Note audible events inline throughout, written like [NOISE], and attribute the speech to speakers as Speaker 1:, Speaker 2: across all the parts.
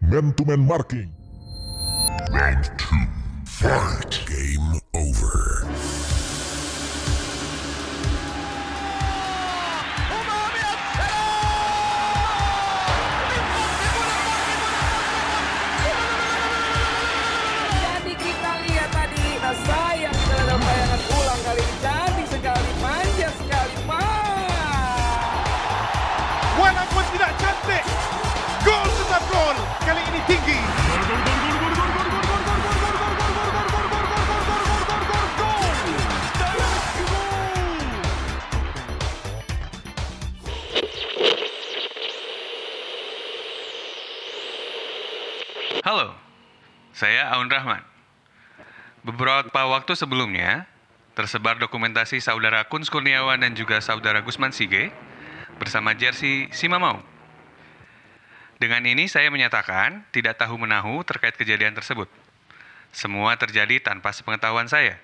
Speaker 1: Man to man marking.
Speaker 2: Round two. Fight. Game over.
Speaker 3: Jadi kita lihat tadi nah, sayang sekali dalam bayangan ulang kali ini cantik sekali, manja sekali,
Speaker 1: [LAUGHS]
Speaker 3: Mas.
Speaker 4: Walang pun tidak cantik. Gol tetap gol. Kali ini tinggi.
Speaker 5: Halo, saya Aun Rahman. Beberapa waktu sebelumnya, tersebar dokumentasi saudara Kun Kurniawan dan juga saudara Gusman Sige bersama jersey Simamau. Dengan ini saya menyatakan tidak tahu menahu terkait kejadian tersebut. Semua terjadi tanpa sepengetahuan saya.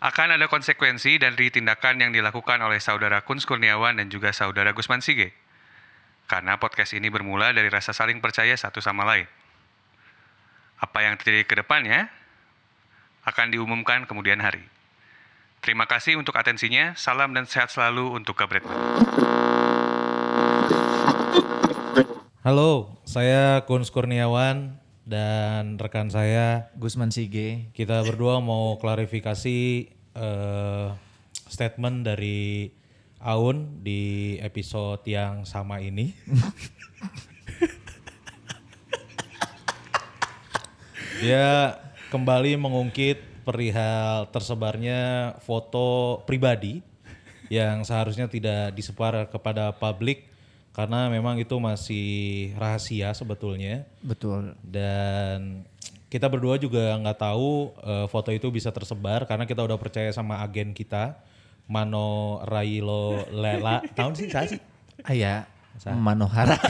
Speaker 5: Akan ada konsekuensi dari tindakan yang dilakukan oleh saudara Kun Kurniawan dan juga saudara Gusman Sige karena podcast ini bermula dari rasa saling percaya satu sama lain. Apa yang terjadi ke depannya akan diumumkan kemudian hari. Terima kasih untuk atensinya, salam dan sehat selalu untuk Kabretman.
Speaker 6: Halo, saya Kun Kurniawan dan rekan saya
Speaker 7: Gusman Sige.
Speaker 6: kita berdua mau klarifikasi eh, statement dari Aun di episode yang sama ini. Dia kembali mengungkit perihal tersebarnya foto pribadi yang seharusnya tidak disebar kepada publik karena memang itu masih rahasia sebetulnya
Speaker 7: Betul.
Speaker 6: dan kita berdua juga nggak tahu eh, foto itu bisa tersebar karena kita udah percaya sama agen kita Mano Railo Lela tahun sih saya sih Ya,
Speaker 7: Aya Manohara.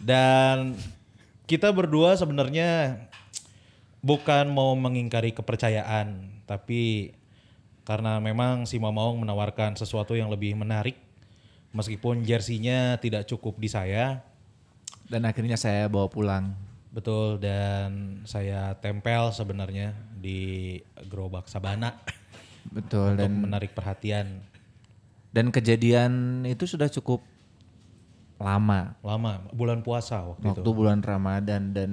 Speaker 6: dan kita berdua sebenarnya bukan mau mengingkari kepercayaan tapi karena memang si Mamaung menawarkan sesuatu yang lebih menarik meskipun jersinya tidak cukup di saya
Speaker 7: Dan akhirnya saya bawa pulang.
Speaker 6: Betul dan saya tempel sebenarnya di gerobak sabana
Speaker 7: Betul
Speaker 6: untuk
Speaker 7: dan
Speaker 6: menarik perhatian
Speaker 7: dan kejadian itu sudah cukup lama
Speaker 6: lama bulan puasa waktu,
Speaker 7: waktu
Speaker 6: itu.
Speaker 7: bulan Ramadan dan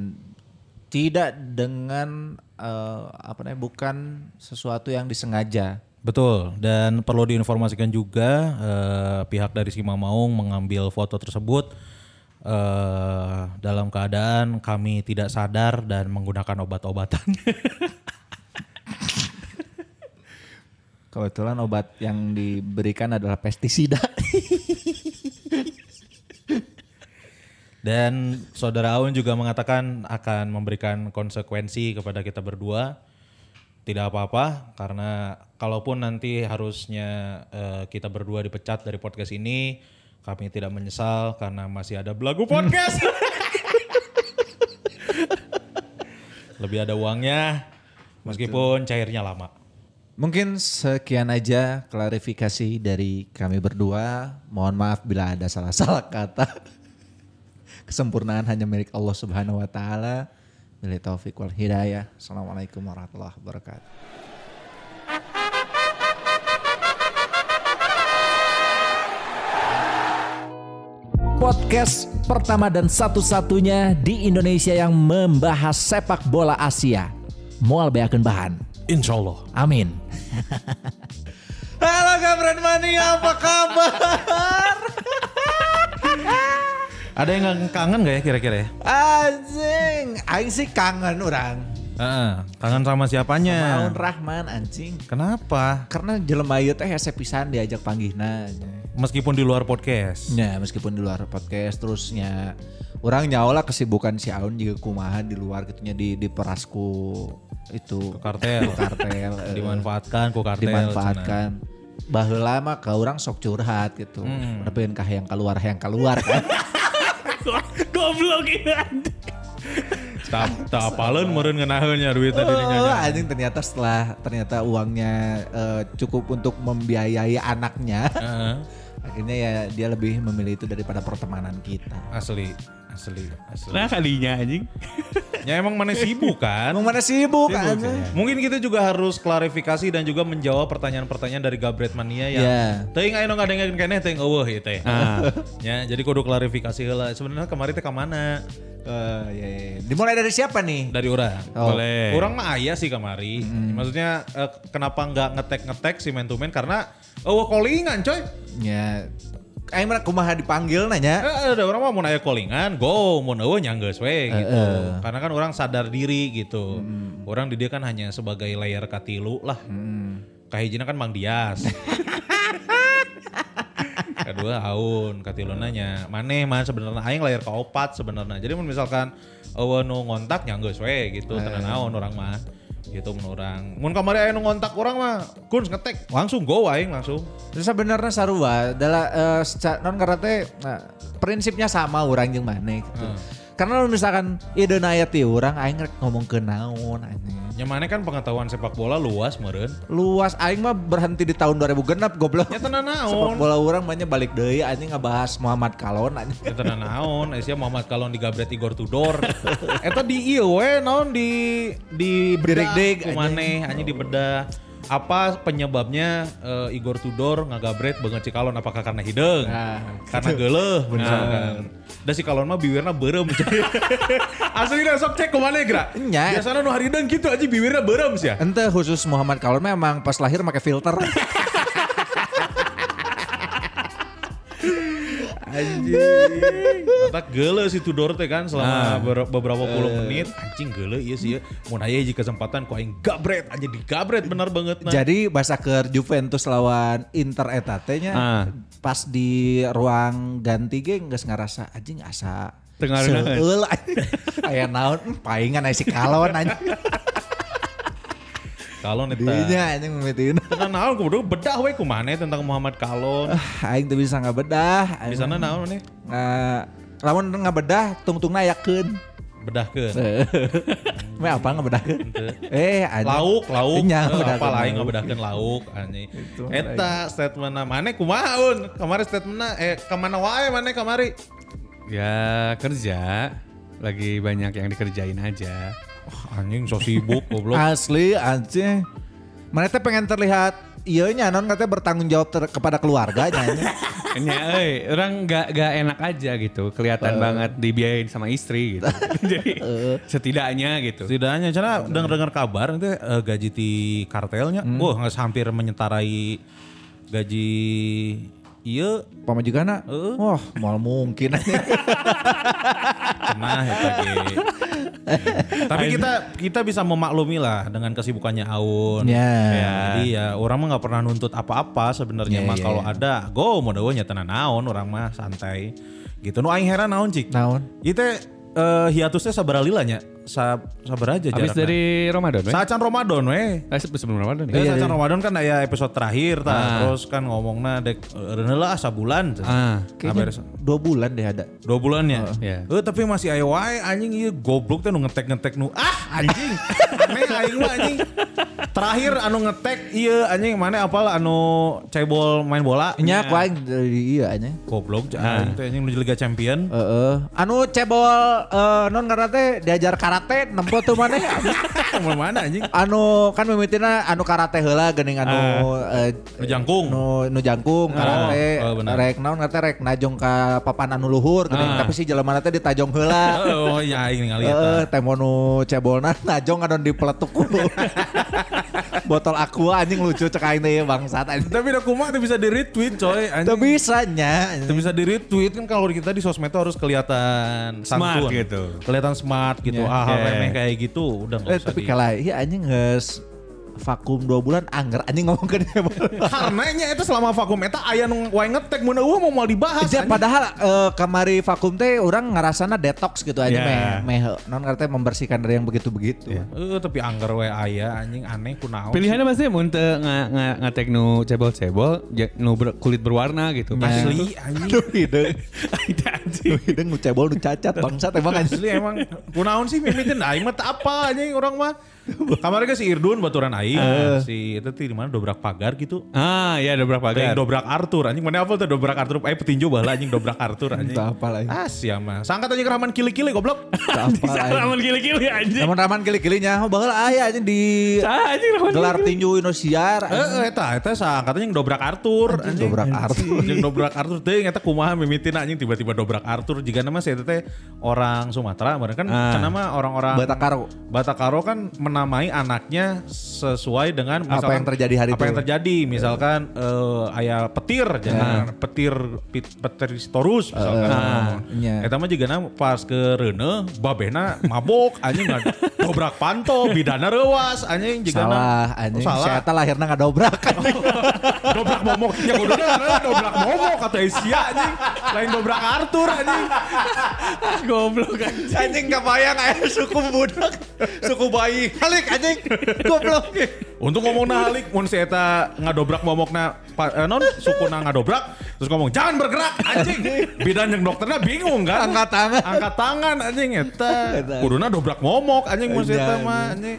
Speaker 7: tidak dengan eh, apa namanya bukan sesuatu yang disengaja.
Speaker 6: Betul dan perlu diinformasikan juga eh, pihak dari Sima Maung mengambil foto tersebut eh, dalam keadaan kami tidak sadar dan menggunakan obat-obatan. [LAUGHS]
Speaker 7: Kebetulan obat yang diberikan adalah pestisida. [LAUGHS]
Speaker 6: Dan saudara Aun juga mengatakan akan memberikan konsekuensi kepada kita berdua. Tidak apa-apa karena kalaupun nanti harusnya eh, kita berdua dipecat dari podcast ini, kami tidak menyesal karena masih ada belagu podcast. Lebih ada uangnya meskipun cairnya lama.
Speaker 7: Mungkin sekian aja klarifikasi dari kami berdua. Mohon maaf bila ada salah-salah kata. [LAUGHS] Kesempurnaan hanya milik Allah Subhanahu wa taala. Bila taufik wal hidayah. Assalamualaikum warahmatullahi wabarakatuh. Podcast pertama dan satu-satunya di Indonesia yang membahas sepak bola Asia. Mual beakeun bahan.
Speaker 1: Insya Allah.
Speaker 7: Amin. Halo Gabret Mania, apa kabar?
Speaker 6: Ada yang kangen gak ya kira-kira ya?
Speaker 7: Anjing, aing sih kangen orang.
Speaker 6: Heeh, kangen sama siapanya?
Speaker 7: Maun Rahman anjing.
Speaker 6: Kenapa?
Speaker 7: Karena jelema ieu teh hese pisan diajak panggihna.
Speaker 6: Meskipun di luar podcast.
Speaker 7: Ya, meskipun di luar podcast terusnya orang nyaola kesibukan si Aun juga kumaha di luar gitunya di di perasku itu
Speaker 6: Ke kartel.
Speaker 7: Ke
Speaker 6: [LAUGHS]
Speaker 7: kartel eh.
Speaker 6: dimanfaatkan ku kartel
Speaker 7: dimanfaatkan baheula mah ke orang sok curhat gitu
Speaker 6: Hmm.
Speaker 7: tapi kan kah yang keluar yang keluar
Speaker 6: [LAUGHS]
Speaker 7: kan
Speaker 6: goblok tak tak apalun meureun ngeunaheun nya duit tadi nya
Speaker 7: Oh, anjing ternyata setelah ternyata uangnya eh, cukup untuk membiayai anaknya. [LAUGHS] Akhirnya ya dia lebih memilih itu daripada pertemanan kita.
Speaker 6: Asli, asli, asli.
Speaker 1: Nah kalinya anjing.
Speaker 6: Ya emang mana sibuk kan?
Speaker 7: Emang mana sibuk kan?
Speaker 1: ya.
Speaker 6: Mungkin kita juga harus klarifikasi dan juga menjawab pertanyaan-pertanyaan dari Gabret Mania yang
Speaker 7: Iya.
Speaker 6: teuing aya nu ngadengerin keneh teuing eueuh ieu teh.
Speaker 1: Ah.
Speaker 6: [LAUGHS] Ya, jadi kudu klarifikasi heula. Sebenarnya kemarin teh ka mana?
Speaker 7: Eh, ya, ya, ya. Dimulai dari siapa nih?
Speaker 6: Dari orang.
Speaker 7: Oh.
Speaker 1: Boleh.
Speaker 6: Orang mah ayah sih kamari. Maksudnya eh, kenapa nggak ngetek-ngetek si man to man karena eueuh callingan coy.
Speaker 7: Ya. Aing mah kumaha dipanggil nanya.
Speaker 6: Eh, ada orang mah mau nanya callingan, go, mau nawa nyangges we gitu. Karena kan orang sadar diri gitu. Orang di dia kan hanya sebagai layar katilu lah. Kahijina kan Mang Dias. Kedua Aun, katilu nanya, maneh man sebenarnya aing layar kaopat sebenarnya. Jadi mun misalkan eueuh nu ngontak nyangges we gitu, tenan naon orang mah gitu mun orang. Mun kamari aya nu ngontak orang mah, kun ngetek, langsung go aing langsung.
Speaker 7: Terus sebenarnya sarua adalah eh, seca- non karate nah, prinsipnya sama orang jeung maneh gitu. Karena lu misalkan ide naya ti orang aing rek ngomong ke naon anjing.
Speaker 6: Nya maneh kan pengetahuan sepak bola luas meureun.
Speaker 7: Luas aing mah berhenti di tahun 2000 genap goblok.
Speaker 6: Ya tenan naon.
Speaker 7: Sepak bola orang banyak balik deui anjing ngebahas Muhammad Kalon anjing.
Speaker 6: Eta na naon, Asia Muhammad Kalon digabret Igor Tudor. Eta di ieu we naon di di bedah
Speaker 7: Direk-dek,
Speaker 6: kumane anjing di bedah. Apa penyebabnya eh, Igor Tudor ngagabret banget si Kalon apakah karena hidung?
Speaker 7: Nah,
Speaker 6: karena geuleuh bener kan. Da si Kalon mah biwirna beureum.
Speaker 7: [LAUGHS]
Speaker 6: Asli sok cek kumane geura.
Speaker 7: Nya.
Speaker 6: Biasana nu hari hidung gitu anjing biwirna beureum sia.
Speaker 7: Ente khusus Muhammad Kalon memang pas lahir pakai
Speaker 6: [LAUGHS]
Speaker 7: filter.
Speaker 6: Eta geuleuh si Tudor teh kan
Speaker 1: Ah.
Speaker 6: selama ber- beberapa puluh
Speaker 1: Eh.
Speaker 6: menit anjing geuleuh ieu sih. ya. Mun aya hiji kesempatan ku aing gabret aja digabret bener banget nah.
Speaker 7: Jadi bahasa ke Juventus lawan Inter eta teh nya
Speaker 1: Ah.
Speaker 7: pas di ruang ganti ge geus ngarasa anjing asa
Speaker 1: Tengah renangan.
Speaker 7: seueul anjing. [LAUGHS] Aya naon hmm, paingan aya si kalon anjing.
Speaker 6: [LAUGHS] Kalon
Speaker 7: Dinya
Speaker 1: Iya.
Speaker 6: eta.
Speaker 7: anjing mimitin.
Speaker 6: Tentang naon kudu bedah we kumane tentang Muhammad Kalon.
Speaker 1: Ah.
Speaker 7: Ah, Aing teu bisa ngabedah.
Speaker 6: Di sana naon nih?
Speaker 7: Nah, lamun ngabedah tungtungna yakeun.
Speaker 1: Eh,
Speaker 6: Bedahkeun.
Speaker 7: Me apa ngabedahkeun? Eh, anjing.
Speaker 6: Lauk, lauk.
Speaker 1: Iya,
Speaker 7: Nya,
Speaker 6: Eh,
Speaker 7: bedahkeun
Speaker 6: apa lain
Speaker 7: lauk.
Speaker 6: ngabedahkeun lauk anjing.
Speaker 7: Itu
Speaker 6: Eta statementna mane kumaun? Kamari statementna eh kemana wae mane kamari?
Speaker 1: Ya kerja. Lagi banyak yang dikerjain aja.
Speaker 6: Anjing so sibuk goblok.
Speaker 7: Asli anjing. Mana teh pengen terlihat iya nya non katanya bertanggung jawab ter- kepada keluarganya.
Speaker 6: [LAUGHS]
Speaker 7: nya.
Speaker 1: Ya, eh, orang gak, gak enak aja gitu. Kelihatan banget dibiayain sama istri [LAUGHS] gitu. Jadi setidaknya gitu.
Speaker 6: Setidaknya karena dengar dengar kabar nanti eh, gaji di kartelnya,
Speaker 7: Hmm.
Speaker 6: wah nggak hampir menyetarai gaji iya
Speaker 7: Pamajikanna,
Speaker 6: Heeh.
Speaker 7: wah mal mungkin aja. [LAUGHS]
Speaker 6: cenah eta ge. iya. Tapi kita kita bisa memaklumi lah dengan kesibukannya Aun.
Speaker 7: Ya.
Speaker 6: Jadi ya orang mah nggak pernah nuntut apa-apa sebenarnya
Speaker 7: Ya,
Speaker 6: mah
Speaker 7: ya,
Speaker 6: kalau
Speaker 7: ya.
Speaker 6: ada go mau dewe nya tenan naon orang mah santai. Gitu. Nu aing heran naon cik.
Speaker 7: Naon?
Speaker 6: Itu hiatusnya sabar lilanya. Sa, sabar aja
Speaker 1: Habis
Speaker 6: jarakna.
Speaker 1: dari Ramadan, weh?
Speaker 6: Saat can Ramadan weh.
Speaker 1: Eh, se- sebelum Ramadan ya?
Speaker 6: Ya, sacan Ramadan kan aya episode terakhir tah. Terus kan ngomongna dek reuneu lah sabulan.
Speaker 1: Ah.
Speaker 6: Hampir
Speaker 7: Kayaknya dua bulan deh ada.
Speaker 6: dua bulan ya.
Speaker 1: Iya.
Speaker 6: Eh tapi masih aya wae anjing ieu goblok teh nu ngetek-ngetek nu ah
Speaker 1: [LAUGHS]
Speaker 6: anjing. Aneh aing mah anjing. Terakhir anu ngetek ieu anjing mana apal anu cebol main bola.
Speaker 7: Nya aku aing dari iya nya.
Speaker 6: Goblok
Speaker 1: Ah.
Speaker 6: anjing teh anjing menuju Liga
Speaker 1: [LAUGHS]
Speaker 6: Champion.
Speaker 7: Heeh. Anu cebol eh, non karate diajar karate nempo tuh mana?
Speaker 6: Mulai mana anjing?
Speaker 1: [LAUGHS]
Speaker 7: anu kan mimitina anu karate heula geuning anu eh,
Speaker 6: Nu jangkung.
Speaker 7: nu nu jangkung karate
Speaker 6: oh, benar. Ah.
Speaker 7: rek naon kata rek najong ka papan anu luhur geuning tapi si jelema teh ditajong heula.
Speaker 6: [LAUGHS] Oh ya aing ningali
Speaker 7: Heeh,
Speaker 1: Eh.
Speaker 6: eta.
Speaker 7: temo nu cebolna [LAUGHS] najong ngadon dipeletuk
Speaker 6: [LAUGHS]
Speaker 7: ku. Botol aqua anjing lucu cek aing teh bangsat anjing.
Speaker 6: Tapi udah kumaha teh bisa di retweet coy anjing.
Speaker 7: Teu bisa nya.
Speaker 6: Itu bisa di retweet kan kalau kita di sosmed tuh harus kelihatan
Speaker 1: Smart
Speaker 6: santun.
Speaker 1: gitu.
Speaker 6: Kelihatan smart gitu.
Speaker 7: Ya.
Speaker 6: Ah, hal
Speaker 1: Ya.
Speaker 6: remeh kayak gitu udah enggak
Speaker 7: Eh
Speaker 6: usah.
Speaker 7: tapi
Speaker 6: di-
Speaker 7: kalah iya anjing geus vakum dua bulan angger anjing ngomong ke dia.
Speaker 6: [LAUGHS] karena nya itu selama vakum eta aya nu wae ngetek mun eueuh mau moal dibahas.
Speaker 7: Ja,
Speaker 6: anjing.
Speaker 7: padahal eh, kamari vakum teh orang ngerasana detox gitu aja
Speaker 1: Ya.
Speaker 7: meh, meh non katanya membersihkan dari yang begitu-begitu.
Speaker 6: Eh tapi anggar wae aya anjing aneh kunaon.
Speaker 1: Pilihannya pasti mun teu nga, nga, ngatek nu cebol-cebol, ja- nu ber- kulit berwarna gitu.
Speaker 6: sih? asli anjing.
Speaker 7: Aduh hidung,
Speaker 1: Anjing.
Speaker 7: aduh hidung nu cebol nu cacat bangsat emang anjing.
Speaker 6: Asli emang kunaon sih mimitin aing mah teu apa anjing orang mah Kamarnya si Irdun baturan aing,
Speaker 7: Eh.
Speaker 6: si itu ti di mana dobrak pagar gitu.
Speaker 1: Ah, ya ada berapa
Speaker 6: Aing
Speaker 1: agar.
Speaker 6: dobrak Arthur anjing mana apa tuh dobrak Arthur eh petinju bahala anjing dobrak Arthur anjing.
Speaker 7: Entah apa lagi.
Speaker 6: Ah siapa mah. Sangkat aja ke Rahman kili-kili goblok.
Speaker 7: Apa lagi.
Speaker 1: Ramen gili-gili anjing.
Speaker 7: Namun raman kili-kilinya, oh bakal ayah aja di
Speaker 1: Ah, anjing ramen
Speaker 7: gelar
Speaker 1: gili-gili.
Speaker 7: tinju Indosiar.
Speaker 6: Eh eta eta sangkat aja yang dobrak Arthur
Speaker 7: Anjing, dobrak Arthur.
Speaker 6: Yang dobrak Arthur teh eta kumaha mimitin anjing tiba-tiba dobrak Arthur jika nama si eta teh orang Sumatera bareng kan
Speaker 1: Ah.
Speaker 6: cenah mah orang-orang
Speaker 7: Batakaro.
Speaker 6: Batakaro kan menamai anaknya sesuai dengan
Speaker 7: Apa yang terjadi hari
Speaker 6: apa
Speaker 7: itu. ya?
Speaker 6: yang terjadi misalkan eh, ayah petir jangan petir pit- petir torus misalkan Nah,
Speaker 7: Ah, iya.
Speaker 6: eta mah juga pas ke Reune babena mabok anjing nggak dobrak panto bidana rewas anjing juga Oh,
Speaker 7: Salah, anjing.
Speaker 6: salah
Speaker 7: Saya teh lahirnya nggak dobrak.
Speaker 6: dobrak momok ya udah karena dobrak momok kata Asia anjing lain dobrak Arthur anjing
Speaker 1: Goblok anjing.
Speaker 7: anjing kebayang ayah suku budak, suku bayi. Halik anjing, goblok.
Speaker 6: Untung ngomong halik, mun si Eta ngadobrak momokna, pa, eh, non suku na ngadobrak, terus ngomong jangan bergerak anjing. Bidan yang dokternya bingung kan.
Speaker 7: Angkat tangan.
Speaker 6: Angkat tangan anjing Eta. Kuduna dobrak momok anjing mun si Eta mah anjing.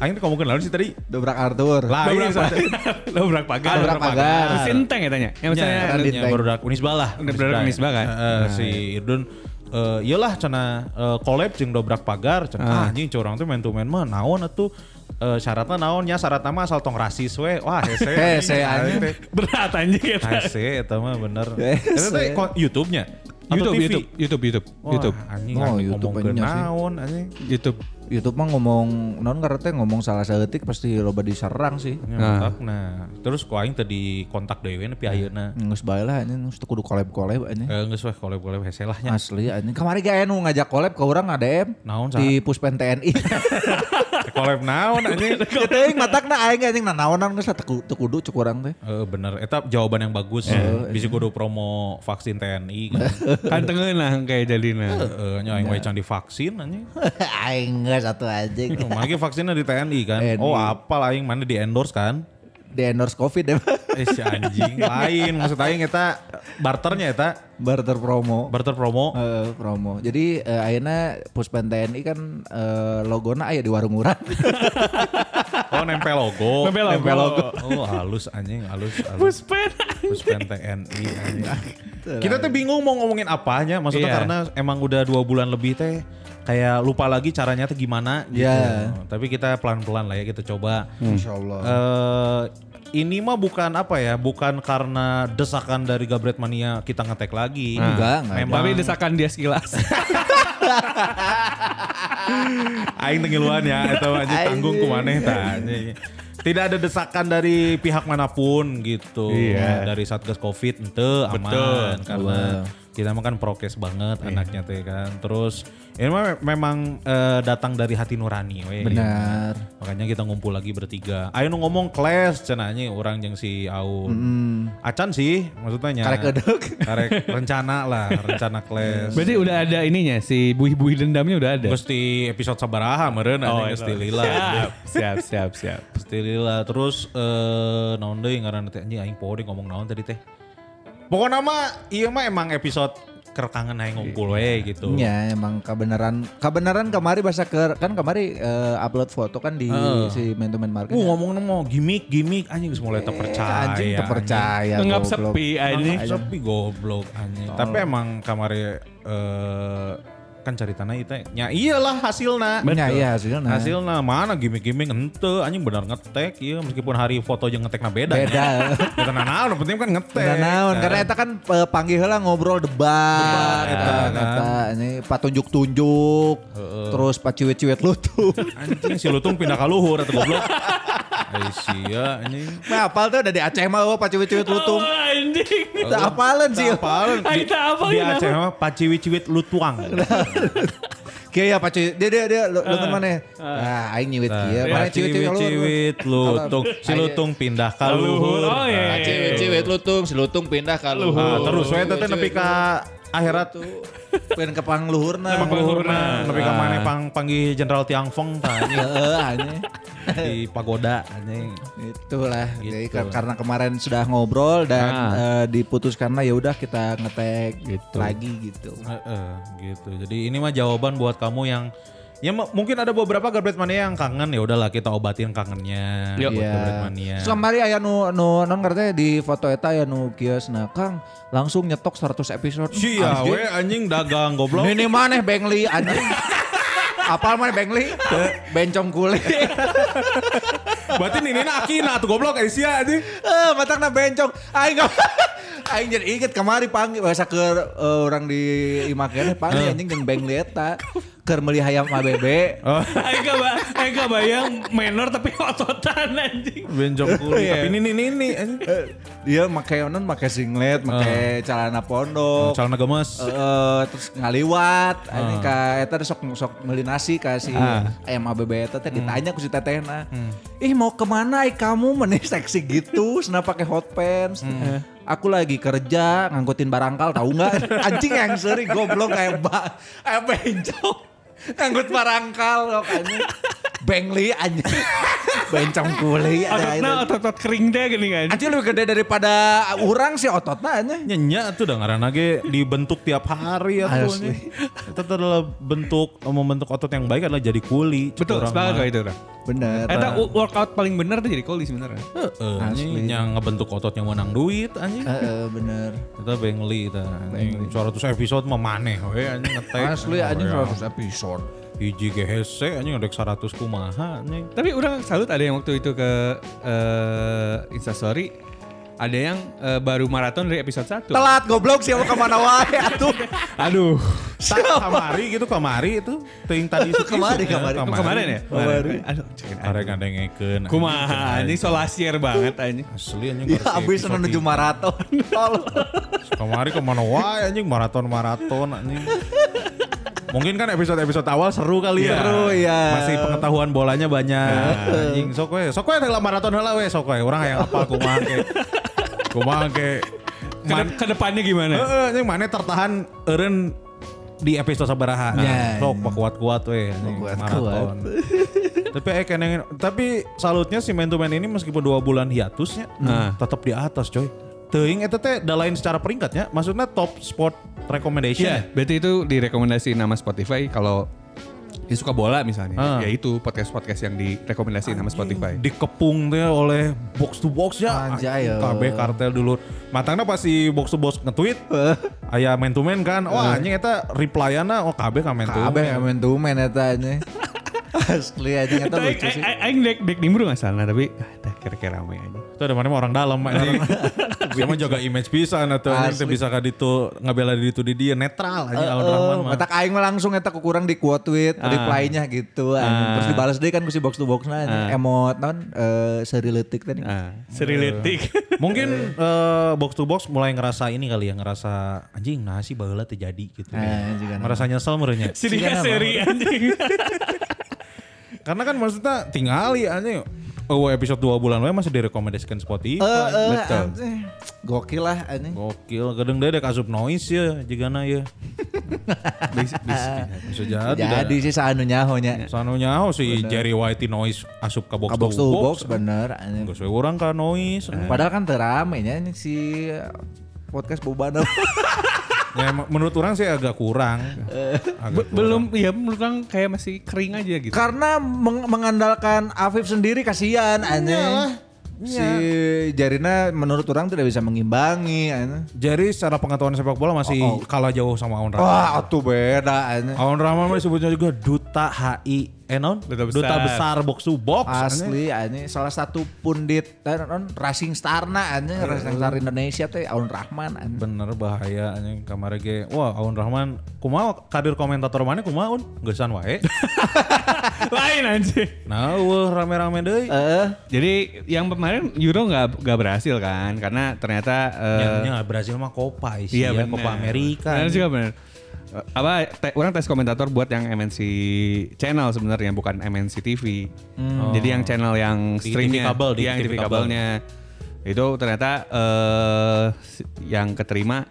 Speaker 6: Anjing ngomongin lalu sih tadi.
Speaker 7: Dobrak Arthur.
Speaker 6: Lain
Speaker 1: Dobrak
Speaker 6: sih. [LAUGHS] Dobrak pagar.
Speaker 7: Dobrak pagar.
Speaker 1: Sinteng ya tanya. Ya maksudnya
Speaker 6: Ya,
Speaker 7: Radit.
Speaker 6: ya, baru dak Unisba lah.
Speaker 1: Udah baru dak Unisba kan?
Speaker 6: Heeh, si Irdun eh iyalah cina eh, collab jeung dobrak pagar cina
Speaker 1: Ah.
Speaker 6: anjing curang tuh main to main mah naon atuh Eh, syaratna naon ya syaratna mah asal tong rasis we. Wah,
Speaker 7: [LAUGHS]
Speaker 6: hese. Gitu.
Speaker 7: Hese, Eh, anjing.
Speaker 1: berat anjing ya.
Speaker 6: Hese eta mah bener.
Speaker 7: Hese.
Speaker 6: Eta teh ko- YouTube-nya Atau
Speaker 1: YouTube,
Speaker 6: TV?
Speaker 1: YouTube, YouTube, YouTube,
Speaker 6: Wah,
Speaker 1: YouTube,
Speaker 6: Anjing,
Speaker 7: Oh,
Speaker 6: anjing
Speaker 7: YouTube
Speaker 6: ngomongkeun
Speaker 7: banyak sih. Ah.
Speaker 6: naon anjing.
Speaker 1: YouTube.
Speaker 7: YouTube mah ngomong non ngerti ngomong salah saeutik pasti loba diserang sih.
Speaker 6: Ya,
Speaker 1: Nah.
Speaker 6: mentak, Nah, terus ku aing tadi kontak dewe nepi ayeuna.
Speaker 7: Nggak sebaik lah, ini nggak kudu collab-collab ini.
Speaker 6: Eh geus we collab-collab hese lah nya.
Speaker 7: Asli, ini kemarin gak enu ngajak collab ke orang
Speaker 6: Ya.
Speaker 7: ADM
Speaker 6: Naon, Sa?
Speaker 7: di Puspen TNI.
Speaker 6: Collab naon [LAUGHS] anjing.
Speaker 7: Kita yang matak na Ya, aing anjing nah naonan geus teku tekudu cek urang teh.
Speaker 6: Eh bener, itu jawaban yang bagus. Bisa kudu promo vaksin TNI kan.
Speaker 1: Iya. [LAUGHS] Kan tengen lah kayak Iya. jalina.
Speaker 6: Heeh, nya aing wae can divaksin anjing.
Speaker 7: [LAUGHS] aing geus satu anjing.
Speaker 6: Rumah lagi vaksinnya di TNI kan.
Speaker 7: TNI.
Speaker 6: Oh, apal aing mana di endorse kan?
Speaker 7: [LAUGHS] Di endorse Covid [LAUGHS] ya.
Speaker 6: Eh si
Speaker 1: [LAUGHS]
Speaker 6: anjing lain maksud aing eta barternya eta
Speaker 7: Barter promo.
Speaker 6: barter promo.
Speaker 7: Eh, promo. Jadi eh, ayeuna Puspen TNI kan eh, logona aya di warung urang.
Speaker 6: Oh, nempel logo.
Speaker 1: Nempel logo.
Speaker 6: Oh, halus anjing, halus halus.
Speaker 1: Puspen.
Speaker 6: Puspen TNI anjing. Kita tuh bingung mau ngomongin apanya, maksudnya
Speaker 1: Iya.
Speaker 6: karena emang udah dua bulan lebih teh kayak lupa lagi caranya tuh gimana gitu.
Speaker 7: Iya. Hmm.
Speaker 6: Tapi kita pelan-pelan lah ya kita coba.
Speaker 7: Insyaallah.
Speaker 6: eh ini mah bukan apa ya, bukan karena desakan dari Gabret Mania kita ngetek lagi.
Speaker 7: Enggak, enggak.
Speaker 6: Memang
Speaker 1: Tapi desakan dia sekilas.
Speaker 6: aing tengiluan ya atau aja tanggung ke maneh tanya. Tidak ada desakan dari pihak manapun gitu.
Speaker 1: Iya.
Speaker 6: Dari Satgas Covid ente aman karena kita mah kan prokes banget
Speaker 1: Iya.
Speaker 6: anaknya teh kan. Terus ini mah memang eh, datang dari hati nurani we.
Speaker 7: Benar.
Speaker 6: Makanya kita ngumpul lagi bertiga. Ayo nu ngomong kelas cenanya orang yang si Aun. Acan sih maksudnya. nya.
Speaker 7: Karek kedek.
Speaker 6: Karek rencana lah, rencana kelas.
Speaker 1: Berarti udah ada ininya si buih-buih dendamnya udah ada. iya.
Speaker 6: Gusti episode sabaraha meureun oh, Gusti Lila.
Speaker 1: Siap, siap, siap, siap.
Speaker 6: Gusti Lila terus eh naon deui ngaranna teh anjing aing poho deui ngomong naon tadi teh. Pokoknya mah ieu mah emang episode kerekangan aing ngumpul we gitu.
Speaker 7: Ya emang kebenaran kebenaran kemari bahasa ke kan kemari eh, upload foto kan di si main to main market. Eh,
Speaker 6: Uh ngomong mau gimmick gimmick anjing geus mulai terpercaya.
Speaker 7: Iya,
Speaker 6: Iya,
Speaker 7: anjing terpercaya.
Speaker 1: Enggak
Speaker 7: Ya, goblok.
Speaker 1: sepi anjing.
Speaker 6: Anjing sepi goblok anjing. Tapi emang kamari eh kan ceritanya itu ya iyalah hasilna
Speaker 7: Ya, iya, hasilna.
Speaker 6: hasilna mana gimmick-gimmick ente anjing benar ngetek iya meskipun hari foto yang ngetekna beda
Speaker 7: Beda.
Speaker 6: ya tenang naon yang penting kan ngetek
Speaker 7: Nah, naon karena eta kan eh, panggil heula ngobrol debat eta
Speaker 6: kan.
Speaker 7: eta ini patunjuk-tunjuk terus paciwit-ciwit lutut.
Speaker 6: anjing si lutung pindah ke luhur atau goblok Eh, Aisyah anjing
Speaker 7: Nah, apal tuh dari Aceh mah oh, paciwit-ciwit lutung.
Speaker 1: Oh, anjing.
Speaker 7: [LAUGHS] Teu apalan sih. oh.
Speaker 6: Apaan?
Speaker 1: Ay,
Speaker 6: Di,
Speaker 1: tak apa
Speaker 6: di
Speaker 1: gitu.
Speaker 6: Aceh mah paciwit-ciwit lutuang.
Speaker 7: Kieu ya paciwit. Dia dia dia lu- lutung mana? Ah, aing nyiwit
Speaker 6: Nah,
Speaker 7: kieu. Mana ciwit-ciwit lutut.
Speaker 6: Iya, Paciwit-ciwit lutung. Si
Speaker 7: Ayo.
Speaker 6: lutung pindah ke luhur.
Speaker 1: Oh iya.
Speaker 6: Ah,
Speaker 7: Ciwit-ciwit lutung, si lutung pindah ka luhur.
Speaker 6: Nah, terus saya teteh nepi ka akhirat
Speaker 7: tuh pengen ke pangluhurna
Speaker 6: Pangurna, nepi ka maneh pang panggil Jenderal Tiangfong tah anjing.
Speaker 7: Heeh, anjing.
Speaker 6: [LAUGHS] di pagoda anjing.
Speaker 7: itulah jadi ke- karena kemarin sudah ngobrol dan eh, diputuskan lah ya udah kita ngetek lagi gitu
Speaker 6: Heeh, gitu. Jadi ini mah jawaban buat kamu yang Ya m- mungkin ada beberapa Garbage Mania yang kangen ya udahlah kita obatin kangennya
Speaker 1: Yo.
Speaker 6: buat Garbage Mania.
Speaker 7: Iya. Terus kemarin aya nu nu non ngerti di foto eta aya nu kieu nah Kang langsung nyetok 100 episode.
Speaker 6: Sia ya,
Speaker 7: Anjing.
Speaker 6: we anjing dagang goblok.
Speaker 7: Ini maneh Bengli anjing.
Speaker 6: [LAUGHS]
Speaker 7: Apal maneh Bengli? Bencong kulit.
Speaker 6: [LAUGHS] Berarti ini akina tuh goblok eh sia anjing.
Speaker 7: Eh, matangna bencong. Aing gak- [LAUGHS] Aing jadi inget kemari panggil bahasa ke orang di
Speaker 6: Eh.
Speaker 7: imakene panggil anjing jeung Bengli eta keur meuli hayam ABB.
Speaker 6: Oh.
Speaker 1: Aing gak ba- aing gak bayang menor tapi ototan anjing.
Speaker 6: Benjok kulit.
Speaker 7: Iya.
Speaker 6: Tapi ini ini ini, ini anjing.
Speaker 7: Dia Eh, make onan make
Speaker 6: Eh.
Speaker 7: singlet, make celana pondok.
Speaker 6: Calon gemes.
Speaker 7: Eh, terus ngaliwat ini ka eta teh sok sok meuli nasi ka si ayam ABB eta teh ditanya ku si tetehna ih mau kemana ai kamu [LAUGHS] meneh seksi gitu sena pakai hot pants Eh, aku lagi kerja ngangkutin barangkal tahu nggak [LAUGHS] anjing yang seri goblok kayak ba kayak bencong ngangkut barangkal sok anjing bengli anjing [LAUGHS] bencong kuli
Speaker 1: Ototna otot-otot kering deh gini kan.
Speaker 7: anjing lebih gede daripada orang sih ototnya anjing
Speaker 6: Nyenya tuh udah ngarana ge dibentuk tiap hari ya tuh.
Speaker 7: Asli.
Speaker 6: anjing. Itu tuh adalah bentuk membentuk otot yang baik adalah jadi kuli.
Speaker 1: Betul,
Speaker 6: Orang
Speaker 1: sepakat
Speaker 6: mah.
Speaker 1: kok itu. Ra.
Speaker 7: bener
Speaker 1: Eta u- workout paling bener tuh jadi koli sebenarnya.
Speaker 6: Heeh, Eh, anjing,
Speaker 7: Asli. Eh.
Speaker 6: yang ngebentuk otot yang menang duit anjing.
Speaker 7: Heeh, bener
Speaker 6: Kita bengli kita. Anjing 100 episode mah maneh we Ya, anjing ngetek.
Speaker 7: Asli anjing
Speaker 6: Weang.
Speaker 7: 100 episode.
Speaker 6: Hiji GHC anjing ada 100 kumaha anjing.
Speaker 1: Tapi orang salut ada yang waktu itu ke eh, Instastory. Ada yang eh, baru maraton dari episode 1.
Speaker 7: Telat goblok siapa kemana wae atuh.
Speaker 1: Aduh.
Speaker 6: Ta- kamari gitu kamari itu ting tadi itu
Speaker 7: [LAUGHS]
Speaker 6: gitu.
Speaker 7: Kamari, kamari.
Speaker 1: Kemarin, kemarin ya?
Speaker 7: Kemarin.
Speaker 1: Aduh, cekin
Speaker 6: Ada
Speaker 1: anjing.
Speaker 6: ngandengekeun.
Speaker 1: Kumaha Gitu, anjing solasier banget anjing.
Speaker 6: Asli anjing.
Speaker 7: Ya
Speaker 6: karek
Speaker 7: abis
Speaker 6: episode
Speaker 7: menuju
Speaker 6: ini.
Speaker 7: maraton. Tol.
Speaker 6: Kemarin kemana wae anjing maraton-maraton anjing.
Speaker 7: [LAUGHS]
Speaker 6: Mungkin kan episode-episode awal seru kali ya.
Speaker 7: Seru, iya.
Speaker 6: Masih pengetahuan bolanya banyak. Anjing sok we, sok we telah maraton heula we sok we. Urang hayang apal kumaha
Speaker 7: [LAUGHS]
Speaker 6: ge. Kumaha ge. Man-
Speaker 1: Ke depannya gimana?
Speaker 6: Heeh, yang mana tertahan eureun di episode sabaraha. Nah,
Speaker 7: Ya,
Speaker 6: Sok kuat-kuat we anjing,
Speaker 7: Kuat-kuat. [LAUGHS]
Speaker 6: maraton. tapi eh keneng- tapi salutnya si Man to Man ini meskipun dua bulan hiatusnya
Speaker 1: Nah.
Speaker 6: tetap di atas coy. Teuing eta teh dalain secara peringkatnya, maksudnya top spot recommendation.
Speaker 1: Iya,
Speaker 6: ya?
Speaker 1: berarti itu direkomendasi nama Spotify kalau ya suka bola misalnya,
Speaker 6: Ah.
Speaker 1: ya itu podcast-podcast yang direkomendasi nama Spotify.
Speaker 6: dikepung teh oleh box to box ya Anjing,
Speaker 7: Anjay, yo.
Speaker 6: KB kartel dulu matangnya pas si box to box nge-tweet aya man to man kan wah anjing eta replyana oh KB ka man to
Speaker 7: Kabeh
Speaker 6: man
Speaker 7: main tuh main eta anjing. Asli anjing eta
Speaker 1: Tapi
Speaker 7: lucu sih.
Speaker 6: eh,
Speaker 1: a- a- aing dek dek nimbrung nggak salah tapi ah, dah kira-kira rame aja.
Speaker 6: Itu ada mana mah orang dalam anjing. [LAUGHS] Dia mah jaga image pisan atau
Speaker 7: Iya. Asli.
Speaker 6: nanti bisa ka ditu ngabela di ditu di dia netral aja
Speaker 7: Heeh,
Speaker 6: Aun eh, ya Rahman Ah. mah.
Speaker 7: Matak Eh, aing mah langsung eta kurang di quote tweet, reply-nya gitu anjing.
Speaker 6: Ah.
Speaker 7: Terus dibales deui kan ku si box to box anjing. Emot non eh, seri leutik tadi.
Speaker 1: Ah, Seriletik.
Speaker 6: Mungkin eh, box to box mulai ngerasa ini kali ya ngerasa anjing nah sih baheula teh jadi gitu.
Speaker 7: Eh, juga nah.
Speaker 6: Merasa nyesel
Speaker 7: [LAUGHS]
Speaker 6: merenya.
Speaker 1: Sini seri anjing.
Speaker 6: Karena kan maksudnya tingali anjing. Oh episode 2 bulan we masih direkomendasikan Spotify.
Speaker 7: Eh, eh,
Speaker 6: Betul.
Speaker 7: anjing. Gokil lah anjing.
Speaker 6: Gokil, gedeng deh asup noise ya, jigana
Speaker 7: [LAUGHS]
Speaker 6: ya.
Speaker 1: Bis- bis-
Speaker 6: Bisa jadi.
Speaker 7: Jadi sih sanunya honya.
Speaker 6: Sanonya oh, si Jerry White noise asup ke box,
Speaker 7: Ka box to box bener anjing.
Speaker 6: Gak sesuai orang kan noise.
Speaker 1: Eh.
Speaker 7: Padahal kan terame nya ini si eh, podcast Bobana.
Speaker 6: Ya, em- menurut orang sih agak kurang. Agak kurang.
Speaker 1: Eh. Belum, ya menurut orang kayak masih kering aja gitu.
Speaker 7: Karena meng- mengandalkan Afif sendiri kasihan aneh. Si Jarina menurut orang tidak bisa mengimbangi aneh.
Speaker 6: Jerry secara pengetahuan sepak bola masih
Speaker 1: Oh,
Speaker 6: kalah jauh sama Aun Rahman.
Speaker 7: Wah, atuh beda aneh.
Speaker 6: Aun Rahman mah disebutnya juga duta HI. Eh non?
Speaker 1: Duta besar.
Speaker 6: box to box.
Speaker 7: Asli aneh salah satu pundit eh, non racing starna aneh racing star Indonesia teh Aun Rahman aneh.
Speaker 6: bener bahaya anjing kamari ge wah Aun Rahman kumaha kadir komentator mana kumaha Un geusan wae
Speaker 1: [LAUGHS] Lain anjing.
Speaker 6: nah wah rame-rame deui
Speaker 7: Eh,
Speaker 1: Jadi yang kemarin Euro nggak nggak berhasil kan karena ternyata eh,
Speaker 6: Nyanya Brazil mah Copa sih
Speaker 1: Iya
Speaker 6: ya,
Speaker 1: bener.
Speaker 6: Copa Amerika.
Speaker 1: Bener juga bener. Eh, Apa te- orang tes komentator buat yang MNC channel sebenarnya bukan MNC TV. Oh. Jadi yang channel yang
Speaker 6: Hmm. Di
Speaker 1: streamnya,
Speaker 6: TV
Speaker 1: Iya,
Speaker 6: kabel, di
Speaker 1: yang
Speaker 6: TV
Speaker 1: TV
Speaker 6: kabel.
Speaker 1: kabelnya itu ternyata eh si- yang keterima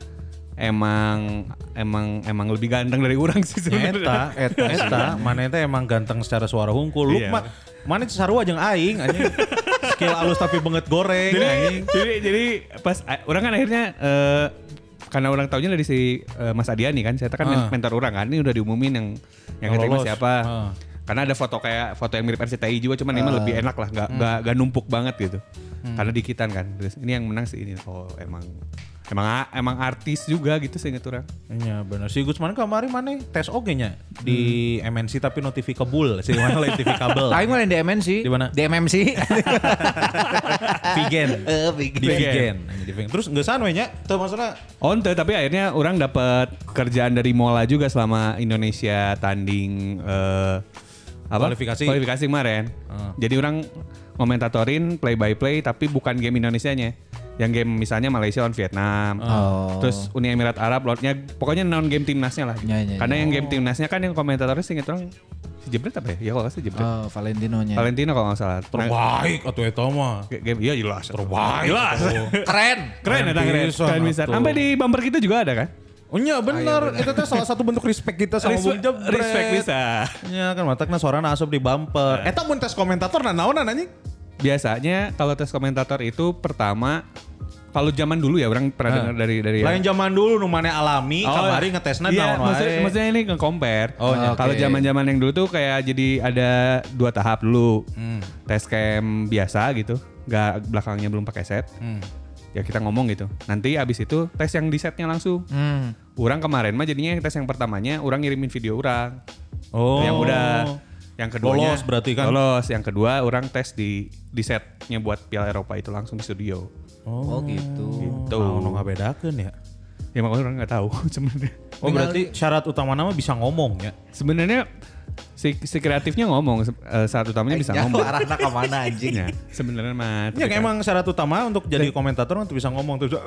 Speaker 1: emang emang emang lebih ganteng dari orang sih
Speaker 6: Eta,
Speaker 1: sebenarnya.
Speaker 6: [LAUGHS] eta, eta, mana eta emang ganteng secara suara hungkul. Lu
Speaker 1: Iya.
Speaker 6: mah, mana sarua jeung aing anjing. Skill alus tapi banget goreng
Speaker 1: Jadi,
Speaker 6: anjing.
Speaker 1: jadi jadi pas a- orang kan akhirnya eh,
Speaker 5: karena ulang tahunnya dari si eh, Mas Adiani kan, saya kan
Speaker 6: Ah.
Speaker 5: mentor orang kan, ini udah diumumin yang yang
Speaker 6: Yang
Speaker 5: keterima
Speaker 6: lolos.
Speaker 5: siapa.
Speaker 6: Ah.
Speaker 5: Karena ada foto kayak foto yang mirip RCTI juga, cuman ini mah lebih enak lah,
Speaker 6: Hmm.
Speaker 5: nggak nggak nggak numpuk banget gitu. Karena dikitan kan. Terus ini yang menang sih ini. Oh emang emang emang artis juga gitu seingat orang.
Speaker 6: Iya benar. Si Gusman kemarin mana tes oke nya di MNC tapi notifikable. Si mana notifikable.
Speaker 7: Tapi malah di MNC.
Speaker 6: Di mana?
Speaker 7: Di MMC.
Speaker 6: Vigen.
Speaker 7: Eh,
Speaker 6: Di
Speaker 7: bikin.
Speaker 6: Vigen. Di Vigen. Terus nggak sana nya? Tuh maksudnya
Speaker 5: Oh ente, tapi akhirnya orang dapat kerjaan dari Mola juga selama Indonesia tanding eh, apa?
Speaker 6: Kualifikasi. Ah.
Speaker 5: kualifikasi kemarin. Jadi orang komentatorin play by play tapi bukan game Indonesianya. Yang game misalnya Malaysia lawan Vietnam.
Speaker 6: Ah.
Speaker 7: Oh.
Speaker 5: Terus Uni Emirat Arab lawannya pokoknya non game timnasnya lah.
Speaker 7: Ya, ya, ya.
Speaker 5: Karena yang
Speaker 6: Oh.
Speaker 5: game timnasnya kan yang komentatornya singkat orang si Jebret apa ya? Ya kalau nggak salah si Jebret.
Speaker 7: Oh, Valentinonya.
Speaker 5: Valentino kalau nggak salah. Nah,
Speaker 6: terbaik atau itu mah. Gitu.
Speaker 5: game iya jelas.
Speaker 6: Terbaik. Iya,
Speaker 5: Jelas.
Speaker 6: atuh.
Speaker 7: Keren.
Speaker 5: Keren ya keren.
Speaker 6: pisan,
Speaker 5: Keren pisan.
Speaker 6: atuh.
Speaker 5: Sampai di bumper kita juga ada kan?
Speaker 6: Oh iya benar, itu teh salah satu bentuk respect kita sama Bung
Speaker 5: Respect,
Speaker 6: Jebret.
Speaker 5: respect bisa.
Speaker 6: Ya kan matakna suarana asup di bumper. Eta mun tes komentator nah naonan anjing?
Speaker 5: biasanya kalau tes komentator itu pertama kalau zaman dulu ya orang pernah dengar dari dari ya.
Speaker 6: Lain zaman dulu nu mana alami, kamari ngetesna
Speaker 5: iya,
Speaker 6: naon
Speaker 5: maksudnya,
Speaker 6: wae.
Speaker 5: maksudnya ini nge-compare.
Speaker 6: Oh,
Speaker 5: Ah,
Speaker 6: iya.
Speaker 5: Kalau
Speaker 6: Oke.
Speaker 5: zaman-zaman yang dulu tuh kayak jadi ada dua tahap dulu. Tes cam biasa gitu, nggak belakangnya belum pakai set. Ya kita ngomong gitu. Nanti abis itu tes yang di setnya langsung.
Speaker 7: Hmm.
Speaker 5: Orang kemarin mah jadinya yang tes yang pertamanya orang ngirimin video orang.
Speaker 6: Oh.
Speaker 5: Yang udah yang keduanya
Speaker 6: Lolos berarti kan?
Speaker 5: Lolos. Yang kedua orang tes di di setnya buat Piala Eropa itu langsung di studio.
Speaker 7: Oh, gitu.
Speaker 5: Gitu.
Speaker 6: Tuh, Nah, nu ngabedakeun ya.
Speaker 5: Ya makanya orang nggak tahu [LAUGHS] sebenarnya.
Speaker 6: Oh berarti syarat utama nama bisa ngomong ya.
Speaker 5: Sebenarnya si, si kreatifnya ngomong se- eh, saat utamanya bisa
Speaker 7: Jauh
Speaker 5: ngomong.
Speaker 7: arahnya kemana anjing.
Speaker 5: Ya, sebenarnya mah.
Speaker 6: Ya
Speaker 5: [LAUGHS] tapi kan-
Speaker 6: emang syarat utama untuk jadi komentator untuk bisa ngomong [LAUGHS] terus.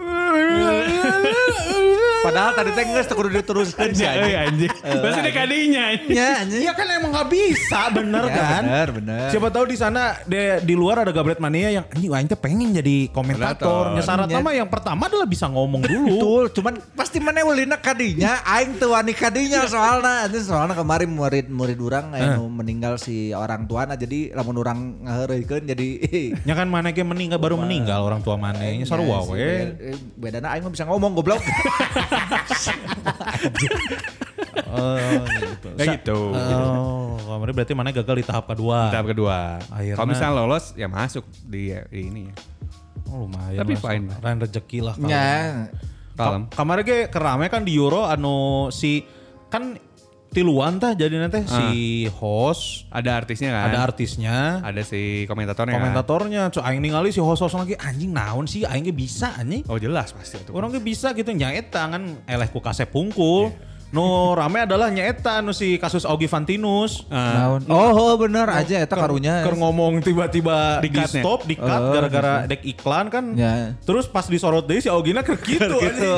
Speaker 7: Padahal tadi teh geus teu kudu diteruskeun sih
Speaker 5: Eh,
Speaker 7: anjing.
Speaker 5: anjing. Bahasa dekadinya. anjing.
Speaker 7: Ya anjing.
Speaker 6: Iya kan emang nggak bisa, bener
Speaker 7: Ya,
Speaker 6: kan?
Speaker 7: bener, bener.
Speaker 6: Siapa tahu di sana di, di luar ada gabret mania yang anjing aing teh pengen jadi komentator.
Speaker 5: Komentator.
Speaker 6: Ya syarat nama yang pertama adalah bisa ngomong dulu.
Speaker 7: Betul, cuman pasti mana ulina kadinya, aing teu wani kadinya
Speaker 6: Iya.
Speaker 7: soalna. Itu soalna kemarin murid-murid urang
Speaker 6: Eh.
Speaker 7: anu meninggal si orang tuana jadi lamun urang ngaheureukeun
Speaker 6: [LAUGHS]
Speaker 7: jadi
Speaker 6: Ya kan mana Iya ge meninggal baru meninggal orang tua mana ya, nya sarua
Speaker 7: Ya, Si
Speaker 6: we.
Speaker 7: beda- eh, Bedana aing mah bisa ngomong
Speaker 6: [LAUGHS]
Speaker 7: goblok.
Speaker 6: Oh gitu.
Speaker 5: Kayak gitu.
Speaker 6: Oh, kemarin berarti mana gagal di tahap kedua.
Speaker 5: Tahap kedua.
Speaker 6: Akhirnya-
Speaker 5: Kalau misalnya lolos ya masuk di, di ini ya.
Speaker 6: Oh lumayan.
Speaker 5: Tapi
Speaker 6: lah,
Speaker 5: fine.
Speaker 6: Lain rezeki lah. kalau- gitu.
Speaker 7: Ya.
Speaker 6: Eh.
Speaker 5: Kalem.
Speaker 6: Ka- Kamari ge kerame kan di Euro anu si kan tiluan tah jadi nanti si host
Speaker 5: Ada artisnya Ah. kan?
Speaker 6: ada artisnya,
Speaker 5: Ada si komentatornya kan?
Speaker 6: komentatornya, cuy aing ningali si host-host lagi anjing naon sih aing ge bisa anjing.
Speaker 5: Oh jelas pasti itu.
Speaker 6: Orang ge bisa gitu nyaeta kan eleh ku kasep pungkul.
Speaker 5: Iya.
Speaker 6: No rame adalah nyaeta anu si kasus Augie Fantinus.
Speaker 5: Ah.
Speaker 7: Naon? Oh, oh, bener aja eta karunya.
Speaker 6: Iya. Ker ngomong tiba-tiba di,
Speaker 5: Di-cut-nya.
Speaker 6: stop, di cut
Speaker 7: Oh,
Speaker 6: gara-gara dek iklan kan.
Speaker 7: Ya.
Speaker 6: Terus pas disorot deui si Augina ker kitu. anjing.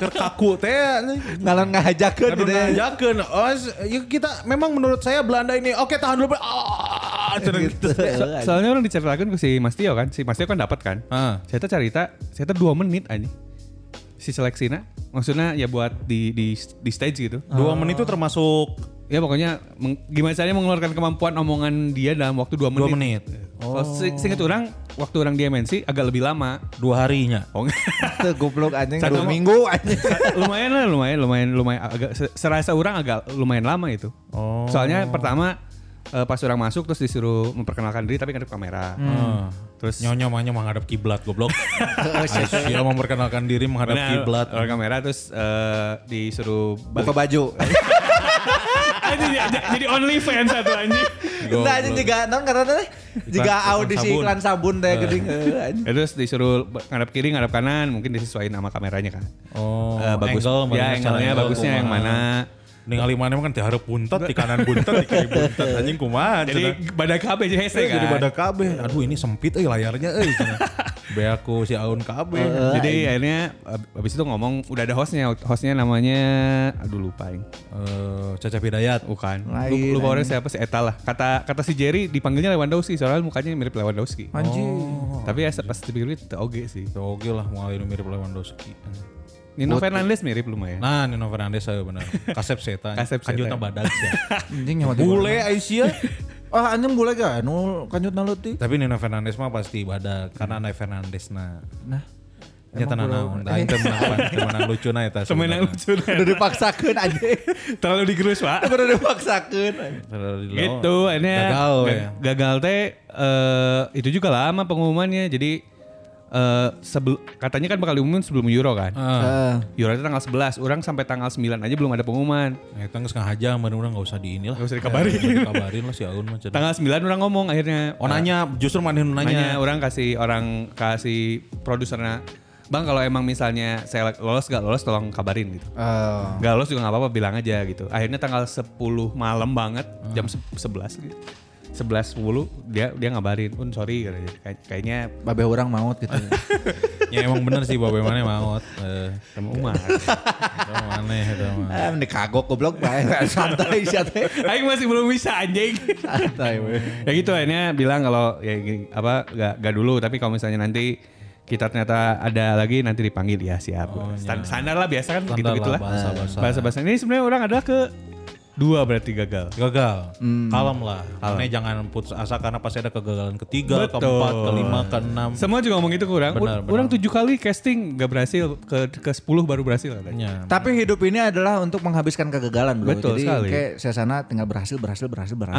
Speaker 6: Ker kaku teh. anjing.
Speaker 7: Ngalon ngahajakeun
Speaker 6: Aduh,
Speaker 7: gitu ya.
Speaker 6: nanjakeun. Oh, s- ya kita memang menurut saya Belanda ini oke tahan dulu. Ah, cenah gitu.
Speaker 7: [LAUGHS]
Speaker 6: [LAUGHS]
Speaker 7: Gitu.
Speaker 5: Soalnya orang diceritakan ke si Mas Tio kan, si Mas Tio kan dapat kan.
Speaker 6: Ah.
Speaker 5: Saya tuh cerita, saya tuh dua menit aja. Si seleksina, maksudnya ya buat di di di stage gitu.
Speaker 6: Dua menit itu termasuk
Speaker 5: Ya pokoknya meng- gimana caranya mengeluarkan kemampuan omongan dia dalam waktu dua menit.
Speaker 6: dua menit. Oh.
Speaker 5: Kalau se- seingat orang, waktu orang di MNC agak lebih lama.
Speaker 6: Dua harinya.
Speaker 5: Oh, enggak.
Speaker 6: [LAUGHS]
Speaker 7: Itu goblok anjing
Speaker 5: Satu mo-
Speaker 7: dua minggu anjing.
Speaker 5: lumayan lah, lumayan, lumayan, lumayan. Agak se- serasa orang agak lumayan lama itu.
Speaker 6: Oh.
Speaker 5: Soalnya pertama eh, pas orang masuk terus disuruh memperkenalkan diri tapi ngadep kamera.
Speaker 6: Hmm.
Speaker 5: Terus Oh, iya,
Speaker 6: Nyonya mahnya menghadap kiblat goblok.
Speaker 5: [LAUGHS]
Speaker 6: Aisyah memperkenalkan diri menghadap
Speaker 5: Benar,
Speaker 6: kiblat.
Speaker 5: Orang kamera terus eh, disuruh
Speaker 7: Buka baju.
Speaker 5: [LAUGHS] jadi, jadi only fans satu anjing.
Speaker 7: Nah, anjing juga non karena teh juga
Speaker 6: Iklan-
Speaker 7: audisi
Speaker 6: iklan
Speaker 7: iklan sabun Eh. teh geuning heuh, anjing.
Speaker 5: Ya, terus disuruh ba- ngadap kiri, ngadap kanan, mungkin disesuaiin sama kameranya kan.
Speaker 6: Oh,
Speaker 5: Eh, bagus.
Speaker 6: angle,
Speaker 5: ya,
Speaker 6: bagaimana cara
Speaker 5: angle-nya
Speaker 6: angle,
Speaker 5: bagusnya yang
Speaker 6: kumaha.
Speaker 5: mana.
Speaker 6: Ningali mana mah kan diharap buntet, di kanan buntet, di kiri buntet. Anjing kumaha. cenah.
Speaker 5: Jadi badak KB jadi hese
Speaker 6: Eh,
Speaker 5: kan.
Speaker 6: jadi pada kabeh. Aduh ini sempit euy layarnya euy. cenah. Be aku si Aun kabeh.
Speaker 5: Jadi akhirnya ab- abis itu ngomong udah ada hostnya, hostnya namanya aduh lupa yang
Speaker 6: Eh, Caca Hidayat.
Speaker 5: bukan
Speaker 7: Lain,
Speaker 5: Lu- lupa
Speaker 7: lain.
Speaker 5: orang siapa sih Eta lah kata kata si Jerry dipanggilnya Lewandowski soalnya mukanya mirip Lewandowski
Speaker 7: Anjing.
Speaker 6: Oh.
Speaker 5: tapi ya se- pas dipikir itu oge sih
Speaker 6: Ya oke lah mulai nu mirip Lewandowski.
Speaker 5: Nino Fernandes mirip lumayan
Speaker 6: Nah Nino Fernandes saya benar. Kasep Kan seta.
Speaker 5: [LAUGHS] Kasep seta.
Speaker 6: Kanjutna badag
Speaker 5: [LAUGHS]
Speaker 6: sia.
Speaker 7: Anjing nyawa tiba.
Speaker 6: Bule Aisyah.
Speaker 7: [LAUGHS] Ah anjing bule ga nu kanjut naleuti.
Speaker 6: Tapi Nino Fernandes mah pasti badag karena ada Fernandes nah.
Speaker 7: Nah.
Speaker 6: Ya
Speaker 7: Emang
Speaker 6: tanah
Speaker 7: kudu-
Speaker 6: naon, da itu
Speaker 5: [LAUGHS]
Speaker 6: menang, menang lucu na eta.
Speaker 1: Semenang
Speaker 6: sebenarnya.
Speaker 1: lucu.
Speaker 7: Udah dipaksakan anjing. [LAUGHS]
Speaker 1: Terlalu digerus, Pak.
Speaker 7: Udah dipaksakan.
Speaker 6: Terlalu di lawan.
Speaker 1: Gitu, ini
Speaker 6: Gagal
Speaker 1: ga-
Speaker 6: we.
Speaker 1: gagal ya. teh eh, itu juga lama pengumumannya. Jadi eh sebelum katanya kan bakal diumumin sebelum Euro kan.
Speaker 7: Heeh.
Speaker 1: Euro itu tanggal 11, orang sampai tanggal 9 aja belum ada pengumuman.
Speaker 6: Eta geus ngahaja mun urang enggak usah di inilah.
Speaker 1: Nggak usah dikabarin.
Speaker 6: Nggak usah dikabarin lah si Aun mah. cenah.
Speaker 1: Tanggal 9 orang ngomong akhirnya.
Speaker 6: Oh nanya, justru maneh nu
Speaker 1: Nanya
Speaker 6: nanya.
Speaker 1: orang kasih orang kasih produsernya, "Bang, kalau emang misalnya saya lolos gak lolos tolong kabarin" gitu.
Speaker 7: Eh,
Speaker 1: Gak lolos juga gak apa-apa bilang aja gitu. Akhirnya tanggal 10 malam banget jam se- 11 gitu. 11.10 dia dia ngabarin, "Un, sorry" katanya. Kay- Kayaknya
Speaker 7: babe orang maut gitu.
Speaker 6: Ya emang bener sih babe maneh maot. Eh,
Speaker 1: sama Umar.
Speaker 6: eta maneh eta mah.
Speaker 7: [LAUGHS] Ah, mending kagok goblok bae. Santai sih atuh.
Speaker 1: [LAUGHS] Aing masih belum bisa anjing.
Speaker 7: Santai we.
Speaker 1: ya gitu akhirnya bilang kalau ya gini, apa gak, gak dulu tapi kalau misalnya nanti kita ternyata ada lagi nanti dipanggil ya siap. Stan- standar lah biasa kan
Speaker 6: Oh, iya. Standar
Speaker 1: gitu gitulah.
Speaker 6: lah, bahasa-bahasa.
Speaker 1: bahasa ini sebenarnya orang adalah ke dua berarti gagal.
Speaker 6: Gagal. Hmm. Kalem lah. Maneh jangan putus asa karena pasti ada kegagalan ketiga,
Speaker 1: Betul.
Speaker 6: keempat, kelima, keenam.
Speaker 1: Semua juga ngomong gitu ke orang.
Speaker 6: Benar, benar.
Speaker 1: Orang tujuh kali casting gak berhasil ke ke sepuluh baru berhasil
Speaker 6: Ya.
Speaker 1: katanya.
Speaker 7: Tapi hidup ini adalah untuk menghabiskan kegagalan bro.
Speaker 1: Betul
Speaker 7: Jadi
Speaker 1: sekali.
Speaker 7: kayak saya sana tinggal berhasil, berhasil, berhasil, berhasil.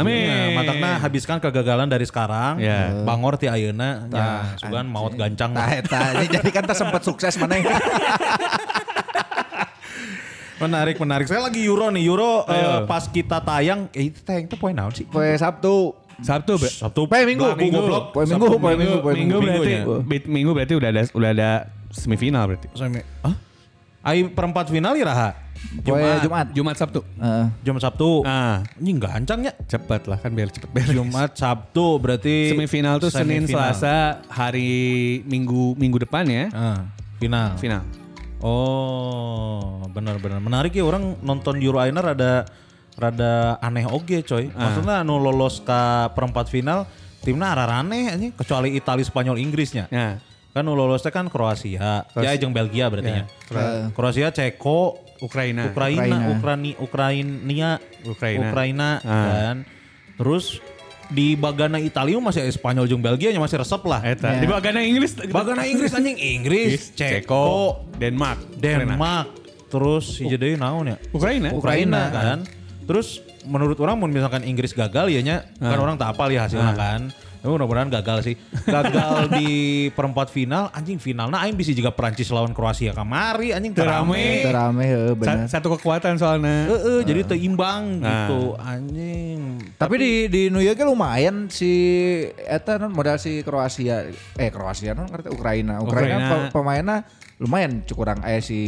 Speaker 6: Ya,
Speaker 1: Amin.
Speaker 6: matakna habiskan kegagalan dari sekarang.
Speaker 1: Ya.
Speaker 6: Bangor ti ayeuna ya, sugan maut gancang.
Speaker 7: Nah, eta. Ini jadi kan tak sempat sukses mana ya.
Speaker 6: Menarik, menarik. Saya lagi Euro nih. Euro eh, pas kita tayang, eh itu tayang itu poin naon sih?
Speaker 7: Poe Sabtu.
Speaker 1: Sabtu ber-
Speaker 6: Sabtu,
Speaker 7: Poe Minggu.
Speaker 6: Rabu, goblok.
Speaker 7: Poe Minggu,
Speaker 6: Sabtu,
Speaker 7: poe Minggu, poe
Speaker 1: minggu berarti
Speaker 6: Minggunya.
Speaker 1: bit- minggu berarti udah ada udah ada semifinal berarti.
Speaker 6: Semi. Hah? Ai perempat final ya, iraha.
Speaker 7: Poe Jumat.
Speaker 1: Jumat Sabtu.
Speaker 7: Heeh.
Speaker 6: Jam Sabtu.
Speaker 1: Ah,
Speaker 6: Anjing gancang ya.
Speaker 1: cepet lah kan biar cepet beres.
Speaker 6: Jumat, Sabtu berarti
Speaker 1: Semifinal tuh Senin,
Speaker 6: semifinal.
Speaker 1: Selasa, hari Minggu minggu depan ya.
Speaker 6: Ah, final.
Speaker 1: Final.
Speaker 6: Oh, benar-benar menarik ya orang nonton Euro Ainer rada rada aneh oge coy. Maksudnya anu lolos ke perempat final timna arah aneh anjing kecuali Italia, Spanyol, Inggrisnya.
Speaker 1: Ya.
Speaker 6: Kan nu lolosnya kan Kroasia, ya jeung Belgia berarti ya. Kroasia, Ceko,
Speaker 1: Ukraina.
Speaker 6: Ukraina, Ukraina, Ukraina,
Speaker 1: Ukraina.
Speaker 6: Ukraina,
Speaker 1: Ah.
Speaker 6: dan terus di bagana Italia masih ada Spanyol jeung Belgia nya masih resep lah.
Speaker 1: Eta. Di bagana Inggris.
Speaker 6: Bagana Ya. Inggris anjing Inggris, Ceko,
Speaker 1: Denmark.
Speaker 6: Denmark, terus si jadi naon ya?
Speaker 1: Ukraina.
Speaker 6: Ukraina kan. Terus menurut orang mau misalkan Inggris gagal ya nya kan orang tak apal ya hasilnya kan. Tapi mudah-mudahan gagal sih. Gagal di perempat final, anjing finalnya aing bisa juga Perancis lawan Kroasia kamari anjing teu
Speaker 1: Terame.
Speaker 6: rame.
Speaker 7: Terame heeh
Speaker 1: Sa-
Speaker 7: benar.
Speaker 1: satu kekuatan soalnya.
Speaker 6: Heeh, jadi teimbang
Speaker 1: Nah.
Speaker 6: gitu anjing.
Speaker 7: Tapi di di New York ya lumayan si eta non modal si Kroasia eh Kroasia non ngerti Ukraina. Ukraina,
Speaker 1: Ukraina.
Speaker 7: pe- pemainnya lumayan cukurang aya si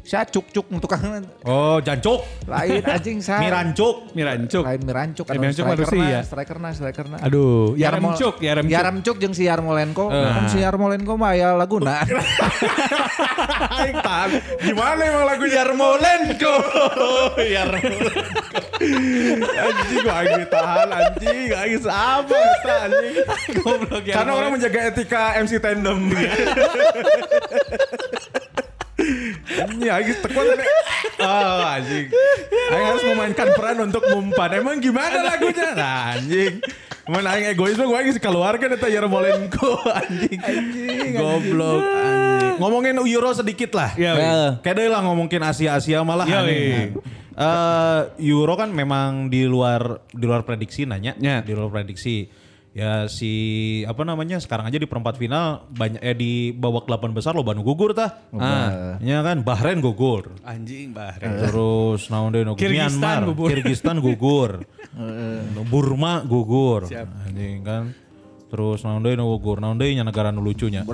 Speaker 7: Saya cuk-cuk tukang
Speaker 6: Oh, jancuk,
Speaker 7: lain anjing saya.
Speaker 6: mirancuk.
Speaker 1: Mirancuk.
Speaker 7: Lain Kan. Mirancuk
Speaker 1: Eh, Mirancuk mah Rusia.
Speaker 7: strikerna, strikerna.
Speaker 1: Aduh,
Speaker 7: Yarmo-
Speaker 1: Yaremchuk, Yaremchuk.
Speaker 7: Yaremchuk jeung si Yarmolenko. Kan si Yarmolenko mah aya
Speaker 6: [LAUGHS]
Speaker 7: laguna.
Speaker 6: Aing tahan. Gimana emang lagu Yarmolenko? Yarmolenko. anjing gua aing tahan anjing, aing apa eta anjing.
Speaker 1: Goblok ya.
Speaker 6: Karena orang menjaga etika MC tandem. Ini aing tekuan tadi. Oh, anjing. Aing harus memainkan peran untuk mempan. Emang gimana lagunya? Nah, anjing. Cuman aing egoisme gue aing keluarga eta Yarmolenko anjing. Anjing. Goblok anjing. Ngomongin Euro sedikit lah.
Speaker 1: Ya, weh.
Speaker 7: Eh,
Speaker 6: Kayak deh lah ngomongin Asia-Asia malah.
Speaker 1: Yoi.
Speaker 6: aneh. Eh, Euro kan memang di luar di luar prediksi nanya,
Speaker 1: Ya.
Speaker 6: di luar prediksi. Ya si apa namanya sekarang aja di perempat final banyak eh di babak 8 besar lo Bandung gugur tah.
Speaker 1: Ah.
Speaker 6: Ya kan Bahrain gugur.
Speaker 1: Anjing Bahrain.
Speaker 6: Terus naon deui nu-
Speaker 1: Kirgistan
Speaker 6: Myanmar,
Speaker 1: gugur.
Speaker 6: Kirgistan
Speaker 1: [LAUGHS]
Speaker 6: gugur. Burma gugur. Anjing kan. Terus naon deui nu gugur, naon deui nya negara nu lucunya.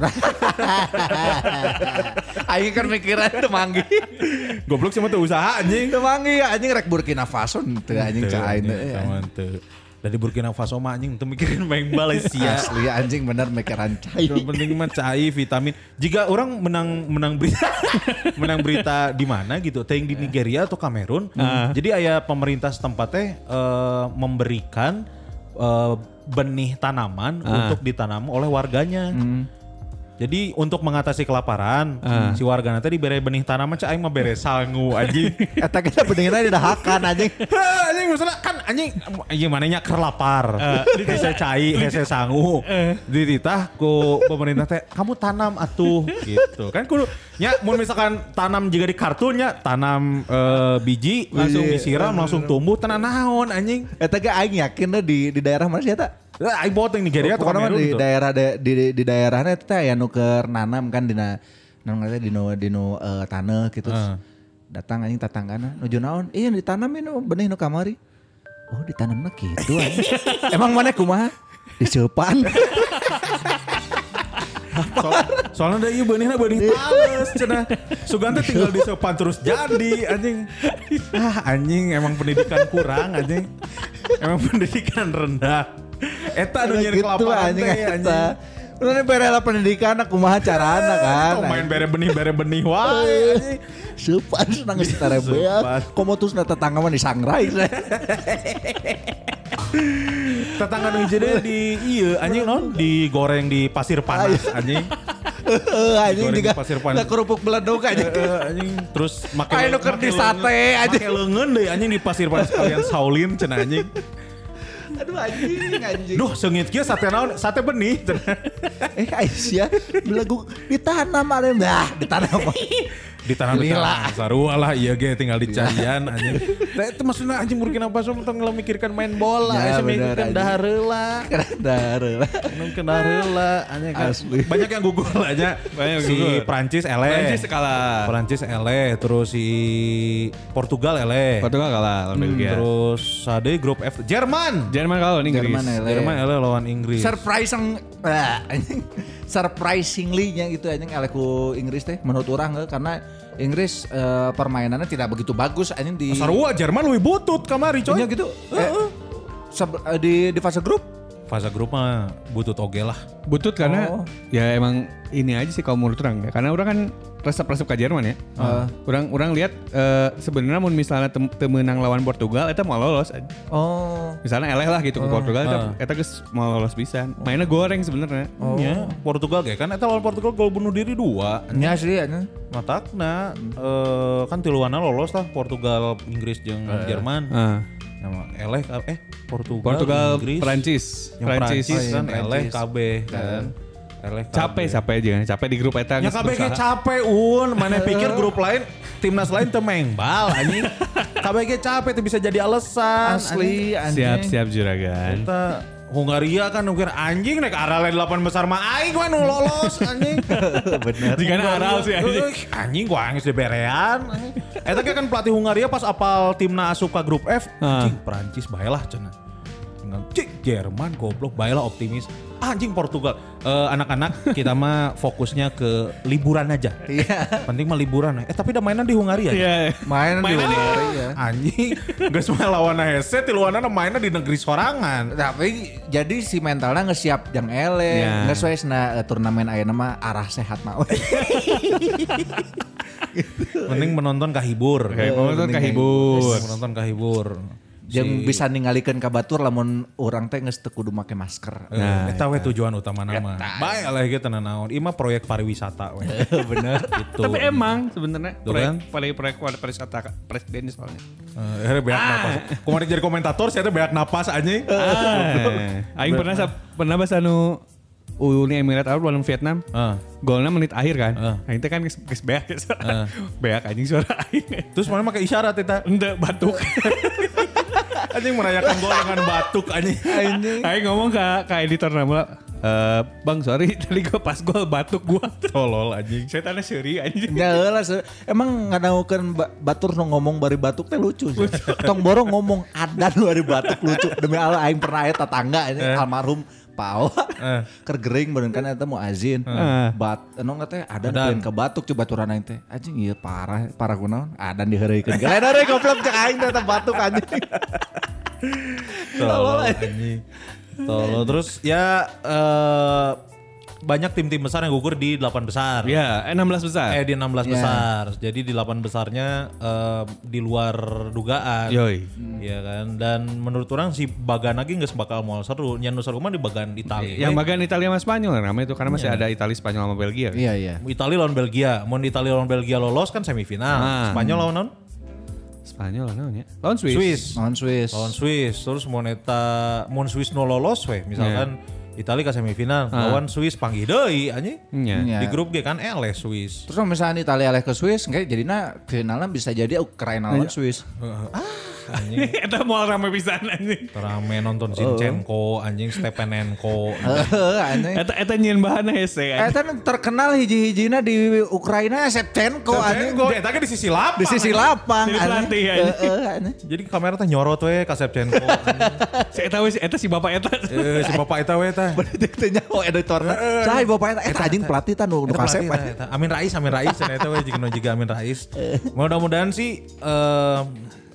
Speaker 7: Aing kan mikiran teu manggih.
Speaker 6: [LAUGHS] Goblok sih mah teu usaha anjing.
Speaker 7: Teu manggih anjing rek Burkina Faso teu anjing
Speaker 6: Teu,
Speaker 7: cai
Speaker 6: anjing, sama teu. Iya, Dari Burkina Faso mah anjing untuk mikirin main Malaysia.
Speaker 7: Asli anjing bener mikiran cai.
Speaker 6: Yang penting mah cai vitamin. Jika orang menang menang berita [LAUGHS] menang berita di mana gitu, tayang di Nigeria atau Kamerun. Jadi ayah pemerintah setempat teh eh, memberikan eh, benih tanaman untuk ditanam oleh warganya. Jadi untuk mengatasi kelaparan, si warga nanti diberi benih tanaman, cah aing mah bere sangu anjing.
Speaker 7: Eta kita pendengaran ada hakan anjing.
Speaker 6: Hah, anjing maksudnya kan anjing anjing mananya keur lapar. hese cai, hese sangu. Dititah ku pemerintah teh kamu tanam atuh gitu. Kan kudu nya mun misalkan tanam juga di kartunya, tanam eh, biji langsung disiram langsung
Speaker 7: Eh.
Speaker 6: tumbuh tenan naon anjing. Eh,
Speaker 7: Eta ge aing yakin deh di di daerah mana sih eta?
Speaker 6: Lah aing boteng Nigeria atau
Speaker 7: Pokoknya mah
Speaker 6: Kamerun
Speaker 7: di
Speaker 6: gitu.
Speaker 7: daerah da- di di daerahnya itu teh aya nu keur nanam kan dina nanam ngerti dino dino eh, tanah gitu. Terus Datang anjing tatanggana nuju naon? Iya ditanamin nu benih nu kamari. Oh ditanamna
Speaker 6: [LAUGHS]
Speaker 7: gitu anjing. Emang mana kumaha? Disepan.
Speaker 6: So, soalnya ada iya benihna benih tales cenah. Sugante tinggal di sopan terus jadi anjing. Ah anjing emang pendidikan kurang anjing. Emang pendidikan rendah. Eta anu
Speaker 7: Gitu,
Speaker 6: nyari kelaparan teh anjing.
Speaker 7: Bener berela pendidikan aku mah
Speaker 6: [LAUGHS]
Speaker 7: carana kan.
Speaker 6: Tong main bere benih bere benih wae anjing.
Speaker 7: Sepan [LAUGHS] senang setara
Speaker 6: Seupan.
Speaker 7: bea. Komo terus nata tangga mah di
Speaker 6: [LAUGHS]
Speaker 7: sangrai. [LAUGHS]
Speaker 6: Tetangga nu hiji deui di iya anjing non digoreng di pasir panas anjing. Digoreng
Speaker 7: Anjing
Speaker 6: di
Speaker 7: juga.
Speaker 6: pasir panas.
Speaker 7: Nah kerupuk beleduk
Speaker 6: [LAUGHS]
Speaker 7: aja.
Speaker 6: Eh, anjing terus make
Speaker 7: Ayo nuker di sate, anjing.
Speaker 6: Make leungeun deui anjing di pasir panas kalian Saulin cenah anjing.
Speaker 7: Aduh anjing anjing.
Speaker 6: Duh sengit kieu sate naon? Sate benih cenah.
Speaker 7: Eh Aisyah belagu ditanam ada nah ditanam.
Speaker 6: ditanam di
Speaker 7: Lila.
Speaker 6: tanah sarua lah iya ge tinggal di
Speaker 1: [LAUGHS]
Speaker 6: candian anjing Teh, itu maksudnya anjing Burkina Faso teu mikirkan main bola
Speaker 7: Ya,
Speaker 6: ya,
Speaker 7: bener,
Speaker 6: mikirkan
Speaker 7: anjing.
Speaker 6: dahareula
Speaker 7: Keren dah, lah.
Speaker 6: mungkin dahareula anjing kan
Speaker 7: Asli.
Speaker 6: banyak yang
Speaker 1: [LAUGHS]
Speaker 6: gugur lah nya
Speaker 1: Banyak yang
Speaker 6: si
Speaker 1: gugur.
Speaker 6: Prancis ele
Speaker 1: Prancis kalah.
Speaker 6: Prancis ele terus si Portugal ele
Speaker 1: Portugal kalah lawan
Speaker 6: Hmm,
Speaker 1: Belgia.
Speaker 6: terus ada grup F Jerman
Speaker 1: Jerman kalah lawan Inggris.
Speaker 7: Jerman ele.
Speaker 6: Jerman ya. ele lawan Inggris
Speaker 7: Surprising, ah, anjing. surprisingly nya gitu anjing eleku Inggris teh menurut orang eh, karena Inggris eh, permainannya tidak begitu bagus anjing di
Speaker 6: sarua Jerman lebih butut kamari coy
Speaker 7: Nya gitu. Eh, seb- eh, di di fase grup
Speaker 6: fase grup mah butut oge lah
Speaker 1: Butut karena ya emang ini aja sih kalau menurut orang ya. Karena orang kan resep-resep ke Jerman ya. Orang orang lihat eh, sebenarnya mun misalnya tem temenang lawan Portugal itu mau lolos. aja.
Speaker 7: oh
Speaker 1: Misalnya eleh lah gitu ke Portugal
Speaker 6: Ah.
Speaker 1: eta eta geus mau lolos bisa. Mainnya goreng sebenarnya.
Speaker 6: Ya, Portugal ge kan eta lawan Portugal gol bunuh diri dua
Speaker 7: nya sih anjing.
Speaker 6: Matakna eh, kan tiluana lolos lah Portugal, Inggris jeung Jerman.
Speaker 1: Heeh.
Speaker 6: Ya, mah, eleh ka- eh Portugal,
Speaker 1: Portugal,
Speaker 6: Inggris,
Speaker 1: Prancis,
Speaker 6: yang Prancis,
Speaker 1: Prancis.
Speaker 6: kan
Speaker 7: Oh, iya,
Speaker 6: eleh
Speaker 7: Prancis.
Speaker 6: KB kan. Eleh KB.
Speaker 1: capek capek aja kan, capek di grup eta
Speaker 6: Nya
Speaker 1: geus
Speaker 6: KB ge
Speaker 1: berusaha.
Speaker 6: capek un, mana pikir grup lain timnas lain teu mengbal anjing. KB ge capek teu bisa jadi alasan.
Speaker 7: asli anjing
Speaker 1: siap siap juragan
Speaker 6: anjing. Eta Hungaria kan mungkin anjing naik arah lain 8 besar mah aing mah nu lolos anjing.
Speaker 7: bener
Speaker 1: jika aral sih anjing
Speaker 6: Eh, Anjing gua angis di berean. Eta ge kan pelatih Hungaria pas apal timna asup ka grup F.
Speaker 1: Ah.
Speaker 6: Anjing Perancis baelah cenah. Dengan cik Jerman goblok baelah optimis. Anjing Portugal. Eh, anak-anak kita mah fokusnya ke liburan aja.
Speaker 7: iya
Speaker 6: Penting mah liburan. Eh tapi udah mainan di Hungaria. ya?
Speaker 1: Iya.
Speaker 7: main di iya.
Speaker 6: Mainan-
Speaker 7: Hungaria
Speaker 6: Anjing, geus mah lawan hese tiluanna mainnya di negeri sorangan.
Speaker 7: tapi jadi si mentalnya ngesiap yang ele
Speaker 1: Ya.
Speaker 7: nggak sesuai na turnamen ayeuna mah arah sehat mah [LAUGHS]
Speaker 6: Penting menonton kahibur.
Speaker 1: Oh, Kayak penonton kahibur
Speaker 6: Penting Menonton kahibur.
Speaker 7: yang bisa ninggalikan ke batur lamun orang teh nggak kudu make masker
Speaker 6: Nah, eta we tujuan utama nama. Baik lah kita naon. Ima proyek pariwisata we. [LAUGHS] Bener. Gitu.
Speaker 1: tapi emang sebenarnya
Speaker 6: Tuh
Speaker 1: proyek
Speaker 6: kan?
Speaker 1: proyek proyek proyek pariwisata presiden soalnya
Speaker 6: Eh, akhirnya beak napas. Kemarin jadi komentator saya beak napas anjing.
Speaker 1: Ah. [LAUGHS] Aing pernah sab- pernah bahasa nu Uni Emirat Arab lawan Vietnam
Speaker 6: Ah.
Speaker 1: golnya menit akhir kan
Speaker 6: Ah.
Speaker 1: Aing teh kan geus geus beak ya suara [LAUGHS] beak anjing suara Aing
Speaker 6: Terus mana pakai isyarat [LAUGHS] eta?
Speaker 1: ente batuk
Speaker 6: Anjing merayakan gol dengan batuk anjing.
Speaker 7: anjing
Speaker 1: Aing ngomong ke ke editor Namula "Eh, Bang sorry [LAUGHS] tadi gue pas gol batuk [LAUGHS] gua
Speaker 6: Tolol anjing.
Speaker 1: Saya tanda seri anjing
Speaker 7: Ya heula sih. Emang ngadaukeun ba- batur nu ngomong bari batuk teh lucu. sih. Tong borong ngomong adan bari batuk lucu. Demi Allah aing pernah aya tetangga ini
Speaker 6: Eh.
Speaker 7: almarhum Pao keur gering beneran kan eta mau azin.
Speaker 6: Eh.
Speaker 7: Bat anu teh adan pengen ke batuk coba turan aing teh. Anjing ieu parah parah kunaon adan diheureukeun. Lain hari goblok cek aing teh teh batuk
Speaker 6: [LAUGHS]
Speaker 7: anjing.
Speaker 6: Tolol anjing. Tolol terus ya eh banyak tim-tim besar yang gugur di 8 besar.
Speaker 1: Ya, eh, 16 besar.
Speaker 6: Eh di 16
Speaker 1: Iya.
Speaker 7: Ya.
Speaker 6: besar. Jadi di 8 besarnya eh, di luar dugaan.
Speaker 1: Yoi.
Speaker 6: Iya kan. Dan menurut orang si Bagan lagi nggak bakal mau seru. Yang Nusa Roma di Bagan Italia.
Speaker 1: Iya. Yang bagian Italia sama Spanyol namanya itu karena masih ada Italia, Spanyol sama Belgia. kan?
Speaker 7: Iya iya.
Speaker 6: Italia Eh, lawan Belgia. Mau di Italia lawan Belgia lolos kan semifinal.
Speaker 1: Ah.
Speaker 6: Spanyol lawan non?
Speaker 1: Spanyol namanya. Lawan Swiss. Oh.
Speaker 6: Swiss.
Speaker 7: Lawan Swiss.
Speaker 6: Lawan Swiss. Terus Moneta Mon Swiss no lolos we. Misalkan Italia ke semifinal lawan Swiss panggil deui anjing.
Speaker 1: Ah. Iya.
Speaker 7: Iya.
Speaker 6: Di grup G kan L ya
Speaker 1: [LAUGHS]
Speaker 6: Swiss.
Speaker 7: Terus kalau misalnya Italia alih ke Swiss, enggak jadinya finalnya bisa jadi Ukraina
Speaker 6: Iya.
Speaker 7: lawan Swiss.
Speaker 6: Anjing.
Speaker 1: Eta mau rame pisan anjing.
Speaker 6: Terame nonton Zinchenko, anjing Stepanenko.
Speaker 1: Ah.
Speaker 7: Heeh, anjing.
Speaker 1: Eta eta nyieun bahan hese
Speaker 7: Eh,
Speaker 1: anjing.
Speaker 7: kan terkenal hiji-hijina di Ukraina Shevchenko anjing.
Speaker 6: Gue kan di sisi lapang.
Speaker 7: Di sisi lapang
Speaker 1: Jadi pelatih,
Speaker 7: anjing.
Speaker 1: anjing.
Speaker 7: Heeh, anjing.
Speaker 6: Jadi kamera teh nyorot we ka Shevchenko.
Speaker 7: [LAUGHS]
Speaker 1: Si eta weh, si eta si bapak eta.
Speaker 6: Eh, si bapak eta we teh.
Speaker 7: Berarti itu nyaho editorna. "Oh, Cai bapak eta eta anjing pelatih tan nu nu
Speaker 6: Eta
Speaker 7: kasep.
Speaker 6: pelatih teh, eta. Amin Rais, Amin Rais, cenah eta we jigno jiga Amin Rais. Mudah-mudahan sih eh,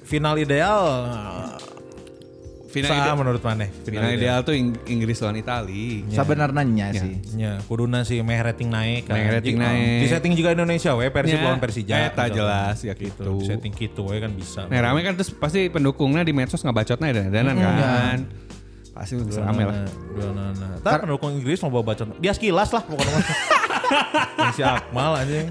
Speaker 6: final ideal eh,
Speaker 1: Final
Speaker 6: sah
Speaker 1: ide-
Speaker 6: menurut maneh.
Speaker 1: Final ideal tuh Ing- Inggris lawan Italia.
Speaker 7: Sebenarnya nya sih.
Speaker 6: Ya, kuduna sih meh rating naik kan.
Speaker 1: Meh rating
Speaker 6: Jadi,
Speaker 1: naik.
Speaker 6: Di setting juga Indonesia we, Persib
Speaker 1: Ya,
Speaker 6: lawan Persija.
Speaker 1: eta
Speaker 6: misalkan.
Speaker 1: jelas, ya gitu.
Speaker 6: Di setting gitu we kan bisa.
Speaker 1: Nah rame kan terus pasti pendukungnya di medsos ngebacotnya dan danan kan. Pasti rame lah.
Speaker 6: Dua nana. Tapi pendukung Inggris mau bawa bacaan. Dia sekilas lah pokoknya.
Speaker 1: [LAUGHS]
Speaker 6: Yang si Akmal anjing.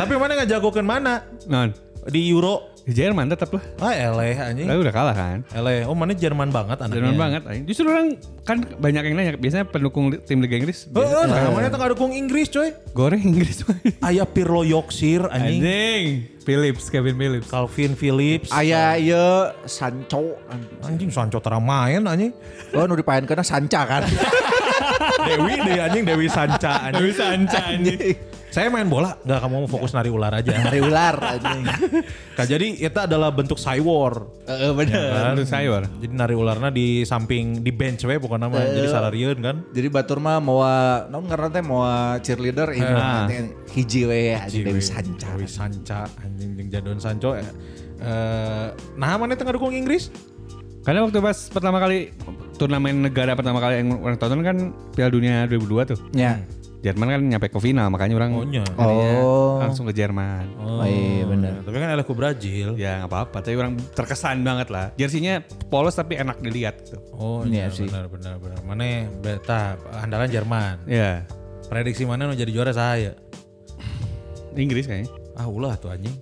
Speaker 6: Tapi mana nggak jagokan mana
Speaker 1: Non,
Speaker 6: di Euro?
Speaker 1: di Jerman tetap lah.
Speaker 6: Ah eleh anjing.
Speaker 1: Tapi udah kalah kan.
Speaker 6: Eleh. Oh mana Jerman banget anaknya.
Speaker 1: Jerman banget. anjing. Justru orang kan banyak yang nanya. Biasanya pendukung li- tim Liga Inggris.
Speaker 6: Heeh,
Speaker 1: biasa-
Speaker 6: nah, mana tengah dukung Inggris coy.
Speaker 1: Goreng Inggris.
Speaker 6: Ayah Pirlo Yorkshire anjing.
Speaker 1: Anjing. Philips, Kevin Phillips.
Speaker 6: Calvin Phillips.
Speaker 7: Aya ieu Sancho. anjing.
Speaker 6: Anjing Sancho tara main anjing.
Speaker 7: Oh nu dipaenkeunna Sanca kan.
Speaker 1: [LAUGHS]
Speaker 6: Dewi deh anjing Dewi Sanca anjing.
Speaker 1: Bisa anca anjing.
Speaker 6: Saya main bola, nggak kamu mau fokus nari ular aja.
Speaker 7: Dari ular anjing.
Speaker 6: Kak, jadi itu adalah bentuk cywar.
Speaker 7: Heeh bener.
Speaker 1: Menurut saya war.
Speaker 6: Jadi nari ularnya di samping di bench we bukan nama jadi salarian kan.
Speaker 7: Jadi batur mah mau naon ngaran teh mau cheerleader ini hiji we anjing Dewi Sanca.
Speaker 6: Dewi Sanca anjing jeung Jadon Sancho. Eh, eh, nah mana tengah dukung Inggris?
Speaker 1: Karena waktu pas pertama kali turnamen negara pertama kali yang orang tonton kan Piala Dunia 2002 tuh.
Speaker 7: Ya.
Speaker 1: Jerman kan nyampe ke final makanya orang
Speaker 6: Ohnya.
Speaker 7: Oh.
Speaker 1: langsung ke Jerman.
Speaker 7: Oh iya bener.
Speaker 6: Tapi kan eleh ku Brazil.
Speaker 1: Ya nggak apa-apa, tapi orang terkesan banget lah. Jersinya polos tapi enak dilihat gitu.
Speaker 6: Oh iya
Speaker 7: Iya sih.
Speaker 6: benar benar benar. Mana beta andalan Jerman.
Speaker 1: Ya,
Speaker 6: Prediksi mana nu jadi juara saya?
Speaker 1: Inggris kayaknya.
Speaker 6: Ah ulah tuh [LAUGHS] anjing.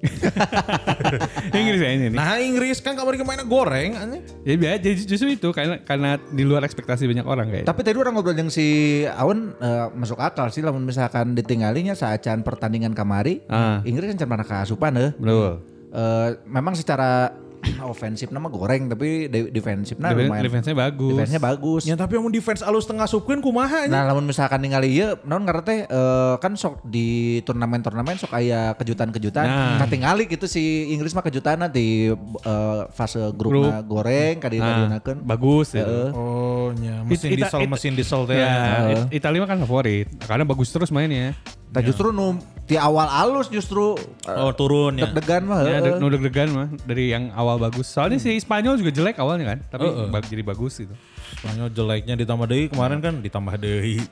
Speaker 1: Inggris kayaknya ini.
Speaker 6: nah Inggris kan kamar mainnya goreng anjing.
Speaker 1: Ya biasa, jadi justru itu karena karena di luar ekspektasi banyak orang kayak.
Speaker 7: Tapi tadi orang ngobrol yang si Aun eh, masuk akal sih, lamun misalkan ditinggalinya saat can pertandingan kamari,
Speaker 1: Ah.
Speaker 7: Inggris kan can mana keasupan eh.
Speaker 1: Betul.
Speaker 7: Eh, memang secara [CLEARS THROAT] ofensif nama goreng, tapi de- defensifnya Nah,
Speaker 1: Defen-
Speaker 7: lumayan.
Speaker 1: defense-nya bagus.
Speaker 7: Defense-nya bagus.
Speaker 6: Ya tapi yang defense alus tengah supkeun kumaha anjing.
Speaker 7: Nah, lamun misalkan ningali ieu, naon karena teh eh, kan sok di turnamen-turnamen sok aya kejutan-kejutan.
Speaker 1: Nah.
Speaker 7: Katingali gitu si Inggris mah kejutan di eh, fase grupna goreng
Speaker 1: Nah,
Speaker 7: kadina-kadinakeun.
Speaker 1: bagus ya.
Speaker 6: Oh, nya mesin
Speaker 1: It- it-
Speaker 6: diesel,
Speaker 1: it-
Speaker 6: mesin diesel teh.
Speaker 7: Nah,
Speaker 1: Ya, It- Italia mah kan favorit karena bagus terus mainnya.
Speaker 7: Tah justru nu di awal alus justru eh,
Speaker 6: Oh, turun ya.
Speaker 7: deg-degan mah. heeh.
Speaker 1: Ya,
Speaker 7: Hmm.
Speaker 1: de- nu deg-degan mah dari yang awal bagus. Soalnya si Spanyol juga jelek awalnya kan, tapi bag- jadi bagus gitu.
Speaker 6: Spanyol jeleknya ditambah deui kemarin kan ditambah deui.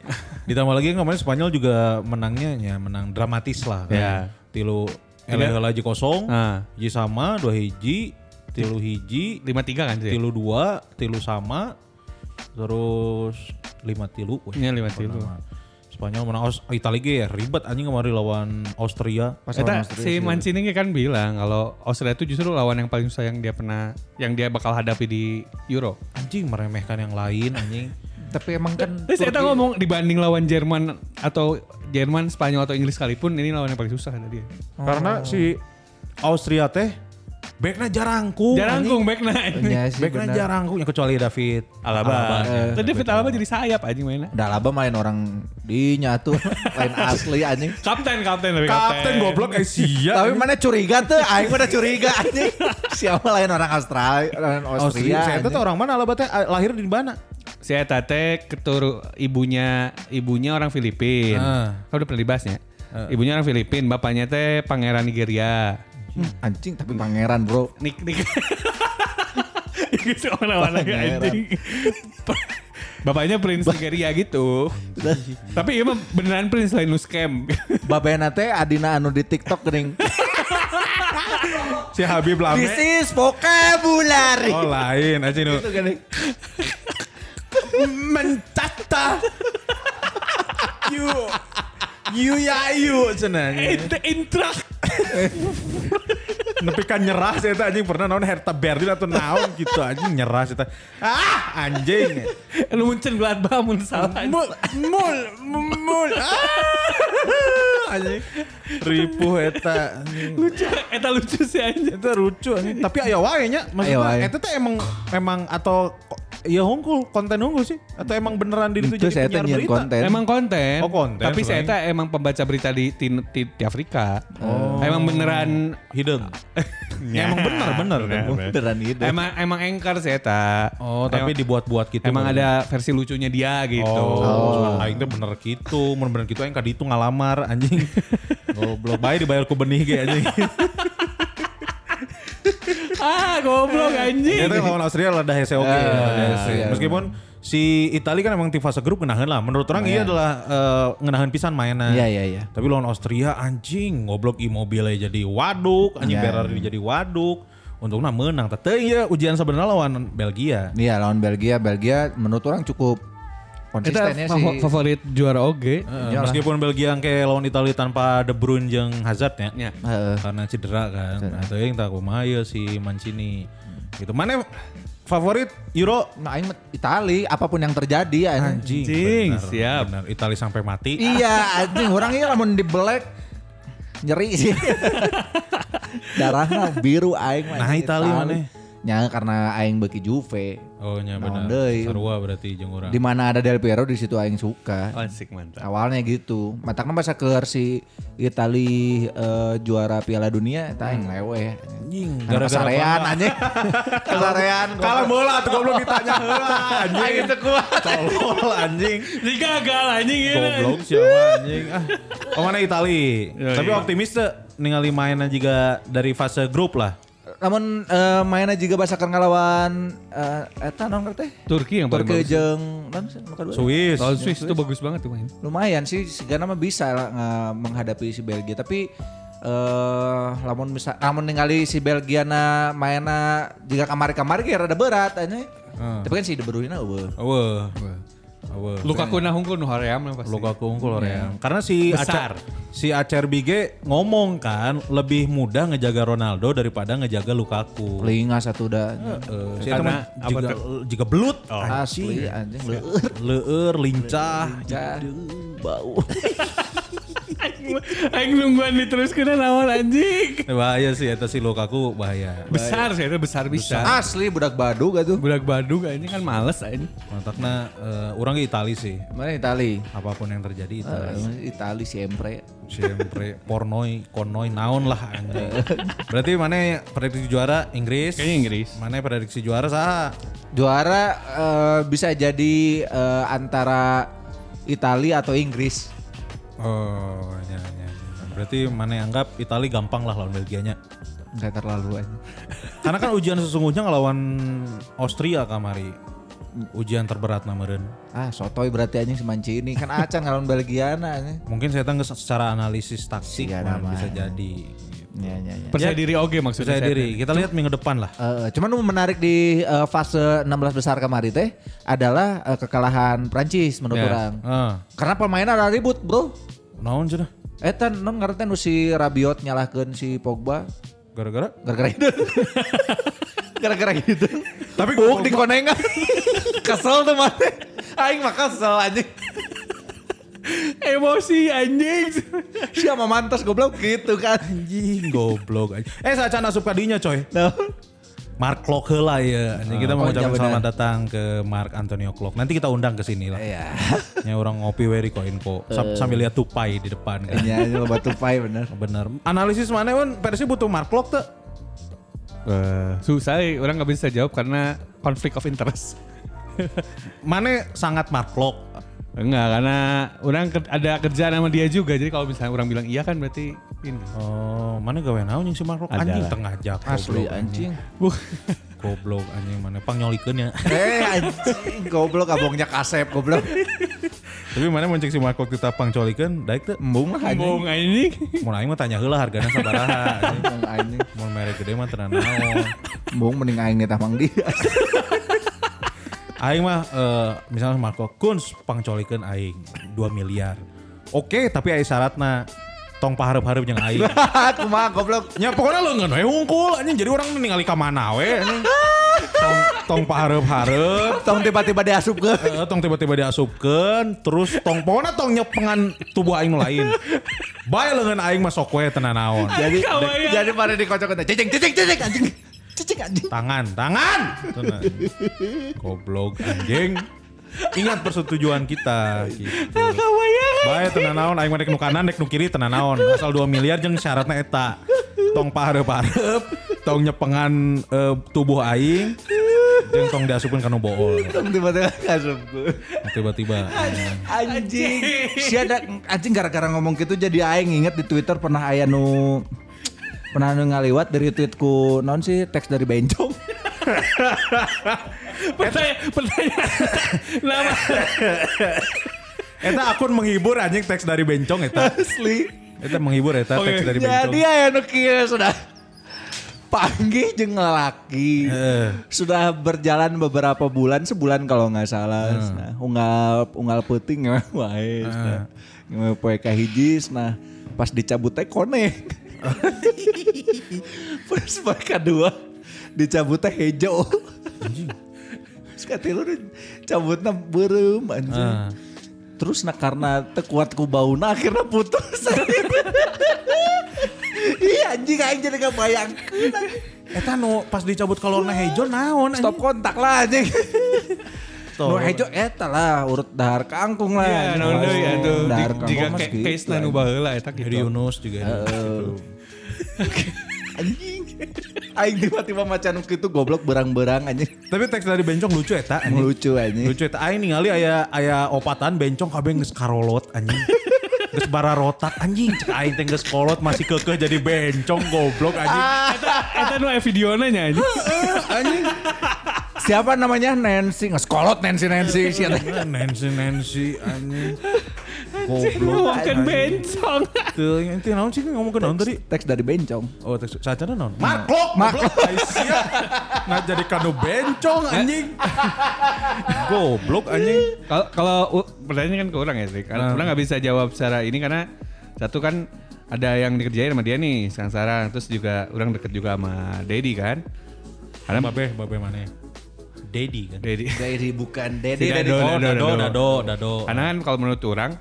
Speaker 6: ditambah lagi kemarin Spanyol juga menangnya ya menang dramatis lah.
Speaker 1: Ya. Iya.
Speaker 6: Kan. Tilu eleh heula hiji kosong,
Speaker 1: Ah.
Speaker 6: hiji sama, dua hiji, tilu hiji,
Speaker 1: 5-3 kan sih?
Speaker 6: tilu dua, tilu sama, terus lima tilu. weh.
Speaker 1: Iya, lima tilu.
Speaker 6: Pertama. Spanyol menang Aus- oh, Italia ge ya, ribet anjing kemarin lawan Austria.
Speaker 1: Eta si Mancini kan bilang kalau Australia itu justru lawan yang paling susah yang dia pernah yang dia bakal hadapi di Euro.
Speaker 6: Anjing meremehkan yang lain anjing.
Speaker 7: Tapi emang kan
Speaker 1: Terus Eta ngomong dibanding lawan Jerman atau Jerman, Spanyol atau Inggris sekalipun ini lawan yang paling susah ada dia. Oh.
Speaker 6: Karena si Austria teh backnya jarangku.
Speaker 7: Uh,
Speaker 1: Jarangkung backnya.
Speaker 7: Iya sih
Speaker 6: Backnya
Speaker 7: bener.
Speaker 6: jarangku ya kecuali David
Speaker 1: Alaba. iya.
Speaker 6: ya.
Speaker 1: Tadi David Alaba jadi sayap anjing mainnya.
Speaker 7: Udah laba main orang dinya tuh lain asli anjing.
Speaker 1: Kapten, kapten tapi
Speaker 6: Kapten goblok eh, Asia.
Speaker 7: Tapi mana curiga tuh, aing udah curiga anjing. Siapa lain orang Australia, orang Austria.
Speaker 6: Austria. Saya tuh
Speaker 7: anjing.
Speaker 6: orang mana Alaba teh eh, lahir di mana?
Speaker 1: Si Eta teh keturu ibunya ibunya orang Filipin.
Speaker 6: Ah.
Speaker 1: Kau udah pernah dibahasnya. Ibunya orang Filipin, bapaknya teh pangeran Nigeria.
Speaker 7: Hmm, Anjing tapi pangeran, Bro.
Speaker 1: [LAUGHS] Nik nik. Itu orang-orang
Speaker 7: Pangeran.
Speaker 1: anjing. Bapaknya Prince Nigeria gitu. Tapi iya mah beneran Prince lain nu scam.
Speaker 7: Babena teh Adina anu di TikTok geuning.
Speaker 6: Si Habib Lame.
Speaker 7: This is vocabulary.
Speaker 6: Oh lain aja nu.
Speaker 7: Itu
Speaker 6: [LAUGHS]
Speaker 7: geuning.
Speaker 6: Mencata. you. You ya you cenah.
Speaker 1: Intrak.
Speaker 6: Nepi kan nyerah saya teh anjing pernah naon Herta Berlin atau naon gitu anjing nyerah saya teh. Ah anjing.
Speaker 1: Lu muncul gelat bangun salah.
Speaker 6: Mul mul mul. Ah, anjing. Ripuh eta anjing.
Speaker 1: Lucu. Eta lucu sih aja.
Speaker 6: itu lucu anjing. tapi ayo wae nya
Speaker 7: Aya wae.
Speaker 6: maksudnya itu tuh emang emang atau ko- ya hungkul konten hungkul sih atau emang beneran diri tuh
Speaker 7: Itu saya
Speaker 6: jadi penyiar
Speaker 7: teh nyian
Speaker 6: berita
Speaker 7: konten.
Speaker 1: Emang konten.
Speaker 6: Eh. Oh, konten,
Speaker 1: Tapi saya
Speaker 6: selain.
Speaker 1: eta emang pembaca berita di, di, di, di Afrika.
Speaker 6: Oh.
Speaker 1: Emang beneran
Speaker 6: hidden Ya, emang bener bener
Speaker 7: beneran gitu.
Speaker 1: Emang emang anchor saya eta.
Speaker 6: oh tapi
Speaker 1: emang,
Speaker 6: dibuat-buat gitu
Speaker 1: emang ada versi lucunya dia gitu.
Speaker 6: Oh, aing teh bener gitu, mun bener gitu aing ka ditu ngalamar anjing. Goblok bae dibayar ku benih ge anjing.
Speaker 1: Ah, goblok anjing.
Speaker 6: Ternyata lawan Austria ada hese oke.
Speaker 7: Ah,
Speaker 6: Ada hese.
Speaker 7: iya.
Speaker 6: Meskipun si Itali kan emang di fase grup ngenahan lah. Menurut orang iya adalah eh, ngenahan pisan mainan.
Speaker 7: Iya, iya, iya.
Speaker 6: Tapi lawan Austria anjing ngoblok Immobile jadi waduk, anjing
Speaker 7: Iya.
Speaker 6: Berardi jadi waduk. Untungnya menang. Tapi ya ujian sebenarnya lawan Belgia.
Speaker 7: Iya lawan Belgia, Belgia menurut orang cukup
Speaker 1: Eta
Speaker 7: konsistennya
Speaker 1: favo-
Speaker 7: sih.
Speaker 1: favorit juara oge.
Speaker 6: Eh, meskipun Belgia yang kayak lawan Italia tanpa De Bruyne jeung Hazard ya.
Speaker 1: Ya.
Speaker 7: Heeh.
Speaker 6: Karena cedera kan.
Speaker 1: Iya.
Speaker 6: Atau yang tak kumaya si Mancini. Gitu. Mana favorit Euro
Speaker 7: Nah, aing mah Itali apapun yang terjadi aing.
Speaker 6: Anjing,
Speaker 1: Anjing,
Speaker 6: benar,
Speaker 1: siap.
Speaker 6: Benar, Itali sampai mati.
Speaker 7: Iya, anjing orang ini lamun di black nyeri
Speaker 6: [LAUGHS]
Speaker 7: sih. Darahnya biru aing mah,
Speaker 6: Nah,
Speaker 7: anjing,
Speaker 6: Itali maneh?
Speaker 7: Nya karena aing beki Juve.
Speaker 6: Oh, nya benar.
Speaker 7: Naon deui.
Speaker 6: Sarua berarti jeung urang.
Speaker 7: Di mana ada Del Piero di situ aing suka.
Speaker 1: Asik mantap.
Speaker 7: Awalnya gitu. Matangnya masa ke si Itali eh, juara Piala Dunia eta aing leweh.
Speaker 6: Hmm. Anjing,
Speaker 7: Gara-gara
Speaker 6: gara-gara
Speaker 7: kesarean
Speaker 6: bangga. [LAUGHS]
Speaker 7: anjing. kesarean.
Speaker 6: Kalah bola tuh goblok ditanya heula anjing. Itu kuat. Tolol anjing.
Speaker 1: Ini gagal anjing ya.
Speaker 6: Goblok siapa anjing. Ah, oh mana Itali.
Speaker 1: Ya,
Speaker 6: Tapi
Speaker 1: iya.
Speaker 6: optimis teh ningali mainan juga dari fase grup lah.
Speaker 7: Namun eh, mainnya juga basakan ngalawan eh, eta naon keur teh?
Speaker 1: Turki yang paling
Speaker 7: Turki
Speaker 1: bagus.
Speaker 7: jeung naon sih? nu kedua?
Speaker 6: Swiss.
Speaker 1: Lawan Swiss itu bagus banget tuh main.
Speaker 7: lumayan sih segala mah bisa lah, nge- menghadapi si Belgia tapi eh lamun bisa lamun ningali si Belgia na mainna jika kamari-kamari kayak rada berat aja
Speaker 1: Ah.
Speaker 7: tapi kan si De Bruyne eueuh
Speaker 6: Eueuh. Eueuh.
Speaker 1: Lukaku nah hungkul nu hoream lah pasti.
Speaker 6: Luka kungkul ya. Karena si
Speaker 1: Iya.
Speaker 6: Acer,
Speaker 1: Besar.
Speaker 6: si Acer Bige ngomong kan lebih mudah ngejaga Ronaldo daripada ngejaga Lukaku.
Speaker 7: linga satu dah
Speaker 1: Ah.
Speaker 6: Eh, si
Speaker 1: Karena
Speaker 6: Karena
Speaker 1: apa Oh.
Speaker 6: juga, juga belut.
Speaker 7: asli anjing lu
Speaker 6: Leur, lincah.
Speaker 7: bau
Speaker 1: Aing nungguan diteruskeun lawan anjing.
Speaker 6: Bahaya sih, itu si Lukaku bahaya.
Speaker 1: Besar sih itu besar bisa.
Speaker 7: asli budak badug atuh
Speaker 1: Budak Badung anjing kan males anjing.
Speaker 6: Mantakna eh, orang ke Itali sih.
Speaker 7: mana Itali
Speaker 6: Apapun yang terjadi Itali.
Speaker 7: Eh, Itali siempre
Speaker 6: Siempre pornoi, konoi, naon lah anjing. Berarti mana prediksi juara Inggris?
Speaker 1: Kayaknya Inggris.
Speaker 6: Mana prediksi juara sah?
Speaker 7: juara eh, bisa jadi eh, antara Itali atau Inggris
Speaker 6: Oh, ya, ya, ya. Berarti mana yang anggap Itali gampang lah lawan Belgianya. [LAUGHS]
Speaker 7: saya terlalu aja
Speaker 6: Karena kan ujian sesungguhnya ngelawan Austria kamari. Ujian terberat nameren.
Speaker 7: Ah, sotoy berarti anjing si Mancini. Kan acan ngalahin Belgiana anjing.
Speaker 6: Mungkin saya tanggung secara analisis taktik
Speaker 7: Iya,
Speaker 6: mana
Speaker 7: namanya.
Speaker 6: bisa jadi.
Speaker 7: Iya, iya, iya.
Speaker 1: Ya. Percaya diri oge maksudnya.
Speaker 6: Percaya diri. Kita lihat minggu depan lah.
Speaker 7: Eh, cuman yang menarik di eh, fase 16 besar kemarin teh adalah eh, kekalahan Prancis menurut
Speaker 1: Ya.
Speaker 7: orang.
Speaker 6: Eh,
Speaker 7: Karena pemainnya ada ribut, Bro.
Speaker 6: naon sudah?
Speaker 7: Eta non ngarante nu si Rabiot nyalahkeun si Pogba
Speaker 6: Gara-gara
Speaker 7: gara-gara [LAUGHS] itu. gara-gara gitu. Tapi gue di konengan. kesel tuh mana. Aing mah kesel anjing.
Speaker 1: Emosi anjing.
Speaker 7: Siapa mantas goblok gitu kan.
Speaker 6: anjing goblok anjing. Eh sacan asup kadinya coy.
Speaker 7: Nah.
Speaker 6: Mark Klok heula ya. Anjing kita
Speaker 7: Oh,
Speaker 6: mau ucapkan
Speaker 7: iya benar.
Speaker 6: selamat datang ke Mark Antonio Klok. Nanti kita undang ke sini lah.
Speaker 7: Iya. Eh.
Speaker 6: Ya orang ngopi weri koin kok. Sam- Sambil lihat tupai di depan
Speaker 7: [LAUGHS]
Speaker 6: kan.
Speaker 7: Iya, ini lobat tupai bener.
Speaker 6: Bener. Analisis mana pun Persi butuh Mark Klok tuh.
Speaker 1: Susah eh, orang nggak bisa jawab karena konflik of interest.
Speaker 6: Mana sangat Mark Klok.
Speaker 1: Enggak, karena orang ke- ada kerjaan sama dia juga. Jadi kalau misalnya orang bilang iya kan berarti ini.
Speaker 6: Oh, mana gawe naon yang si Mark Klok
Speaker 1: Ada
Speaker 6: anjing
Speaker 1: lah.
Speaker 6: tengah jak.
Speaker 7: Asli
Speaker 6: goblok.
Speaker 7: anjing.
Speaker 1: Bukan.
Speaker 6: Goblok anjing mana pang nyolikeun ya.
Speaker 7: eh anjing goblok abongnya kasep goblok.
Speaker 6: [LAUGHS] Tapi mana mencek si Marco kita pang colikeun daek teu.
Speaker 7: Embung lah anjing.
Speaker 8: Bohong anjing.
Speaker 6: Mun aing mah tanya heula hargana sabaraha. anjing.
Speaker 7: Embung anjing.
Speaker 6: Mun merek gede mah tenan naon.
Speaker 7: Embung mending aing ngetah mang dia.
Speaker 6: Aing mah eh, misalnya Marco Kunz pang colikeun aing 2 miliar. Oke, tapi aya syaratna tong pahareup-hareup jeung aing.
Speaker 7: [LAUGHS] Kumaha goblok.
Speaker 6: Ya pokoknya lo nggak hungkul anjing jadi orang ningali ka mana we anjing. Tong tong pahareup-hareup
Speaker 7: Tong tiba-tiba diasup ke.
Speaker 6: Eh, tong tiba-tiba diasupkan, terus tong pokoknya tong nyepengan tubuh aing nu lain. Bae lengan aing mah sok we tenan naon.
Speaker 7: Jadi jadi pada dikocok cicing cicing cicing anjing. Cicing anjing.
Speaker 6: Tangan, tangan. Tenan. Goblok anjing. Ingat persetujuan kita gitu.
Speaker 1: Ah,
Speaker 6: Bae tenan naon aing mah dek nu kanan dek nu kiri tenan naon. Asal 2 miliar jeung syaratnya eta. Tong pahareup-hareup, tong nyepengan eh, tubuh aing jeung tong diasupkeun kana bool.
Speaker 7: Tong tiba-tiba diasup ke.
Speaker 6: Tiba-tiba.
Speaker 7: Anjing. Si ada anjing gara-gara ngomong gitu jadi aing inget di Twitter pernah aya nu pernah nu ngaliwat dari tweetku non sih teks dari Bencong. [LAUGHS]
Speaker 8: Pertanyaan, pertanyaan. Nama
Speaker 6: Eta akun menghibur anjing teks dari bencong eta.
Speaker 7: Asli.
Speaker 6: Eta menghibur
Speaker 1: Oh,
Speaker 6: eta teks dari
Speaker 1: iya,
Speaker 6: bencong.
Speaker 7: Jadi aya nu kieu sudah panggih jeung lelaki.
Speaker 6: Heeh.
Speaker 7: Sudah berjalan beberapa bulan, sebulan kalau nggak salah. Nah, unggal unggal peuting ya wae. Nah, Ngewe poe ka hiji nah pas dicabut teh
Speaker 6: [LAUGHS]
Speaker 7: konek. pas poe kadua dicabut teh hejo. Sekali lu cabutnya berem anjing.
Speaker 6: Heeh.
Speaker 7: Terus nah karena tekuatku bauna akhirnya putus. [LAUGHS] Iya anjing aing jadi gak bayang.
Speaker 6: Eta nu pas dicabut kolorna hejo naon anjing.
Speaker 7: Stop kontak lah anjing.
Speaker 6: Stop.
Speaker 7: Nu hejo eta lah urut dahar kangkung lah.
Speaker 1: Ya,
Speaker 7: anjing.
Speaker 1: naon
Speaker 6: iya,
Speaker 1: deui
Speaker 7: Oh,
Speaker 1: atuh.
Speaker 7: Dahar
Speaker 1: Di- Jika
Speaker 7: kangkung mas
Speaker 1: ke-
Speaker 7: gitu
Speaker 1: case na nu
Speaker 7: anjing.
Speaker 1: baheula eta gitu.
Speaker 6: Heri Yunus juga. ada.
Speaker 7: Heeh. [LAUGHS] Anjing. Aing tiba-tiba macan itu goblok berang-berang anjing.
Speaker 6: Tapi teks dari bencong lucu eta anjing.
Speaker 7: Lucu anjing.
Speaker 6: Lucu eta aing ningali aya aya opatan bencong kabeh geus karolot anjing. Geus bara rotak anjing. Cek aing teh geus kolot masih kekeh jadi bencong goblok anjing.
Speaker 8: Eta nu aya videona nya anjing.
Speaker 7: Anjing. Siapa namanya Nancy? Ngeskolot Nancy Nancy. Si
Speaker 6: Iya. Nah,
Speaker 7: eta.
Speaker 6: Nancy Nancy anjing. Goblok.
Speaker 8: Bukan bencong.
Speaker 6: Tuh, yang itu naon sih ngomong ke naon tadi?
Speaker 7: Teks dari bencong.
Speaker 6: Oh, teks sacara naon? Marklo, Marklo. Nah, jadi kado bencong anjing. Goblok
Speaker 5: [LAUGHS]
Speaker 6: anjing.
Speaker 1: Kalau kalau u- pertanyaan kan ke orang ya, Trik. Karena orang nggak bisa jawab secara ini karena satu kan ada yang dikerjain sama dia nih, sekarang sarang terus juga orang deket juga sama Dedi kan. Karena
Speaker 6: Babe, babe mana? Dedi kan.
Speaker 1: Dedi.
Speaker 7: Dari bukan
Speaker 1: Si
Speaker 7: Dede dari
Speaker 1: Dado,
Speaker 6: Oh,
Speaker 1: Dado,
Speaker 6: dado,
Speaker 1: Dado.
Speaker 6: dado, dado.
Speaker 1: Karena kan kalau menurut orang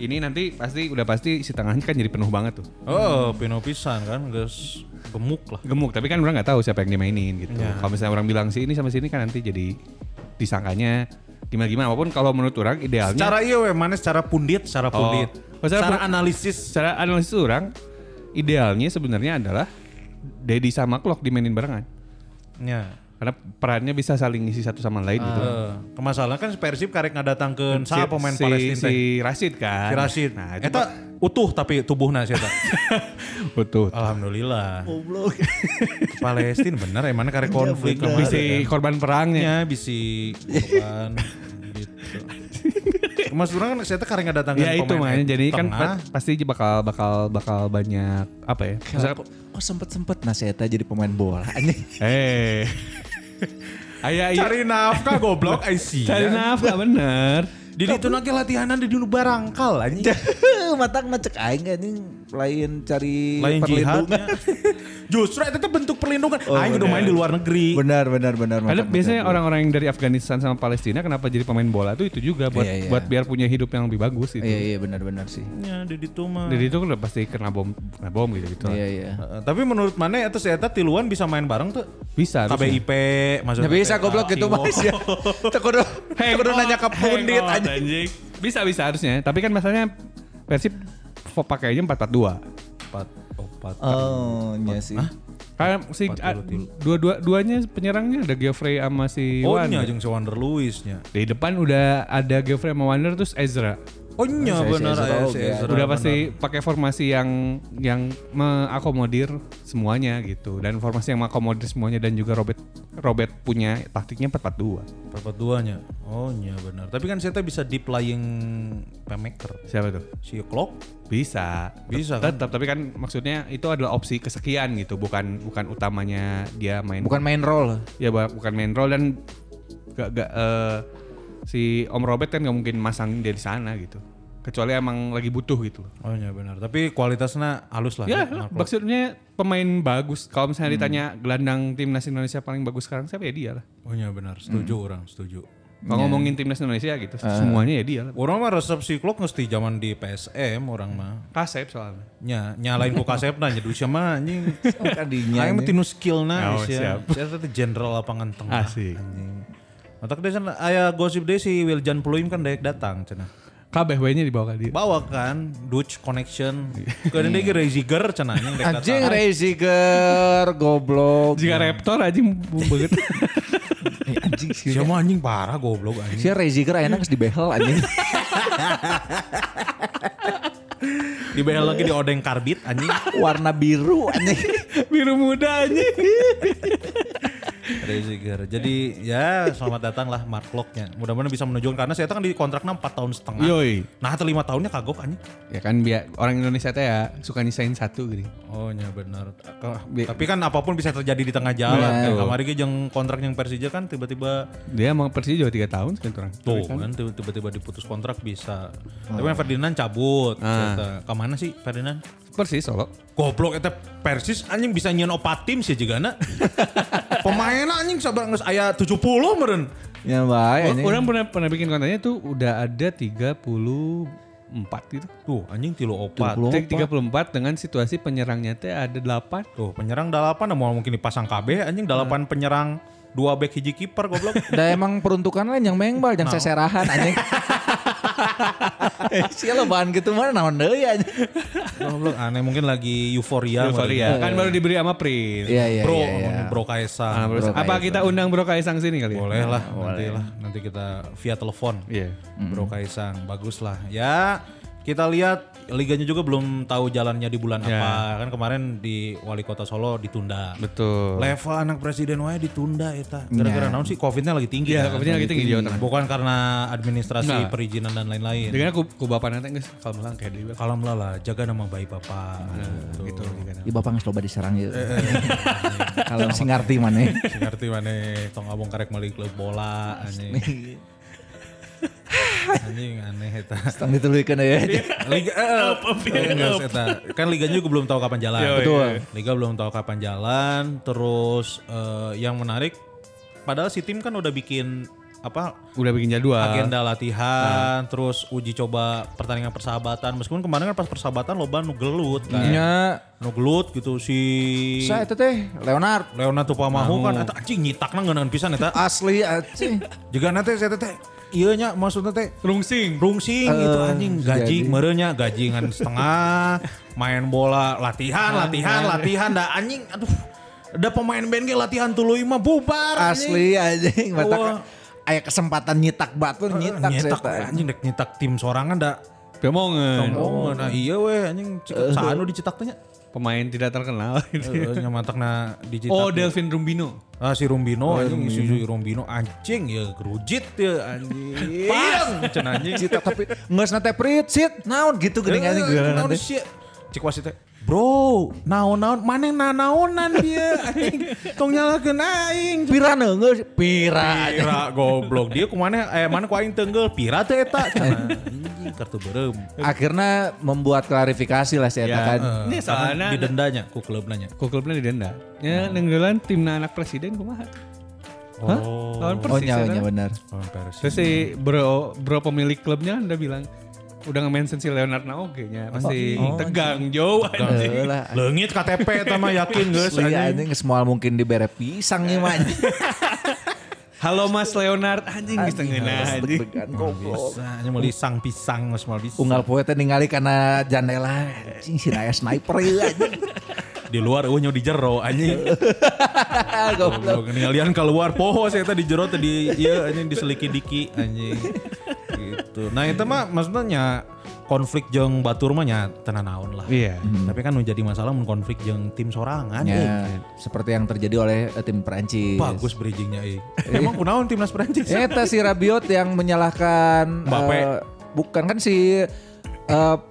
Speaker 1: ini nanti pasti udah pasti si tangannya kan jadi penuh banget tuh.
Speaker 6: Oh, pino pisan kan geus gemuk lah.
Speaker 1: Gemuk, tapi kan orang nggak tahu siapa yang dimainin gitu. Kalau misalnya orang bilang si ini sama si ini kan nanti jadi disangkanya gimana-gimana. Walaupun kalau menurut orang idealnya
Speaker 6: Secara iya we, mana secara pundit, secara
Speaker 1: Oh.
Speaker 6: pundit.
Speaker 1: Oh, secara
Speaker 6: Secara
Speaker 1: pun-
Speaker 6: analisis.
Speaker 1: secara analisis orang idealnya sebenarnya adalah Dedi sama Clock dimainin barengan
Speaker 6: Ya.
Speaker 1: karena perannya bisa saling ngisi satu sama lain gitu.
Speaker 6: Eh, Kemasalah kan si Persib karek ngadatangkeun
Speaker 1: Si-
Speaker 6: sa pemain
Speaker 1: si,
Speaker 6: Palestina
Speaker 1: si
Speaker 6: teh.
Speaker 1: Rashid kan.
Speaker 6: Si Rashid.
Speaker 1: Nah, itu
Speaker 6: Eta utuh tapi tubuhna si
Speaker 1: [LAUGHS]
Speaker 6: eta.
Speaker 1: betul.
Speaker 6: Alhamdulillah.
Speaker 7: Goblok. [LAUGHS]
Speaker 6: Palestina bener emang
Speaker 1: Iya,
Speaker 6: karek konflik
Speaker 7: bener.
Speaker 1: si
Speaker 6: kemarin.
Speaker 1: korban perangnya.
Speaker 6: Ya bisi korban
Speaker 1: [LAUGHS]
Speaker 6: gitu. Mas Burang kan saya karena nggak datang
Speaker 1: Ya itu makanya jadi kan pa- pasti bakal bakal bakal banyak apa ya?
Speaker 7: Kok
Speaker 1: Misalkan-
Speaker 7: kok sempet-sempet nah si Eta jadi pemain bola anjing. [LAUGHS]
Speaker 1: eh. Aya iya.
Speaker 6: cari nafkah goblok IC.
Speaker 1: Cari nafkah bener.
Speaker 6: Di itu nanti latihanan di dulu barangkal anjing.
Speaker 7: Matang ngecek aing anjing lain cari
Speaker 6: Lain jihad.
Speaker 7: perlindungan.
Speaker 6: [LAUGHS] Justru itu tuh bentuk perlindungan.
Speaker 7: Oh,
Speaker 6: Aing udah
Speaker 7: bener.
Speaker 6: main di luar negeri.
Speaker 7: [LAUGHS] Benar benar benar.
Speaker 1: Karena
Speaker 7: matak
Speaker 1: biasanya
Speaker 7: ngecek.
Speaker 1: orang-orang yang dari Afghanistan sama Palestina kenapa jadi pemain bola tuh itu juga buat
Speaker 7: Iya, iya.
Speaker 1: buat biar punya hidup yang lebih bagus gitu.
Speaker 7: Iya iya benar benar sih.
Speaker 6: Ya, di itu mah.
Speaker 1: Jadi itu kan udah pasti kena bom kena bom gitu gitu.
Speaker 7: Iya iya.
Speaker 6: Eh, Tapi menurut mana itu saya tiluan bisa main bareng tuh?
Speaker 1: Bisa. bisa.
Speaker 6: KBIP maksudnya.
Speaker 7: Nggak bisa goblok gitu mas ya. [LAUGHS] Tekudu tekudu nanya ke pundit
Speaker 8: Hangout,
Speaker 7: aja.
Speaker 8: anjing.
Speaker 1: Bisa bisa harusnya. Tapi kan masalahnya Persib fo- pakainya 442.
Speaker 6: Empat, empat.
Speaker 7: Oh iya sih.
Speaker 1: Karena Kan si a- dua-dua duanya penyerangnya ada Geoffrey sama si
Speaker 6: Oh,
Speaker 1: Wan.
Speaker 6: nya jeung si Wander Luisnya.
Speaker 1: Di depan udah ada Geoffrey sama Wander terus Ezra.
Speaker 5: Oh iya
Speaker 7: Saya- saya
Speaker 5: benar
Speaker 7: sudah
Speaker 5: ya,
Speaker 7: tahu,
Speaker 5: saya
Speaker 7: ya.
Speaker 5: sudah
Speaker 1: udah
Speaker 5: tahu.
Speaker 1: pasti pakai formasi yang yang mengakomodir semuanya gitu dan formasi yang mengakomodir semuanya dan juga Robert Robert punya taktiknya 4-4-2
Speaker 5: Perempat duanya. Oh iya benar. Tapi kan saya teh bisa deep lying playmaker.
Speaker 1: siapa tuh
Speaker 5: Si Clock
Speaker 1: bisa
Speaker 5: Bisa kan?
Speaker 1: tetap tapi kan maksudnya itu adalah opsi kesekian gitu bukan bukan utamanya dia main
Speaker 7: Bukan main role.
Speaker 1: ya ba- bukan main role dan gak, gak eh, si Om Robert kan nggak mungkin masangin dari sana gitu kecuali emang lagi butuh gitu loh.
Speaker 5: Oh iya benar. Tapi
Speaker 6: Tapi kualitasnya halus lah.
Speaker 1: Ya,
Speaker 6: Mark Klok.
Speaker 1: maksudnya pemain bagus. Kalau misalnya ditanya gelandang timnas Indonesia paling bagus sekarang siapa ya dia lah.
Speaker 6: Oh iya benar, setuju orang, setuju.
Speaker 1: Kalau ngomongin timnas Indonesia gitu, semuanya ya dia lah.
Speaker 6: Orang mah resep si Klok mesti zaman di PSM orang mah.
Speaker 1: Kasep soalnya.
Speaker 6: Nya, nyalain ku
Speaker 1: [LAUGHS]
Speaker 6: kasepna nya dusia mah anjing.
Speaker 7: Kadinya.
Speaker 6: Aing mah tinu skillna
Speaker 1: Oh,
Speaker 6: sia. Saya teh jenderal lapangan tengah.
Speaker 1: Asik.
Speaker 6: Anjing. Matak deh sana aya gosip deh si Wiljan Pluim kan daek datang cenah.
Speaker 1: Kabeh nya dibawa ke dia.
Speaker 6: Bawa kan Dutch Connection. Kadang dia
Speaker 1: Iya.
Speaker 6: Reisiger cenah anjing daek
Speaker 7: Anjing
Speaker 6: datang.
Speaker 7: Reisiger goblok.
Speaker 1: Jika Raptor aja banget.
Speaker 7: Eh,
Speaker 1: [LAUGHS]
Speaker 7: anjing sih.
Speaker 6: Sia mah anjing parah goblok anjing.
Speaker 7: Si Reisiger akhirnya geus dibehel
Speaker 1: [LAUGHS]
Speaker 7: anjing.
Speaker 6: Dibehel lagi di odeng karbit anjing.
Speaker 7: Warna biru anjing.
Speaker 1: Biru muda aja.
Speaker 6: Reisiger. Jadi ya selamat datang lah Mark Kloknya. Mudah-mudahan bisa menunjukkan karena saya kan di kontraknya 4 tahun setengah.
Speaker 1: [LAUGHS] Yoi.
Speaker 6: Nah, atau 5 tahunnya kagok anjing.
Speaker 1: Ya kan biar orang Indonesia teh ya suka nyisain satu gitu.
Speaker 6: Oh iya benar. Ka-
Speaker 1: Bi-
Speaker 6: Tapi kan apapun bisa terjadi di tengah jalan. kan. Kamari ge jeung kontrak yang Persija kan tiba-tiba
Speaker 1: Dia emang Persija juga 3 tahun sekian orang.
Speaker 6: tuh kan tiba- tiba-tiba diputus kontrak bisa. Tapi kan Ferdinand cabut. Ke Kemana sih Ferdinand?
Speaker 1: Persis Solo.
Speaker 6: Goblok eta Persis anjing bisa nyeun opat tim sih jigana. Pemainna anjing sabar geus aya 70 meureun.
Speaker 7: Ya baik anjing.
Speaker 1: Eh, Orang pernah pernah bikin kontennya tuh udah ada 34 gitu.
Speaker 6: Tuh anjing tilu opat.
Speaker 1: 34 dengan situasi penyerangnya teh ada 8.
Speaker 6: Tuh penyerang dalapan mau mungkin dipasang KB anjing dalapan penyerang dua back hiji kiper goblok.
Speaker 7: Da emang peruntukan lain yang mengbal, yang seserahan [LAUGHS] anjing. Sia lo bahan gitu mana naon deui anjing.
Speaker 6: goblok aneh mungkin lagi euforia.
Speaker 1: Euforia. Kan baru diberi sama Prin.
Speaker 7: Iya iya
Speaker 6: Bro,
Speaker 7: iya, iya. Iya,
Speaker 6: ngomongin Bro Kaisang.
Speaker 1: Nah, Bro, apa kita undang Bro Kaisang sini kali ya?
Speaker 6: Boleh lah, nanti lah. Nanti kita via telepon.
Speaker 1: Iya.
Speaker 6: Bro Kaisang, bagus lah. Ya, kita lihat liganya juga belum tahu jalannya di bulan
Speaker 7: Iya.
Speaker 1: Ya.
Speaker 6: apa. Kan kemarin di wali kota Solo ditunda.
Speaker 1: Betul.
Speaker 6: Level anak presiden wae ditunda eta.
Speaker 7: Iya.
Speaker 6: Gara-gara naon sih COVID-nya lagi tinggi.
Speaker 1: Iya,
Speaker 6: kan?
Speaker 1: COVID-nya lagi tinggi di Jawa Tengah.
Speaker 6: Bukan karena administrasi
Speaker 1: Nggak.
Speaker 6: perizinan dan lain-lain.
Speaker 1: Dengan aku ku bapak nanti nggak kalau melang kayak Nah, dia.
Speaker 6: Kalem lah lah, jaga nama baik bapak. Gitu.
Speaker 7: Ibu bapak nggak coba diserang ya. [LAUGHS] Kalau sing ngerti ya. mana?
Speaker 6: Si ngerti mana tong abong karek meuli klub bola anjing. anjing aneh eta.
Speaker 7: Tang dituluykeun ya.
Speaker 6: Liga eh, eh, nggak, eta. Kan liganya juga belum tahu kapan jalan.
Speaker 7: Betul.
Speaker 6: Liga belum tahu kapan jalan, terus eh, yang menarik padahal si tim kan udah bikin apa
Speaker 1: Udah bikin jadwal.
Speaker 6: agenda latihan, terus uji coba pertandingan persahabatan. Meskipun kemarin kan pas persahabatan loba nu gelut kan.
Speaker 7: Ya,
Speaker 6: Nu gelut gitu si
Speaker 7: saya itu teh Leonard
Speaker 6: Leonardo Pamahu kan eta anjing nyitakna ngeunaan pisan eta.
Speaker 7: asli asli.
Speaker 6: Juga nanti saya teh iya nya maksudnya teh rungsing rungsing gitu anjing gaji merenya gajingan [LAUGHS] setengah main bola latihan latihan latihan dah anjing aduh ada pemain band ge latihan tuluy mah bubar
Speaker 7: Asli anjing
Speaker 6: Wah.
Speaker 7: mata aya kesempatan nyitak Eh, batu
Speaker 6: anjing.
Speaker 7: nyitak saya
Speaker 6: nyetak
Speaker 7: teh.
Speaker 6: anjing dek nyetak tim sorangan da
Speaker 1: Pemongan.
Speaker 6: Oh, nah iya weh anjing cek sanu dicetak teh nya.
Speaker 1: Pemain tidak
Speaker 7: [LAUGHS]
Speaker 1: terkenal. gitu.
Speaker 6: Eh, nya mantakna dicetak.
Speaker 1: Oh, Delvin Rumbino.
Speaker 6: ya. Ah si Rumbino anjing si si Rumbino anjing ya gerujit ya anjing. Cenah anjing.
Speaker 7: Cita tapi nggak nate prit sit naon gitu geuning anjing
Speaker 6: Eh,
Speaker 7: geulah
Speaker 6: naon
Speaker 7: nanti.
Speaker 6: sih? Cik wasit teh, Bro, naon-naon, mana naon-naonan dia, anjing, tong nyalakan aing.
Speaker 7: Pira neungeus pira.
Speaker 6: Pira goblok, dia kumana, eh mana ku aing tenggel, pira teh [LAUGHS] eta. Cenah, anjing, kartu berem.
Speaker 7: Akhirnya membuat klarifikasi lah saya
Speaker 1: Ya,
Speaker 7: kan.
Speaker 6: Iya. Eh,
Speaker 1: Ini
Speaker 6: karena
Speaker 1: soalnya-
Speaker 6: didendanya ku klubnya.
Speaker 1: Kok klubnya
Speaker 7: Nah.
Speaker 1: didenda? Ya, nenggelan timna anak presiden kumaha. Hah? Lawan
Speaker 7: Oh
Speaker 1: Persis. ya,
Speaker 7: nyawanya
Speaker 1: kan?
Speaker 7: benar.
Speaker 6: Lawan Persi.
Speaker 1: Terus si bro bro pemilik klubnya anda bilang udah nge-mention si Leonard Naoge nya pasti tegang jauh anjing.
Speaker 7: Eh, lah.
Speaker 6: Leungit KTP eta mah yakin geus
Speaker 7: Asli
Speaker 6: anjing.
Speaker 7: anjing semual mungkin dibere pisang
Speaker 6: [LAUGHS]
Speaker 7: ya man.
Speaker 1: Halo Mas Leonard anjing geus tengeunah anjing.
Speaker 7: Deg-degan goblok.
Speaker 6: Bisa, nya meuli sang pisang geus moal bisa.
Speaker 7: Unggal poe teh ningali kana jandela anjing si Naya sniper ieu anjing. [LAUGHS]
Speaker 6: Di luar eueuh nyo di jero anjing.
Speaker 7: Goblok. Ah,
Speaker 6: iya, Goblok, ngalian keluar poho saya tadi jero tadi ieu anjing diseliki diki anjing. gitu. Nah itu mah maksudnya nya konflik jeung batur mah nya tenan naon lah.
Speaker 1: Iya.
Speaker 6: Tapi kan nu jadi masalah mun konflik jeung tim sorangan. euy.
Speaker 7: Ya, seperti yang terjadi oleh eh, tim Perancis.
Speaker 6: Bagus bridgingnya euy.
Speaker 7: Iya.
Speaker 6: Emang kunaon timnas Prancis?
Speaker 7: Eta si Rabiot yang menyalahkan
Speaker 6: Mbappe.
Speaker 7: eh, bukan kan si eh,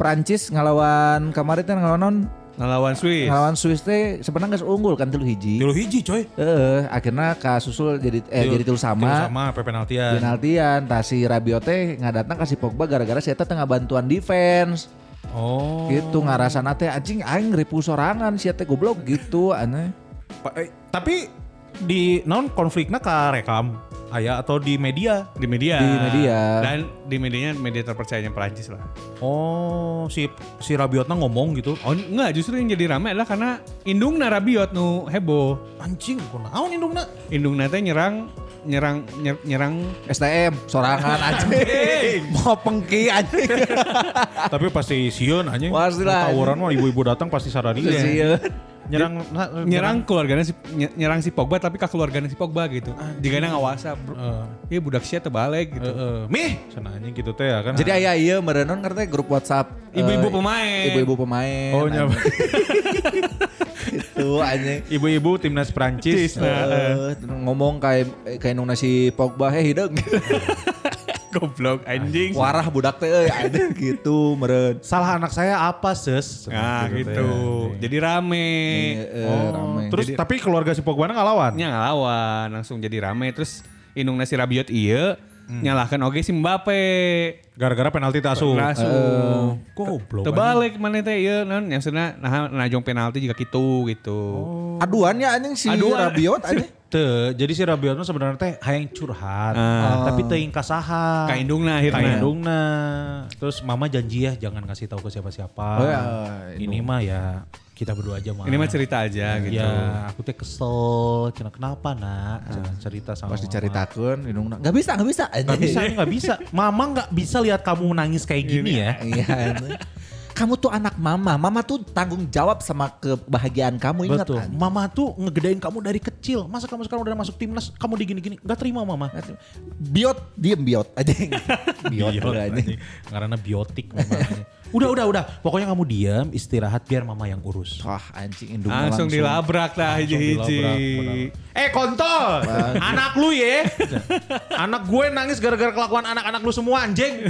Speaker 7: Perancis ngelawan kemarin kan ngelawan non
Speaker 1: Ngelawan Swiss.
Speaker 7: ngelawan Swiss teh sebenarnya nggak unggul kan tilu hiji.
Speaker 6: Tilu hiji coy.
Speaker 7: Heeh, akhirnya kasusul jadi eh jadi tilu
Speaker 6: Tilu
Speaker 7: sama. Iya.
Speaker 6: sama pe penaltian.
Speaker 7: Penaltian, tah si Rabiot teh nggak datang kasih Pogba gara-gara si Eta tengah bantuan defense.
Speaker 6: Oh.
Speaker 7: Gitu ngarasana teh anjing aing ripu sorangan si Eta goblok gitu aneh.
Speaker 6: Pa- eh, tapi di non konfliknya ka rekam aya atau di media.
Speaker 1: di media.
Speaker 7: Di media.
Speaker 1: Dan di medianya media terpercayanya Perancis lah.
Speaker 6: Oh, si si Rabiotna ngomong gitu.
Speaker 1: Oh enggak, justru yang jadi rame adalah karena Indung Rabiot nu heboh.
Speaker 6: Anjing, kunaon indungna?
Speaker 1: Indung teh nyerang nyerang nyer- nyerang
Speaker 7: STM sorangan anjing. [LAUGHS] Mau pengki anjing.
Speaker 6: [LAUGHS] Tapi pasti sieun anjing.
Speaker 7: Pastilah.
Speaker 6: Tawuran mah ibu-ibu datang pasti sadari.
Speaker 7: Sieun.
Speaker 6: Nyerang na-
Speaker 1: nyerang keluarganya si ny- nyerang si Pogba tapi ke keluarganya si Pogba gitu. Jika nang ngawasa, bro.
Speaker 6: Heeh.
Speaker 1: Iya budak sia terbalik gitu.
Speaker 6: Heeh. mih cenah Eh, anjing gitu teh ya kan.
Speaker 7: Jadi ayah iya merenon ngerti grup WhatsApp eh,
Speaker 1: Ibu-ibu pemain.
Speaker 7: Ibu-ibu pemain.
Speaker 6: Oh, nyapa.
Speaker 7: Itu anjing.
Speaker 6: [LAUGHS] ibu-ibu timnas Prancis.
Speaker 7: Eh, ngomong kayak kayak nung nasi Pogba heh hideung.
Speaker 1: Goblok anjing.
Speaker 7: Warah budak teh euy anjing gitu meren.
Speaker 6: Salah anak saya apa, Ses? Cenah
Speaker 1: Nah
Speaker 6: teh. Iya,
Speaker 1: gitu.
Speaker 5: Oh,
Speaker 1: Jadi rame.
Speaker 7: Heeh, rame.
Speaker 6: Terus tapi keluarga si Pogba
Speaker 5: Iya.
Speaker 6: ngelawan.
Speaker 1: Nya ngalawan langsung jadi rame terus Indung nasi Rabiot iya nyalahkan oge si Mbappe.
Speaker 6: Gara-gara penalti tasu.
Speaker 1: Langsung.
Speaker 6: Goblok.
Speaker 1: Tebalik mana teh ieu naon yang sana nah najong penalti juga kitu gitu.
Speaker 7: Aduan ya anjing si
Speaker 1: Aduan.
Speaker 7: Rabiot anjing.
Speaker 6: Teu, jadi si Rabiot mah sebenarnya teh hayang curhat, tapi teuing kasaha.
Speaker 1: Ka
Speaker 7: Nah,
Speaker 1: indungna akhirna.
Speaker 6: Ka indungna. nah. Terus mama janji ya jangan ngasih tahu ke siapa-siapa.
Speaker 7: Oh, ya,
Speaker 6: Ini mah ya kita berdua aja mah.
Speaker 1: Ini mah cerita aja gitu.
Speaker 6: Ya, aku teh kesel. Cenah, Kenapa, Nak?
Speaker 7: Ah.
Speaker 6: Cenah cerita sama
Speaker 7: Pas
Speaker 6: mama.
Speaker 7: diceritakan, minum nggak bisa, nggak bisa.
Speaker 6: Gak bisa, gak bisa. Mama gak bisa lihat kamu nangis kayak gini ya.
Speaker 7: Iya. anjing. Kamu tuh anak mama, mama tuh tanggung jawab sama kebahagiaan kamu ingat
Speaker 6: Betul.
Speaker 7: anjing.
Speaker 6: Mama tuh ngegedein kamu dari kecil. Masa kamu sekarang udah masuk timnas, kamu digini-gini. Gak terima mama.
Speaker 7: Biot, diem biot aja. biot
Speaker 6: Biot,
Speaker 7: aja.
Speaker 6: anjing. Karena biotik
Speaker 7: [LAUGHS]
Speaker 6: memang. udah, udah, udah. Pokoknya kamu diam, istirahat biar mama yang urus.
Speaker 7: Wah anjing indung mah
Speaker 1: Langsung dilabrak lah hiji-hiji.
Speaker 6: Eh kontol, anak lu ya. anak gue nangis gara-gara kelakuan anak-anak lu semua anjing.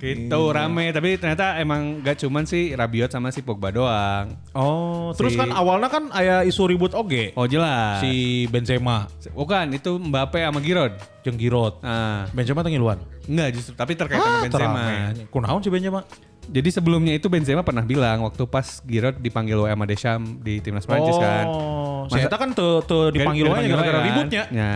Speaker 1: Gitu rame tapi ternyata emang gak cuman si Rabiot sama si Pogba doang.
Speaker 6: Oh, terus
Speaker 1: Si-
Speaker 6: kan awalnya kan ayah isu ribut oge.
Speaker 1: Oh jelas. Si
Speaker 6: Si Benzema,
Speaker 1: bukan itu Mbappe sama Giroud.
Speaker 6: jeung Giroud.
Speaker 1: Nah,
Speaker 6: Benzema tengil luan.
Speaker 1: enggak justru tapi terkait sama
Speaker 6: Ah,
Speaker 1: Benzema.
Speaker 6: Kunaon si Benzema?
Speaker 1: Jadi sebelumnya itu Benzema pernah bilang waktu pas Giroud dipanggil oleh sama Deschamps di timnas Prancis kan.
Speaker 6: Oh, si
Speaker 1: Masa-
Speaker 6: Eta kan tuh tuh dipanggil
Speaker 1: Gara-
Speaker 6: wae
Speaker 1: dipanggil
Speaker 6: gara-gara
Speaker 1: wae kan.
Speaker 6: ributnya.
Speaker 1: Ya.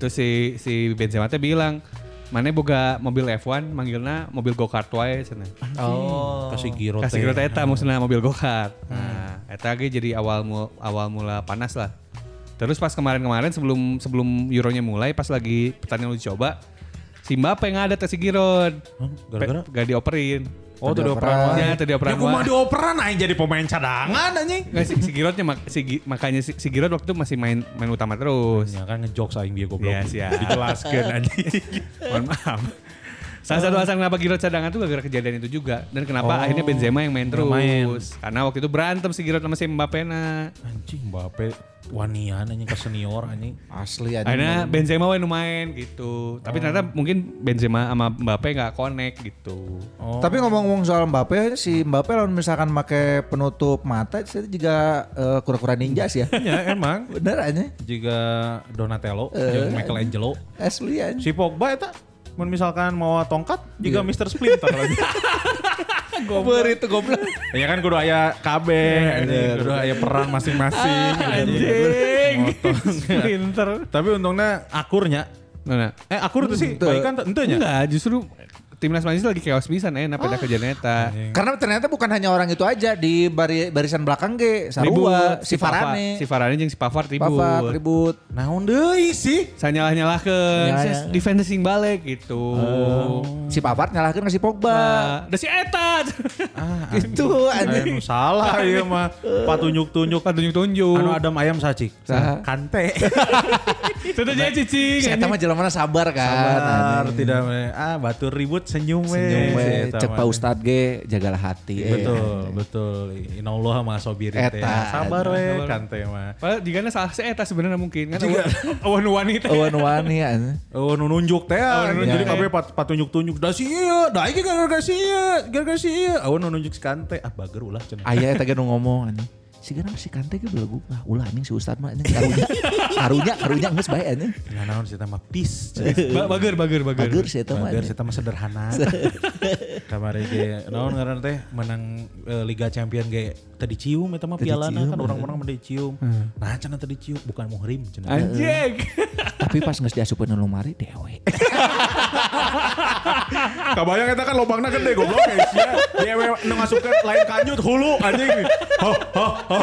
Speaker 1: Terus si si Benzema teh bilang, "Mana boga mobil F1 manggilna mobil go-kart wae cenah."
Speaker 6: Oh, kasih Giroud.
Speaker 1: Kasih kira eta maksudnya mobil go-kart. Nah, eta ge jadi awal mu- awal mula panas lah. Terus pas kemarin-kemarin sebelum sebelum Euronya mulai pas lagi pertandingan uji coba si Mbappe nggak ada tes si Giroud.
Speaker 6: Hah, gara-gara?
Speaker 1: Pe- Gak dioperin.
Speaker 6: Oh, tuh dioperan.
Speaker 1: Ya, tadi
Speaker 6: Ya,
Speaker 1: operan
Speaker 6: kumaha
Speaker 1: wae.
Speaker 6: dioperan aja jadi pemain cadangan anjing.
Speaker 1: Nggak, si, si Giroudnya mak- si Gi- makanya si, si Giroud waktu itu masih main main utama terus.
Speaker 6: Ya kan ngejok saing dia goblok.
Speaker 1: Iya siap. Dijelaskan anjing.
Speaker 6: [LAUGHS]
Speaker 1: Mohon maaf. Salah satu alasan kenapa Giroud cadangan itu gara-gara kejadian itu juga. Dan kenapa akhirnya Benzema Oh. yang main terus. Karena waktu itu berantem si Giroud sama si Mbappe na.
Speaker 6: Anjing Mbappe wanian anjing ke senior anjing.
Speaker 7: Asli anjing.
Speaker 1: Akhirnya Benzema yang main gitu. Tapi ternyata
Speaker 7: Oh.
Speaker 1: mungkin Benzema sama Mbappe nggak connect gitu.
Speaker 7: Tapi ngomong-ngomong soal Mbappe, si Mbappe lawan misalkan make penutup mata, saya juga eh, kura-kura ninja sih ya.
Speaker 6: Ya emang
Speaker 7: Bener aja,
Speaker 6: juga Donatello jeung Michelangelo.
Speaker 7: asli aja.
Speaker 6: Si Pogba eta mun misalkan mau tongkat juga Mr. Splinter lagi.
Speaker 7: Goblok itu goblok.
Speaker 6: ya kan kudu aya KB, anjing. kudu aya peran masing-masing. anjing.
Speaker 1: Pinter.
Speaker 6: Tapi untungnya akurnya
Speaker 1: Nah, nah.
Speaker 6: Eh akur tuh sih,
Speaker 7: Ente.
Speaker 6: baik kan tentunya.
Speaker 1: Enggak, justru timnas Malaysia lagi chaos pisan eh,
Speaker 7: Ah.
Speaker 1: pada kejadian eta.
Speaker 7: Karena ternyata bukan hanya orang itu aja di bari- barisan belakang ge Sarua,
Speaker 1: Ribut,
Speaker 7: si Farane,
Speaker 1: Si Farane jeung si Pavard ribut.
Speaker 7: Pavard ribut.
Speaker 9: Naon deui sih?
Speaker 7: Ya,
Speaker 1: Sanyalah-nyalahkeun, ya,
Speaker 7: ya.
Speaker 1: defending balik gitu.
Speaker 7: Si Pavard nyalahkan ke si Pogba.
Speaker 1: Nah, da si eta.
Speaker 7: Ah.
Speaker 1: [LAUGHS]
Speaker 7: Itu anjing.
Speaker 6: Anu salah iya mah. Patunjuk-tunjuk.
Speaker 1: Tunjuk-tunjuk.
Speaker 6: Anu adam ayam sacik.
Speaker 7: Saha?
Speaker 6: Kante.
Speaker 1: Tentu aja cicing.
Speaker 7: Si Eta mah jelemana sabar kan.
Speaker 6: Sabar,
Speaker 7: anjing.
Speaker 6: tidak eh, ah batur ribut senyum we.
Speaker 7: Senyum we, Iya,
Speaker 6: Si eta
Speaker 7: cek
Speaker 6: mah.
Speaker 7: Pak Ustadz ge jagalah hati. eh.
Speaker 6: Betul, betul. Inallah mah sobirin teh. Ah,
Speaker 7: Eta.
Speaker 6: Sabar we
Speaker 1: Sabar.
Speaker 6: kante mah.
Speaker 1: Padahal jigana salah si eta sebenarnya mungkin kan. Awan wanita.
Speaker 7: Owen Wani anjing.
Speaker 6: Oh nu nunjuk teh.
Speaker 1: Oh, nu nunjuk
Speaker 6: Jadi
Speaker 1: teh.
Speaker 6: kabeh pat iya, patunjuk tunjuk da si ieu, da iki gara-gara si ieu, gara-gara si ieu. Awan nu nunjuk si kante. Ah bager ulah cenah.
Speaker 7: Ayah eta ge nu ngomong anjing. Si Ganang si Kante ge belagu. Ah, ulah anjing si Ustadz mah anjing karunya. karunya, karunya geus bae anjing.
Speaker 6: Nah naon si eta mah peace.
Speaker 7: [LAUGHS]
Speaker 1: Ba- Bager, bager, bager.
Speaker 7: Bager si Eta mah.
Speaker 6: Bager si
Speaker 7: anjing.
Speaker 6: eta mah [LAUGHS] sederhana. Kamari ge naon ngaran teh menang eh, Liga Champion ge tadi cium eta mah
Speaker 7: Teu
Speaker 6: pialana
Speaker 7: dicium,
Speaker 6: kan orang-orang mah dicium. Nah cenah tadi cium bukan muhrim cenah.
Speaker 1: Anjing.
Speaker 7: Tapi pas geus diasupeun nu lumari dewe.
Speaker 10: Kabayang kita kan lubangnya gede goblok
Speaker 6: eh,
Speaker 10: ya sia. Dia we nu ngasupkeun lain kanyut hulu anjing. Ho ho
Speaker 6: [LAUGHS]
Speaker 10: ho.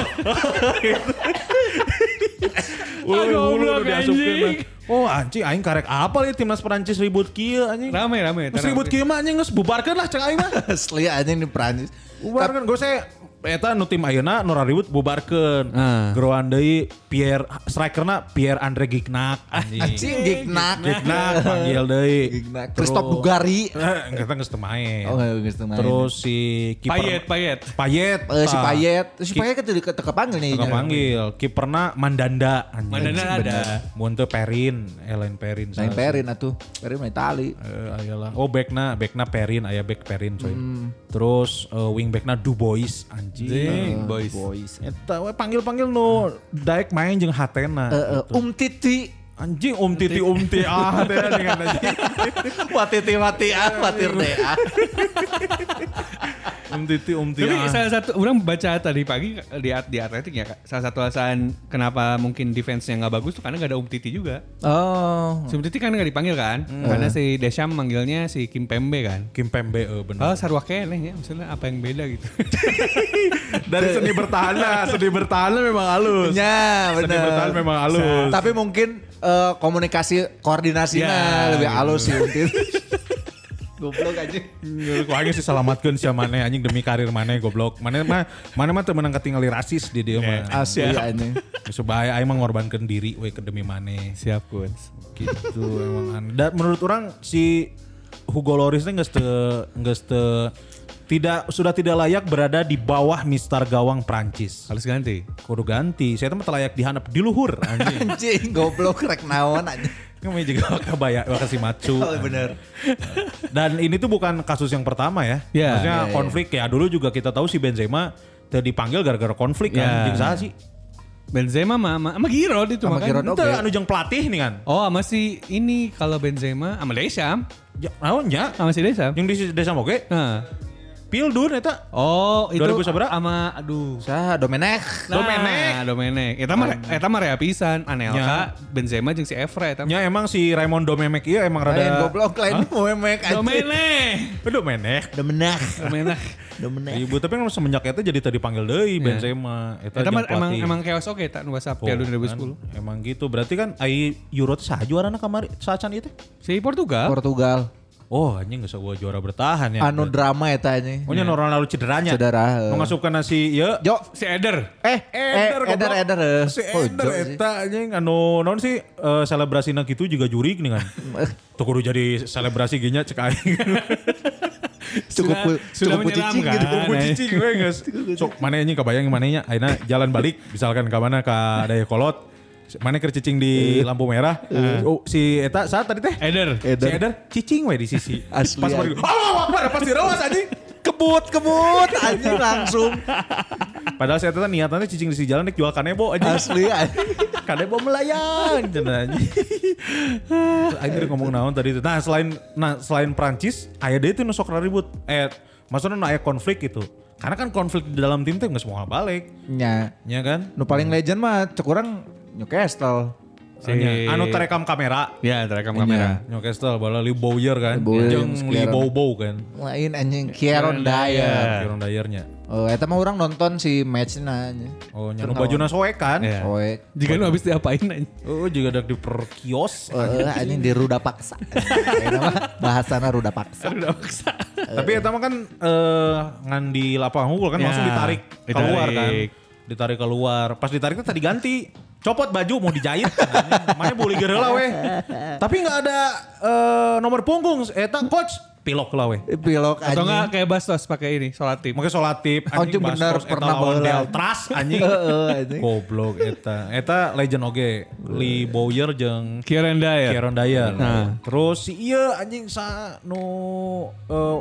Speaker 6: Uy,
Speaker 1: Ah,
Speaker 6: hulu
Speaker 1: goblok,
Speaker 6: udah diasupkeun.
Speaker 1: anjing.
Speaker 6: mah. Oh anjing aing karek apa li timnas Perancis ribut kieu anjing.
Speaker 1: Rame, rame. eta
Speaker 6: Geus ribut
Speaker 1: rame.
Speaker 6: kieu mah anjing geus bubarkeun lah cek aing mah.
Speaker 7: [LAUGHS] Asli anjing di Prancis.
Speaker 6: Bubarkan gue
Speaker 1: ya.
Speaker 6: saya Eta nu tim ayeuna nu rariwut bubarkeun.
Speaker 1: Ah.
Speaker 6: Geroan deui Pierre strikerna Pierre Andre Gignac anjing.
Speaker 7: Anjing gignak.
Speaker 6: Gignac panggil deui.
Speaker 7: Gignac.
Speaker 6: Terus-
Speaker 7: Christoph Dugari.
Speaker 6: Eh, Kita geus teu main.
Speaker 7: Oh, geus teu main.
Speaker 6: Terus si kiper
Speaker 1: Payet, payet.
Speaker 6: Payet.
Speaker 7: Eh, si
Speaker 6: ah,
Speaker 7: Payet, iya. Terus si Payet ketika kepanggil nih.
Speaker 6: Teu panggil kiperna Mandanda anjing.
Speaker 1: Mandanda ada.
Speaker 6: Mun teu Perin, Elaine Perin. salah
Speaker 7: Main Perin atuh. Perin main tali.
Speaker 6: Eh, ayolah. Oh backna, backna Perin, ayah back Perin coy.
Speaker 7: Hmm.
Speaker 6: Terus eh, wing backna Du Bois anjing.
Speaker 7: Ah.
Speaker 1: Anjing, boys.
Speaker 7: Eh,
Speaker 6: Eta we panggil-panggil nu daek main jeung hatena. gitu.
Speaker 7: Eh, eh, Um Titi. [LAUGHS]
Speaker 6: Anjing om titi om ti ah hatena dengan anjing. Iya,
Speaker 7: Watiti matian, watir ah, deh.
Speaker 6: Om titi om ti
Speaker 7: Iya.
Speaker 1: Tapi
Speaker 6: ah.
Speaker 1: salah satu orang baca tadi pagi di at- di atletik ya, Kak. salah satu alasan kenapa mungkin defense-nya nggak bagus tuh karena nggak ada Um Titi juga.
Speaker 7: Oh.
Speaker 1: Si Um Titi kan nggak dipanggil kan,
Speaker 7: Hmm.
Speaker 1: karena si Desham manggilnya si Kim Pembe kan.
Speaker 6: Kim Pembe eh, bener.
Speaker 1: Oh, sarwa keneh ya, maksudnya apa yang beda
Speaker 7: [LAUGHS]
Speaker 1: gitu.
Speaker 6: Dari seni [LAUGHS] bertahan, seni bertahan memang halus.
Speaker 7: Ya,
Speaker 6: Seni bertahan
Speaker 7: benar.
Speaker 6: memang halus.
Speaker 7: Tapi mungkin eh, komunikasi koordinasinya
Speaker 1: Ya,
Speaker 7: lebih halus sih mungkin. Goblok aja.
Speaker 6: Menurut Ku aing sih selamatkeun sia maneh anjing demi karir maneh goblok. Maneh mah maneh mah teu meunang ketinggali rasis di dieu mah.
Speaker 7: Asli anjing.
Speaker 6: Geus bae aing mah ngorbankeun diri we ke demi maneh.
Speaker 1: Siap, Kuns.
Speaker 6: gitu emang aneh. Dan menurut orang si Hugo Loris ini nggak ste nggak ste tidak sudah tidak layak berada di bawah Mister Gawang Prancis.
Speaker 1: Harus ganti.
Speaker 6: Kudu ganti. Saya teman layak dihanap di luhur [LAUGHS] anjing.
Speaker 7: Anjing goblok rek naon anjing.
Speaker 6: Kami juga kabaya kasih macu.
Speaker 7: Oh, bener.
Speaker 6: Dan ini tuh bukan kasus yang pertama ya.
Speaker 1: Ya.
Speaker 6: Maksudnya konflik ya. Dulu juga kita tahu si Benzema teu dipanggil gara-gara konflik
Speaker 1: Ya.
Speaker 6: kan. Jeung saha sih?
Speaker 1: Benzema mah sama sama Giroud itu
Speaker 7: Sama
Speaker 1: mah kan.
Speaker 7: Giroud. oh.
Speaker 6: Ente
Speaker 7: Oke.
Speaker 6: anu jeung pelatih nih kan.
Speaker 1: Oh, sama si ini kalau Benzema sama Ah, Desham,
Speaker 6: Ya, naon nya?
Speaker 1: sama si Desham.
Speaker 7: Iya.
Speaker 6: Jeung di desa oge
Speaker 1: Nah.
Speaker 6: Pildun eta
Speaker 1: Oh, itu
Speaker 6: 2000 sabaraha?
Speaker 1: sama aduh
Speaker 7: Sah Domenek.
Speaker 1: Nah, Domenek. Domenek. Eta mah eta mah rea
Speaker 7: Ya.
Speaker 1: pisan Anelka, Benzema jeung si Evra eta. mah.
Speaker 6: Ya emang si Raymond Domemek iya emang
Speaker 7: Lain
Speaker 6: rada
Speaker 7: goblok lain memek
Speaker 1: Eh, iya.
Speaker 7: anjing.
Speaker 1: Domenek.
Speaker 6: Eh, Domenek.
Speaker 7: Domenek.
Speaker 1: [LAUGHS] Domenek.
Speaker 7: Domenek.
Speaker 6: Ibu tapi kan semenjak itu jadi tadi panggil deui
Speaker 7: Iya.
Speaker 6: Benzema.
Speaker 1: Eta
Speaker 6: jeung
Speaker 1: mah emang
Speaker 6: pelatih.
Speaker 1: emang chaos oke tak nu WhatsApp Piala
Speaker 6: Oh,
Speaker 1: Dunia
Speaker 6: kan.
Speaker 1: 2010.
Speaker 6: Emang gitu. Berarti kan ai Euro teh saha juarana kamari saacan itu?
Speaker 1: Si Portugal.
Speaker 7: Portugal.
Speaker 6: Oh, anjing geus gua juara bertahan ya.
Speaker 7: Anu drama eta anjing.
Speaker 6: Oh, nya orang lalu cederanya.
Speaker 7: Cedera, eh.
Speaker 6: Nu ngasupkeun si ieu.
Speaker 7: Jo.
Speaker 1: Si Eder.
Speaker 7: Eh, eh,
Speaker 6: goblok.
Speaker 7: Eder, Eder. eh.
Speaker 6: Si
Speaker 7: Oh,
Speaker 6: Eder
Speaker 7: Jo sih.
Speaker 6: eta anjing anu naon sih eh, selebrasina gitu juga jurig nih
Speaker 7: [LAUGHS]
Speaker 6: kan. Tuh kudu jadi selebrasi ginya cek aing. [LAUGHS]
Speaker 7: Cukup
Speaker 1: sudah
Speaker 7: cukup cicing
Speaker 1: menyeramkan.
Speaker 7: gitu.
Speaker 6: Kumpul cicing we geus. [LAUGHS] Sok nah, iya. mana anjing kebayang mana nya ayeuna jalan balik misalkan ka mana ka Dayakolot. Mana keur cicing di
Speaker 7: Iya.
Speaker 6: lampu merah. Oh si eta saat tadi teh?
Speaker 1: Eder.
Speaker 6: Si Eder cicing we di sisi.
Speaker 7: [LAUGHS] Asli,
Speaker 6: Pas
Speaker 7: anjing.
Speaker 6: balik. Oh, apa pas dirawas anjing.
Speaker 7: Kebut, kebut anjing langsung.
Speaker 6: Padahal si Eta teh niatannya cicing di sisi jalan nek jual kanebo anjing.
Speaker 7: Asli
Speaker 6: [LAUGHS]
Speaker 7: anjing.
Speaker 6: Kanebo melayang cenah
Speaker 1: [LAUGHS]
Speaker 6: anjing. Terus Aing tadi ngomong naon tadi itu. Nah, selain nah selain Prancis, aya deui teh nu sok ribut. Eh, maksudnya nu aya konflik itu. Karena kan konflik di dalam tim teh nggak semua balik.
Speaker 7: Nya.
Speaker 6: Ya kan?
Speaker 7: Nu paling legend mah cek orang Newcastle.
Speaker 1: Si-
Speaker 6: Anu terekam kamera.
Speaker 1: Ya, terekam kamera.
Speaker 6: Newcastle bala Lee Bowyer kan.
Speaker 7: Lee Bowyer
Speaker 6: Jeung
Speaker 7: yang
Speaker 6: Lee
Speaker 7: sekarang.
Speaker 6: Bow Bow kan.
Speaker 7: Lain anjing
Speaker 1: Iya.
Speaker 7: Kieron Dyer.
Speaker 6: Kieron Dyernya.
Speaker 7: Oh, eta mah orang nonton si matchnya aja.
Speaker 6: Oh, nyanu bajuna soek kan.
Speaker 1: Iya.
Speaker 7: Oek.
Speaker 1: Jika lu habis diapain anjing.
Speaker 6: Oh, juga ada di per kios.
Speaker 7: Heeh, anjing di ruda
Speaker 1: [LAUGHS]
Speaker 7: paksa. Eta mah bahasana ruda paksa.
Speaker 6: Tapi eta mah kan eh, ngan di lapangan unggul kan
Speaker 1: Ya,
Speaker 6: langsung ditarik keluar kan.
Speaker 1: ditarik.
Speaker 6: Ditarik keluar. Pas ditarik tadi ganti. Copot baju mau dijahit [LAUGHS] kan. anjing. Makanya boleh gere lah weh. Tapi nggak ada eh, nomor punggung. Eta coach pilok lah weh.
Speaker 7: Eh, Pilok anjing.
Speaker 1: Atau enggak kayak Bastos pakai ini, solatip.
Speaker 6: Makanya solatip.
Speaker 7: Oh, itu bener, pernah bola.
Speaker 6: Deltras anjing.
Speaker 7: [LAUGHS] Heeh, anjing.
Speaker 6: Goblok Eta. Eta legend oge. Lee Bowyer jeung
Speaker 1: Kieran
Speaker 7: Iya.
Speaker 1: Dyer.
Speaker 6: Kieron Dyer.
Speaker 1: Nah.
Speaker 6: Terus si iya anjing sa nu eh,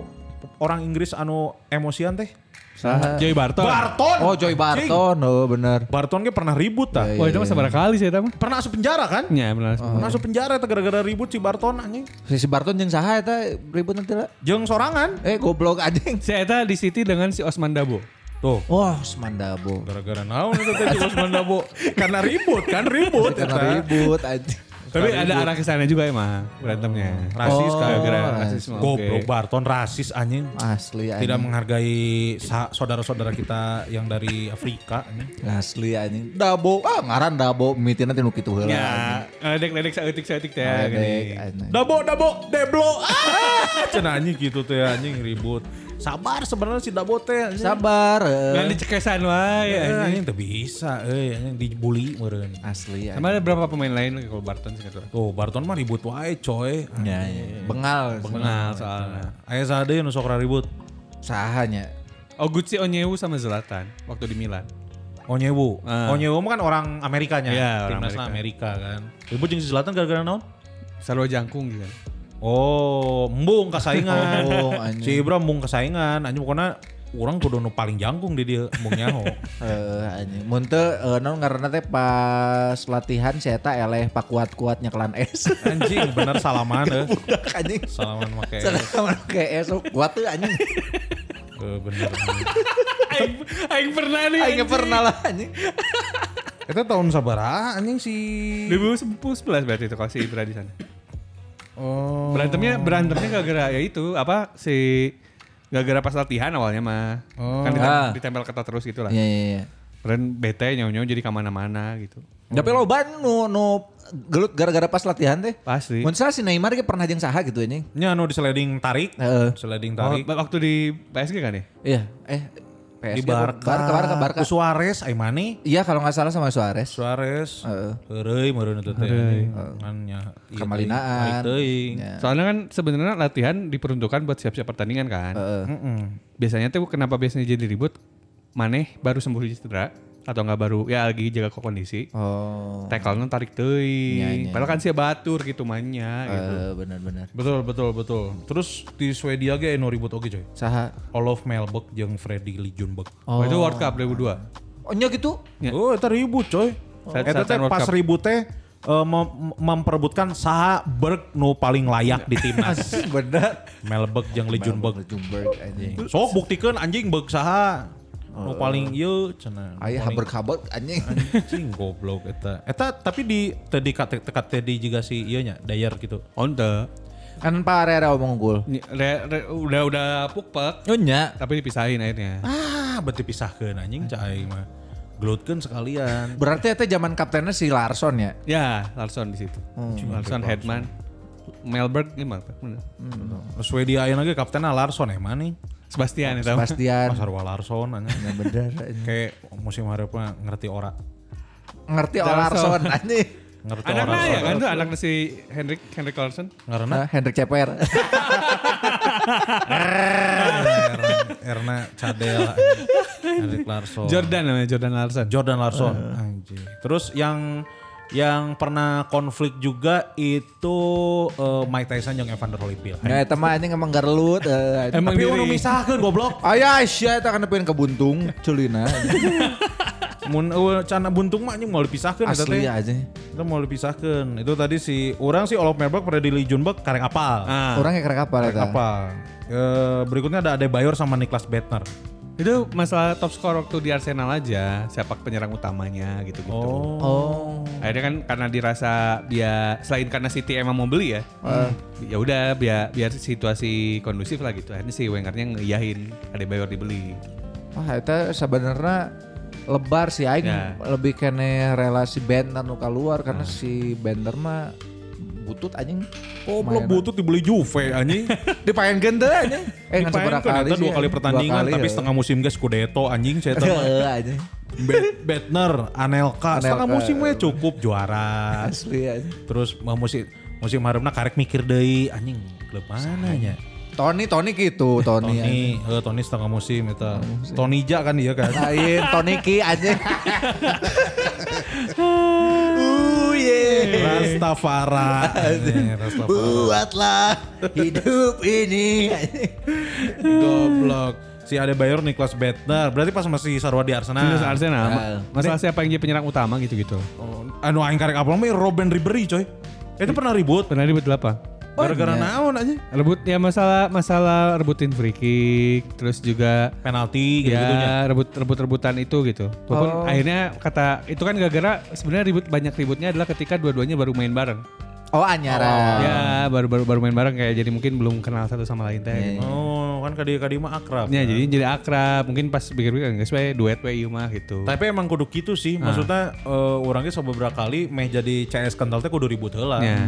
Speaker 6: orang Inggris anu emosian teh.
Speaker 7: Saha?
Speaker 1: Joy Ah. Barton.
Speaker 6: Barton.
Speaker 7: Oh, Joy Barton. Iya, Oh, bener.
Speaker 6: Barton ge pernah ribut tah.
Speaker 1: Wah, Nah, oh, itu mah seberapa kali sih itu mah?
Speaker 6: Pernah asup penjara kan?
Speaker 7: Oh,
Speaker 1: Ya, benar.
Speaker 7: iya.
Speaker 6: Pernah asup penjara eta gara-gara ribut si Barton anjing.
Speaker 7: Si si Barton jeung saha eta ribut nanti lah.
Speaker 6: Jeung sorangan.
Speaker 7: Eh, goblok anjing.
Speaker 1: Si Eta di City dengan si Osman Dabo.
Speaker 6: Tuh.
Speaker 7: Wah, Semandabo.
Speaker 6: Gara-gara naon itu teh si Usman
Speaker 7: [LAUGHS]
Speaker 6: Dabo. Karena ribut kan ribut.
Speaker 7: Karena
Speaker 6: eta.
Speaker 7: ribut anjing.
Speaker 1: Tapi ada arah ke sana juga emang berantemnya.
Speaker 6: Rasis kan.
Speaker 1: Gara-gara
Speaker 7: Oh,
Speaker 1: rasisme.
Speaker 6: Goblok
Speaker 1: oke.
Speaker 6: Barton rasis anjing.
Speaker 7: Asli anjing.
Speaker 6: Tidak menghargai sa- saudara-saudara kita yang dari Afrika anjing.
Speaker 7: Asli anjing. Dabo, ah ngaran Dabo, mitin nanti nu kitu heula.
Speaker 1: Ya, ledek-ledek saeutik-saeutik teh
Speaker 7: anjing.
Speaker 1: gini.
Speaker 7: Ledek, anjing.
Speaker 6: Dabo, dabo, deblo. Ah, Cenah anjing gitu tuh ya, anjing ribut. Sabar sebenarnya si dabo teh. anjing.
Speaker 7: Sabar. eh.
Speaker 1: Yang dicekesan ya, wae
Speaker 6: Eh,
Speaker 1: anjing.
Speaker 6: anjing teu bisa, eh anjing dibully meureun.
Speaker 7: Asli anjing.
Speaker 1: Sama ada berapa pemain lain kalau Barton sih gitu.
Speaker 6: Tuh, Barton mah ribut wae coy.
Speaker 7: Ya, ya, ya. Bengal.
Speaker 1: Nah, soalnya.
Speaker 6: Aya sadeu nu sok ribut.
Speaker 7: Sahanya.
Speaker 1: Oguchi Oh, Onyewu sama Zlatan waktu di Milan.
Speaker 6: Onyewu.
Speaker 1: Ah.
Speaker 6: Onyewu mah kan orang Amerikanya.
Speaker 1: Iya, orang
Speaker 6: Timnasna Amerika. kan. Ribut jeung si Selatan gara-gara naon?
Speaker 1: Sarwa Jangkung gitu. kan.
Speaker 6: Oh, embung kasaingan.
Speaker 7: Oh, anjing.
Speaker 6: si Ibra embung kasaingan. Anjing pokoknya orang kudu nu paling jangkung di dia embung nyaho.
Speaker 7: Eh, anjing. Mun teu eh, naon ngaranna teh pas latihan si eta eleh pakuat-kuatnya kelan es. [LAUGHS]
Speaker 6: Anjing bener salaman eh.
Speaker 7: Budak anjing.
Speaker 6: Salaman make.
Speaker 7: Sama kayak es oh, kuat tuh
Speaker 1: [LAUGHS]
Speaker 7: anjing.
Speaker 6: Eh, bener.
Speaker 1: Aing pernah nih.
Speaker 7: Aing pernah lah anjing.
Speaker 6: Itu tahun sabaraha anjing si
Speaker 1: 2011 berarti itu kalau si Ibra di sana. Oh. Berantemnya berantemnya gara-gara ya itu apa si gara-gara pas latihan awalnya mah. Kan ditem-
Speaker 7: Ah.
Speaker 1: ditempel ketat terus gitu lah.
Speaker 7: Iya iya iya.
Speaker 1: Keren bete nyawa-nyawa jadi kemana-mana gitu.
Speaker 7: Tapi lo ban nu nu gelut gara-gara pas latihan teh.
Speaker 1: Pasti.
Speaker 7: Mun salah si Neymar ge pernah jeung saha gitu anjing.
Speaker 6: nya anu di sliding tarik.
Speaker 7: Heeh.
Speaker 6: Sliding
Speaker 1: Oh,
Speaker 6: tarik.
Speaker 1: ba- waktu di PSG kan ya?
Speaker 7: Iya, eh
Speaker 6: di
Speaker 7: PSG apa?
Speaker 6: Barca.
Speaker 7: Barca, Barca, Barca.
Speaker 6: Ku Suarez, Aimani.
Speaker 7: Iya kalau nggak salah sama Suarez.
Speaker 6: Suarez.
Speaker 7: Heeh.
Speaker 6: Heureuy meureun eta teh. Kan nya ieu
Speaker 7: Kemalinaan.
Speaker 6: tarik teuing.
Speaker 7: Eh. Ya.
Speaker 1: Soalnya kan sebenarnya latihan diperuntukkan buat siap-siap pertandingan kan.
Speaker 6: Heeh.
Speaker 1: Biasanya tuh kenapa biasanya jadi ribut? Maneh baru sembuh dari cedera atau nggak baru ya lagi jaga kok kondisi.
Speaker 7: Oh,
Speaker 1: Tackle-nya tarik teuing.
Speaker 7: Iya, iya.
Speaker 1: Padahal kan sih batur gitu mainnya gitu.
Speaker 7: eh, benar-benar.
Speaker 6: Betul, betul, betul. Terus di Swedia ge anu ribut oge coy.
Speaker 7: Saha?
Speaker 6: Olof Melbek jeung Freddy Ljungberg.
Speaker 1: Oh. Itu World Cup 2002.
Speaker 7: Oh, nya [LAUGHS] gitu?
Speaker 1: Ya.
Speaker 6: Oh, eta ribut coy.
Speaker 1: Saat-
Speaker 6: Eta teh
Speaker 1: saatan World
Speaker 6: pas
Speaker 1: Cup.
Speaker 6: ribut teh eh, mem- memperebutkan saha Berg nu paling layak di
Speaker 1: [LAUGHS]
Speaker 6: timnas.
Speaker 7: Bener.
Speaker 6: Melbek jeung Ljungberg.
Speaker 7: Jumberg anjing.
Speaker 6: Sok buktikan anjing Berg saha
Speaker 1: Eh.
Speaker 6: nu paling ieu cenah. Nu
Speaker 7: Aya
Speaker 6: paling-
Speaker 7: haber-haber anjing.
Speaker 6: Anjing goblok eta. Eta tapi di tadi kat tekat tadi juga si ieu nya Dayar gitu.
Speaker 1: Onte.
Speaker 7: [LAUGHS] Kan Pak Rera omong gul.
Speaker 1: Ny- re- re- udah udah pukpek
Speaker 7: Oh, nya.
Speaker 1: tapi dipisahin akhirnya.
Speaker 6: Ah, berarti pisahkeun anjing cai aing mah. Gelutkeun sekalian.
Speaker 7: Berarti itu zaman kaptennya si Larson ya?
Speaker 1: Ya, Larson di situ. Larson Headman. Melberg gimana? Bener.
Speaker 6: Swedia ayeuna ge kaptenna Larsson emang nih.
Speaker 1: Sebastian ya, itu.
Speaker 7: Sebastian.
Speaker 6: Pasarwa Larsson anjing.
Speaker 7: Nah, [LAUGHS] bener. anjing.
Speaker 6: Kayak musim harapnya ngerti ora.
Speaker 7: Ngerti orang Larson [LAUGHS] anjing.
Speaker 6: Ngerti
Speaker 1: Anaknya
Speaker 6: ora.
Speaker 1: ya kan tuh anaknya si Henrik Henrik Larson.
Speaker 6: Karena
Speaker 7: Nah, Hendrik [LAUGHS] CPR.
Speaker 6: Erna [LAUGHS] Cadel, Erik Larsson.
Speaker 1: Jordan namanya Jordan Larson.
Speaker 6: Jordan Larson. Anjing. Terus yang yang pernah konflik juga itu eh, Mike Tyson yang Evander Holyfield.
Speaker 7: Nah, itu mah anjing emang garlut. eh,
Speaker 1: Emang
Speaker 6: Tapi
Speaker 1: diri.
Speaker 6: unu misahkeun goblok.
Speaker 7: Ayah Aisyah itu kan pengen kebuntung [LAUGHS] culina
Speaker 6: Mun eueuh, cana buntung mah anjing mau dipisahkeun eta
Speaker 7: asli
Speaker 6: teh.
Speaker 7: aja.
Speaker 6: Kita mau dipisahkeun. Itu tadi si orang si Olof Melberg pada di Lee Junberg kareng apal.
Speaker 1: Ah.
Speaker 7: Orang kayak kerek apa
Speaker 6: Kareng
Speaker 7: eta?
Speaker 6: apal. Eh, berikutnya ada Adebayor sama Niklas Bettner.
Speaker 1: Itu Itu masalah top skor waktu di Arsenal aja, siapa penyerang utamanya gitu-gitu.
Speaker 7: Oh.
Speaker 1: Akhirnya kan karena dirasa dia selain karena City emang mau beli ya. Ya udah biar biar situasi kondusif lah gitu. Akhirnya si Wengernya ngeiyahin ada bayar dibeli.
Speaker 7: Wah, itu sebenarnya lebar sih aing
Speaker 1: Ya.
Speaker 7: lebih kene relasi Benter nu keluar
Speaker 6: Ah.
Speaker 7: karena si Benter mah butut anjing.
Speaker 6: Oh, belum
Speaker 7: Mainan.
Speaker 6: butut dibeli Juve anjing. [LAUGHS]
Speaker 7: Dipaengkeun teh anjing. Eh ngan
Speaker 6: Dipaen
Speaker 7: sabaraha
Speaker 6: kan
Speaker 7: kali
Speaker 6: eta
Speaker 7: sih,
Speaker 6: dua kali
Speaker 7: anjing.
Speaker 6: pertandingan
Speaker 7: Dua kali,
Speaker 6: tapi
Speaker 7: ya.
Speaker 6: setengah musim guys kudeto anjing saya [LAUGHS] tahu.
Speaker 7: [LAUGHS] Heeh anjing.
Speaker 6: Bet- Betner, Anelka, setengah
Speaker 7: Anelka.
Speaker 6: musim we cukup juara.
Speaker 7: Asli anjing.
Speaker 6: Terus mau musim musim haremna karek mikir deui anjing klub mana nya?
Speaker 7: Tony Tony gitu, Tony. anjing.
Speaker 6: Tony, eh Tony setengah musim eta. Tony Ja kan dia [LAUGHS] kan.
Speaker 7: Lain Tony Ki
Speaker 6: [LAUGHS]
Speaker 7: anjing. Uh yeah.
Speaker 6: Rastafara. Iya. Anjing, Rastafara.
Speaker 7: Buatlah hidup ini. anjing.
Speaker 6: Goblok. Si ada Bayer Niklas Betner. Berarti pas masih Sarwa di Arsenal.
Speaker 1: Terus Arsenal, ma-
Speaker 7: Ah.
Speaker 1: masalah siapa yang jadi penyerang utama gitu-gitu.
Speaker 6: Oh, anu aing karek apal mah Robben Ribery coy. Itu pernah ribut.
Speaker 1: Pernah ribut apa?
Speaker 6: Gara-gara naon aja.
Speaker 1: Rebut ya masalah masalah rebutin free kick, terus juga
Speaker 6: Penalti gitu gitunya.
Speaker 1: ya rebut rebut rebutan itu gitu. Walaupun akhirnya kata itu kan gara-gara sebenarnya ribut banyak ributnya adalah ketika dua-duanya baru main bareng.
Speaker 7: Oh
Speaker 6: Ah.
Speaker 7: Anyara.
Speaker 1: Ya baru baru baru main bareng kayak jadi mungkin belum kenal satu sama lain teh. gitu.
Speaker 6: Oh, kan kadi kadi mah akrab.
Speaker 1: Ya jadi jadi akrab, mungkin pas pikir-pikir guys we duet we ieu mah gitu.
Speaker 6: Tapi emang kudu gitu sih,
Speaker 1: Ah.
Speaker 6: maksudnya eh, orangnya beberapa kali meh jadi CS kental teh kudu ribut heula.
Speaker 1: Ya.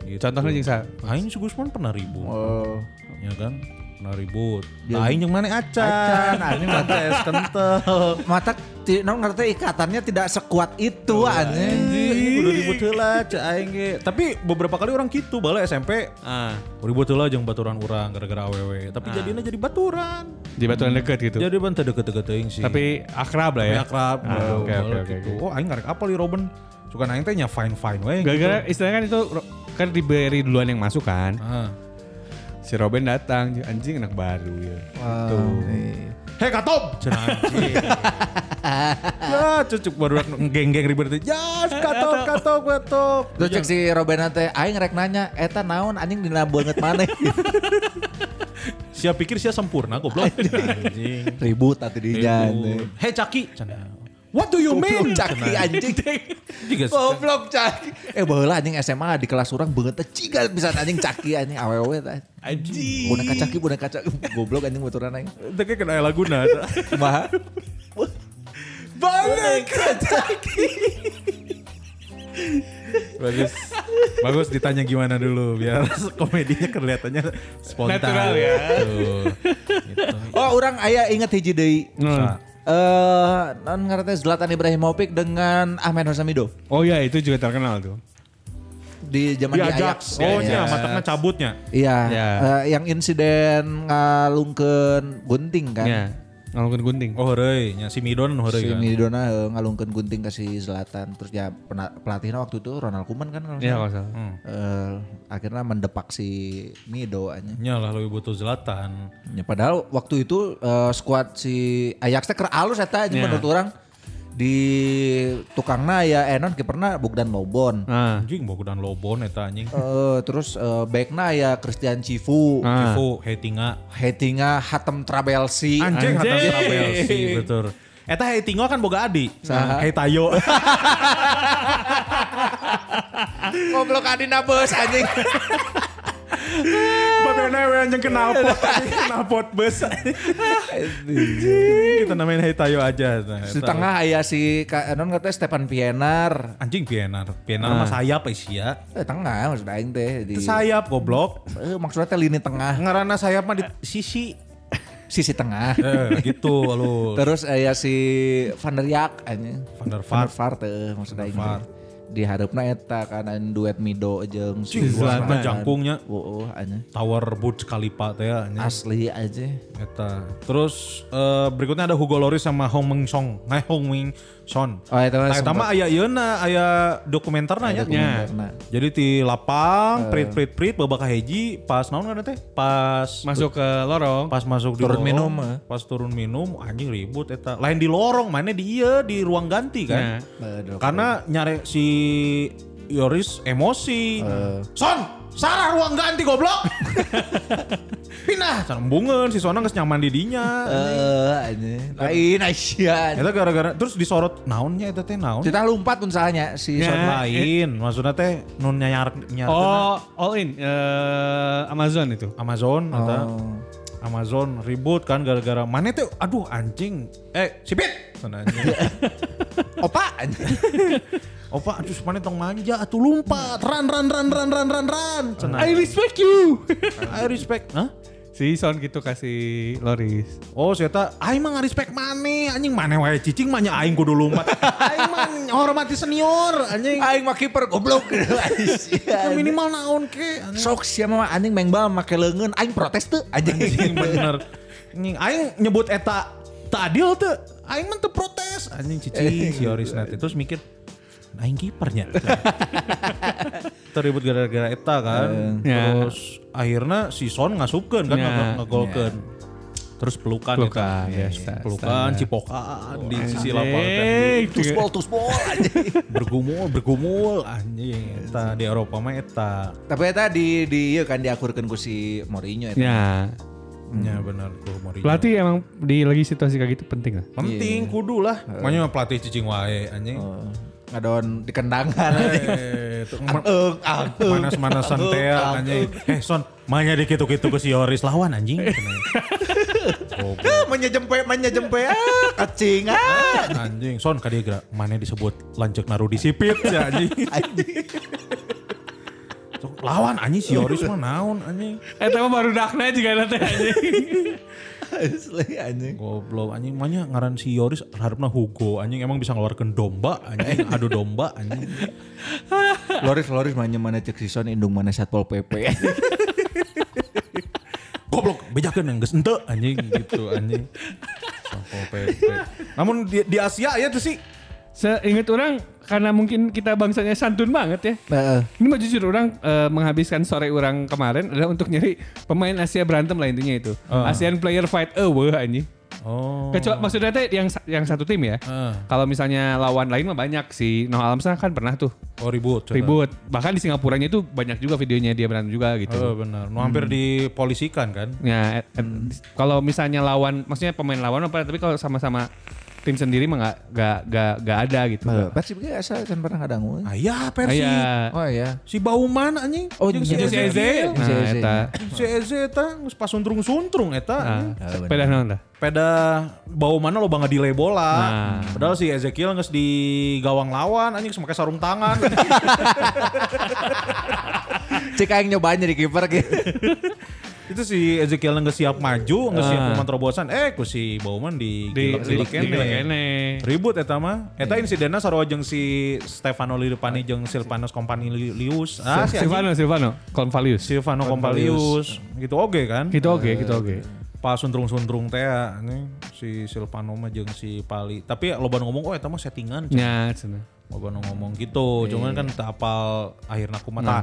Speaker 6: Gitu.
Speaker 1: Contohnya jeung sa-
Speaker 6: Aing si Gusman pernah ribut.
Speaker 7: Oh.
Speaker 6: Ya kan? Pernah ribut.
Speaker 1: Iya.
Speaker 6: Nah, aing jeung mana acan.
Speaker 7: Acan,
Speaker 6: aing mah CS kental.
Speaker 1: [LAUGHS]
Speaker 7: Mata ti- non ngerti ikatannya tidak sekuat itu anjing.
Speaker 6: Anjing, kudu ribut heula cek aing ge. Tapi beberapa kali orang gitu bala SMP
Speaker 1: ah,
Speaker 6: ribut heula jeung baturan orang gara-gara awewe, tapi jadinya jadi baturan.
Speaker 1: di batuan deket gitu.
Speaker 6: Jadi ban teu deket-deket teuing sih.
Speaker 1: Tapi akrab lah
Speaker 6: Tapi
Speaker 1: ya.
Speaker 6: Iya. akrab.
Speaker 1: Ah,
Speaker 6: gitu,
Speaker 1: oke, oke,
Speaker 6: bala
Speaker 1: oke,
Speaker 6: gitu. Oh, aing ngarek apa li Robin? Suka aing teh nya fine-fine we.
Speaker 1: Gara-gara istilahnya kan itu ro- kan diberi duluan yang masuk kan.
Speaker 6: Ah.
Speaker 1: Si Robin datang, anjing anak baru ya. iya.
Speaker 6: Hei Katop! Cenah anjing. ya cucuk baru geng-geng ribet itu. Ya Katop, Katop, Katop.
Speaker 7: Terus cek si Robena teh aing rek nanya, eta naon anjing dina banget maneh.
Speaker 6: Sia pikir sia sempurna goblok. Cenah [LAUGHS] anjing.
Speaker 7: Ribut atuh di jalan.
Speaker 6: Hei Caki! Cenah. What do you mean?
Speaker 7: caki
Speaker 6: Cenah. [LAUGHS]
Speaker 7: anjing.
Speaker 6: Jiga sih.
Speaker 7: Goblok caki. Eh baheula anjing SMA di kelas urang beungeut teh ciga pisan anjing caki anjing awewe teh. Anjing. Boneka caki boneka caki [LAUGHS] goblok anjing motoran aing.
Speaker 6: Itu kayak kena laguna.
Speaker 7: Kumaha? Boneka caki.
Speaker 6: Bagus. Bagus ditanya gimana dulu biar [LAUGHS] komedinya kelihatannya spontan.
Speaker 1: Natural ya.
Speaker 6: Tuh. Gitu.
Speaker 7: Oh urang aya inget hiji deui.
Speaker 1: Nah.
Speaker 7: Eh, non ngerti Zlatan Ibrahimovic dengan Ahmed Hosamido
Speaker 1: Oh iya itu juga terkenal tuh.
Speaker 7: di zaman di
Speaker 6: Diajak.
Speaker 7: Ajax.
Speaker 6: Oh
Speaker 7: Iya.
Speaker 6: nya, matangnya cabutnya.
Speaker 7: Iya,
Speaker 1: Ya.
Speaker 7: eh, yang insiden ngalungkeun gunting kan.
Speaker 1: Iya. Ngelakuin gunting.
Speaker 6: Oh horei, nya si Midon horei
Speaker 7: Si
Speaker 6: kan.
Speaker 7: Midona eh, ngalungkeun gunting ke si Zlatan terus ya pena- pelatihnya waktu itu Ronald Koeman kan kalau
Speaker 1: Iya
Speaker 7: nggak
Speaker 1: kalau
Speaker 7: salah.
Speaker 1: salah.
Speaker 7: Eh, akhirnya mendepak si Mido aja.
Speaker 6: Nya lah lebih butuh Zlatan.
Speaker 7: Ya, padahal waktu itu eh, skuad si Ajax teh keur alus eta
Speaker 6: Iya.
Speaker 7: aja menurut orang di tukangna ya Enon kiperna Bogdan Lobon.
Speaker 1: Nah.
Speaker 6: Anjing baku dan Lobon eta anjing.
Speaker 7: Eh, terus eh, backna ya Christian Cifu,
Speaker 1: Ah.
Speaker 6: Kifu, Hetinga.
Speaker 7: headingnya Hatem Trabelsi.
Speaker 6: Anjing, kata
Speaker 1: Anjing.
Speaker 6: Trabelsi, betul. Eta Hetinga kan boga adi.
Speaker 7: Saha?
Speaker 6: [LAUGHS] Hetayo.
Speaker 7: Goblok Adina bus
Speaker 6: [LAUGHS]
Speaker 7: anjing.
Speaker 6: Babena we anjing kenal pot. Kenal pot bus. [LAUGHS] Anjing, Kita namain Hetayo aja. Nah,
Speaker 7: Di
Speaker 6: eta.
Speaker 7: tengah aya si Ka- non katanya Stefan Pienaar.
Speaker 6: Anjing Pienar. Pienar mah sayap eh, sia.
Speaker 7: Eh, tengah maksud aing teh di
Speaker 6: Itu sayap goblok.
Speaker 7: Eh, maksudnya teh lini tengah,
Speaker 6: Iya. Ngarana sayap mah di sisi.
Speaker 7: sisi tengah.
Speaker 6: Eh, gitu lu.
Speaker 7: Terus aya si Van der Yak anjing.
Speaker 6: Van der
Speaker 7: Van
Speaker 6: Vaart.
Speaker 7: der Vaart eh, teh maksud aing.
Speaker 6: Van der Vaart.
Speaker 7: Di hareup eta karena duet Mido jeung si
Speaker 6: Cih,
Speaker 7: Zlatan.
Speaker 6: Zlatan jangkungnya. Iya.
Speaker 7: Heeh, anjing.
Speaker 6: Tower Burj Khalifa teh anjing.
Speaker 7: Asli aja.
Speaker 6: Eta. Terus eh, berikutnya ada Hugo Loris sama Hong Ming Song. Nah, Hong Ming Son.
Speaker 7: Oh, eta mah
Speaker 6: Nah, eta mah aya ieuna aya dokumenterna nya. Nya.
Speaker 7: dokumenterna. Eh.
Speaker 6: Jadi ti lapang, prit prit prit babak hiji pas naon ngaran teh? Pas
Speaker 1: Masuk ke lorong.
Speaker 6: pas masuk di
Speaker 7: Turun
Speaker 6: lorong,
Speaker 7: minum, eh.
Speaker 6: Pas turun minum anjing ribut eta. Lain di lorong, mana di ieu di ruang ganti
Speaker 7: Iya.
Speaker 1: Nah.
Speaker 6: kan.
Speaker 7: Aduh.
Speaker 6: Karena nyari si Yoris emosi. Son, Sarah ruang ganti goblok. Pindah, cara bungeun si Sona geus nyaman di dinya.
Speaker 7: Eh, anjing. Lain Aisyah.
Speaker 6: Eta gara-gara terus disorot naonnya eta teh naon?
Speaker 7: Kita lumpat pun salahnya si
Speaker 6: Sorot
Speaker 7: Sotma.
Speaker 6: lain, maksudnya teh nun nyayarak nyayarak
Speaker 1: Oh, all in eh, Amazon itu.
Speaker 6: Amazon eta.
Speaker 7: Oh.
Speaker 6: Amazon ribut kan gara-gara mana teh aduh anjing. Eh, sipit. Cenah anjing.
Speaker 7: Opa anjing.
Speaker 6: Opa, Oh, aduh mana tong manja atuh lompat. Ran ran ran ran ran ran ran. Cenah.
Speaker 11: I respect you.
Speaker 6: [LAUGHS] I respect. Hah?
Speaker 1: Si Son gitu kasih Loris.
Speaker 6: Oh, saya tak, aing mah respect mana, anjing mana wae cicing mah nya aing kudu [LAUGHS] lompat. aing mah hormati senior, anjing.
Speaker 7: Aing mah kiper goblok.
Speaker 6: Ya,
Speaker 7: Aisyah.
Speaker 6: minimal naon ke. anjing.
Speaker 7: Sok siapa mah anjing mengbal make leungeun aing protes tuh
Speaker 6: Anjing
Speaker 7: anjing.
Speaker 6: bener. Iya, Anjing aing nyebut eta tak adil teu. Aing mah teu protes. Anjing cicing si Yoris nanti terus mikir aing [LAUGHS] kipernya. Teribut gara-gara eta kan.
Speaker 1: Ya.
Speaker 6: Terus akhirnya si Son ngasupkeun kan
Speaker 1: Ya.
Speaker 6: yeah. ngegolkeun. Terus pelukan,
Speaker 1: Pelukan,
Speaker 6: eta. Iya,
Speaker 1: biasa,
Speaker 6: pelukan
Speaker 1: standar.
Speaker 6: cipokan di sisi lapangan teknik.
Speaker 1: Eh, itu
Speaker 7: Tuspol tuspol anjing.
Speaker 6: bergumul bergumul anjing eta di Eropa mah eta
Speaker 7: Tapi eta di di ieu kan diakurkeun ku si Mourinho kan? eta.
Speaker 1: Ya,
Speaker 6: ya benar ku Mourinho.
Speaker 1: pelatih emang di lagi situasi kayak gitu penting lah.
Speaker 6: penting kudu lah makanya pelatih cicing wae anjing
Speaker 1: Oh,
Speaker 7: Ngadon di kendangan. Iya.
Speaker 6: Eh, itu ma-
Speaker 7: Ang, ang, ang.
Speaker 6: manas-manasan
Speaker 7: Ang,
Speaker 6: teh
Speaker 7: ang,
Speaker 6: anjing eh son mahnya dikitu-kitu ke si Yoris lawan anjing Goblok,
Speaker 7: Menyejempe, menyejempe, ah, kacing, ah.
Speaker 6: anjing son kadieu gerak mana disebut lanjut naruh di sipit ya anjing Sok, lawan anjing si Yoris mah naon anjing
Speaker 1: Eh, tapi baru dakna juga nanti aja. [LAUGHS]
Speaker 7: Asli anjing.
Speaker 6: Goblok anjing mana ngaran si Yoris harapna Hugo anjing emang bisa ngeluarkan domba anjing adu domba anjing
Speaker 7: Loris, Loris mana mana cek sison, indung mana satpol PP.
Speaker 6: goblok bejakeun yang geus ente anjing gitu anjing Satpol PP. Namun di, di Asia ya tuh sih
Speaker 1: Seingat orang, karena mungkin kita bangsanya santun banget ya.
Speaker 7: [LAUGHS] Heeh.
Speaker 1: Ini mah jujur orang eh, menghabiskan sore orang kemarin adalah untuk nyari pemain Asia berantem lah intinya itu. ASEAN Player Fight Award anjing.
Speaker 6: Ah. Oh.
Speaker 1: Kecuali maksudnya teh yang sa- yang satu tim ya.
Speaker 6: Ah.
Speaker 1: Kalau misalnya lawan lain mah banyak si Noh Alamsah kan pernah tuh
Speaker 6: Oh ribut. coba.
Speaker 1: ribut. Bahkan di Singapuranya itu banyak juga videonya dia berantem juga gitu.
Speaker 6: Oh benar. Nu hampir dipolisikan kan.
Speaker 1: Ya, et- et- kalau misalnya lawan, maksudnya pemain lawan apa? Tapi kalau sama-sama tim sendiri mah nggak nggak nggak nggak ada gitu.
Speaker 7: Persib ge asal kan pernah ngadangu.
Speaker 6: Ayah Ah, Persi.
Speaker 1: Iya.
Speaker 7: Oh iya.
Speaker 6: Si Bauman anjing.
Speaker 7: Oh,
Speaker 6: Jeung
Speaker 7: jeung si
Speaker 6: Ezekiel.
Speaker 7: Eze.
Speaker 1: Nah,
Speaker 7: Eze.
Speaker 1: eta.
Speaker 6: Si Eze eta geus pasuntrung-suntrung eta.
Speaker 1: Nah,
Speaker 6: anjing.
Speaker 1: sepeda naon tah?
Speaker 6: Peda Bauman lo bangga delay bola.
Speaker 1: Nah.
Speaker 6: Padahal si Ezekiel geus di gawang lawan anjing geus make sarung tangan.
Speaker 1: [LAUGHS]
Speaker 7: Cek aing nyobaan jadi kiper gitu.
Speaker 6: itu si Ezekiel nggak siap maju nggak siap
Speaker 1: Ah.
Speaker 6: momen terobosan eh ku si Bauman di
Speaker 1: Di
Speaker 6: gilak-
Speaker 1: di
Speaker 6: gilak
Speaker 1: di-
Speaker 6: kene.
Speaker 1: kene. Iya.
Speaker 6: ribut eta mah eta insidennya sarua jeung si Stefano Lirpani jeung Silvanos Kompanilius ah si anjing.
Speaker 1: Silvano, Silvano, Convalius.
Speaker 6: Silvano Kompalius gitu oge kan
Speaker 1: Gitu oke, gitu oge.
Speaker 6: pas sundrung-sundrung teh nih si Silvano mah jeung si Pali tapi loba nu ngomong oh eta mah settingan
Speaker 1: Nya, cenah.
Speaker 6: loba nu ngomong gitu
Speaker 1: Iya.
Speaker 6: cuman kan tak apal akhirna
Speaker 1: Nah.
Speaker 6: kumaha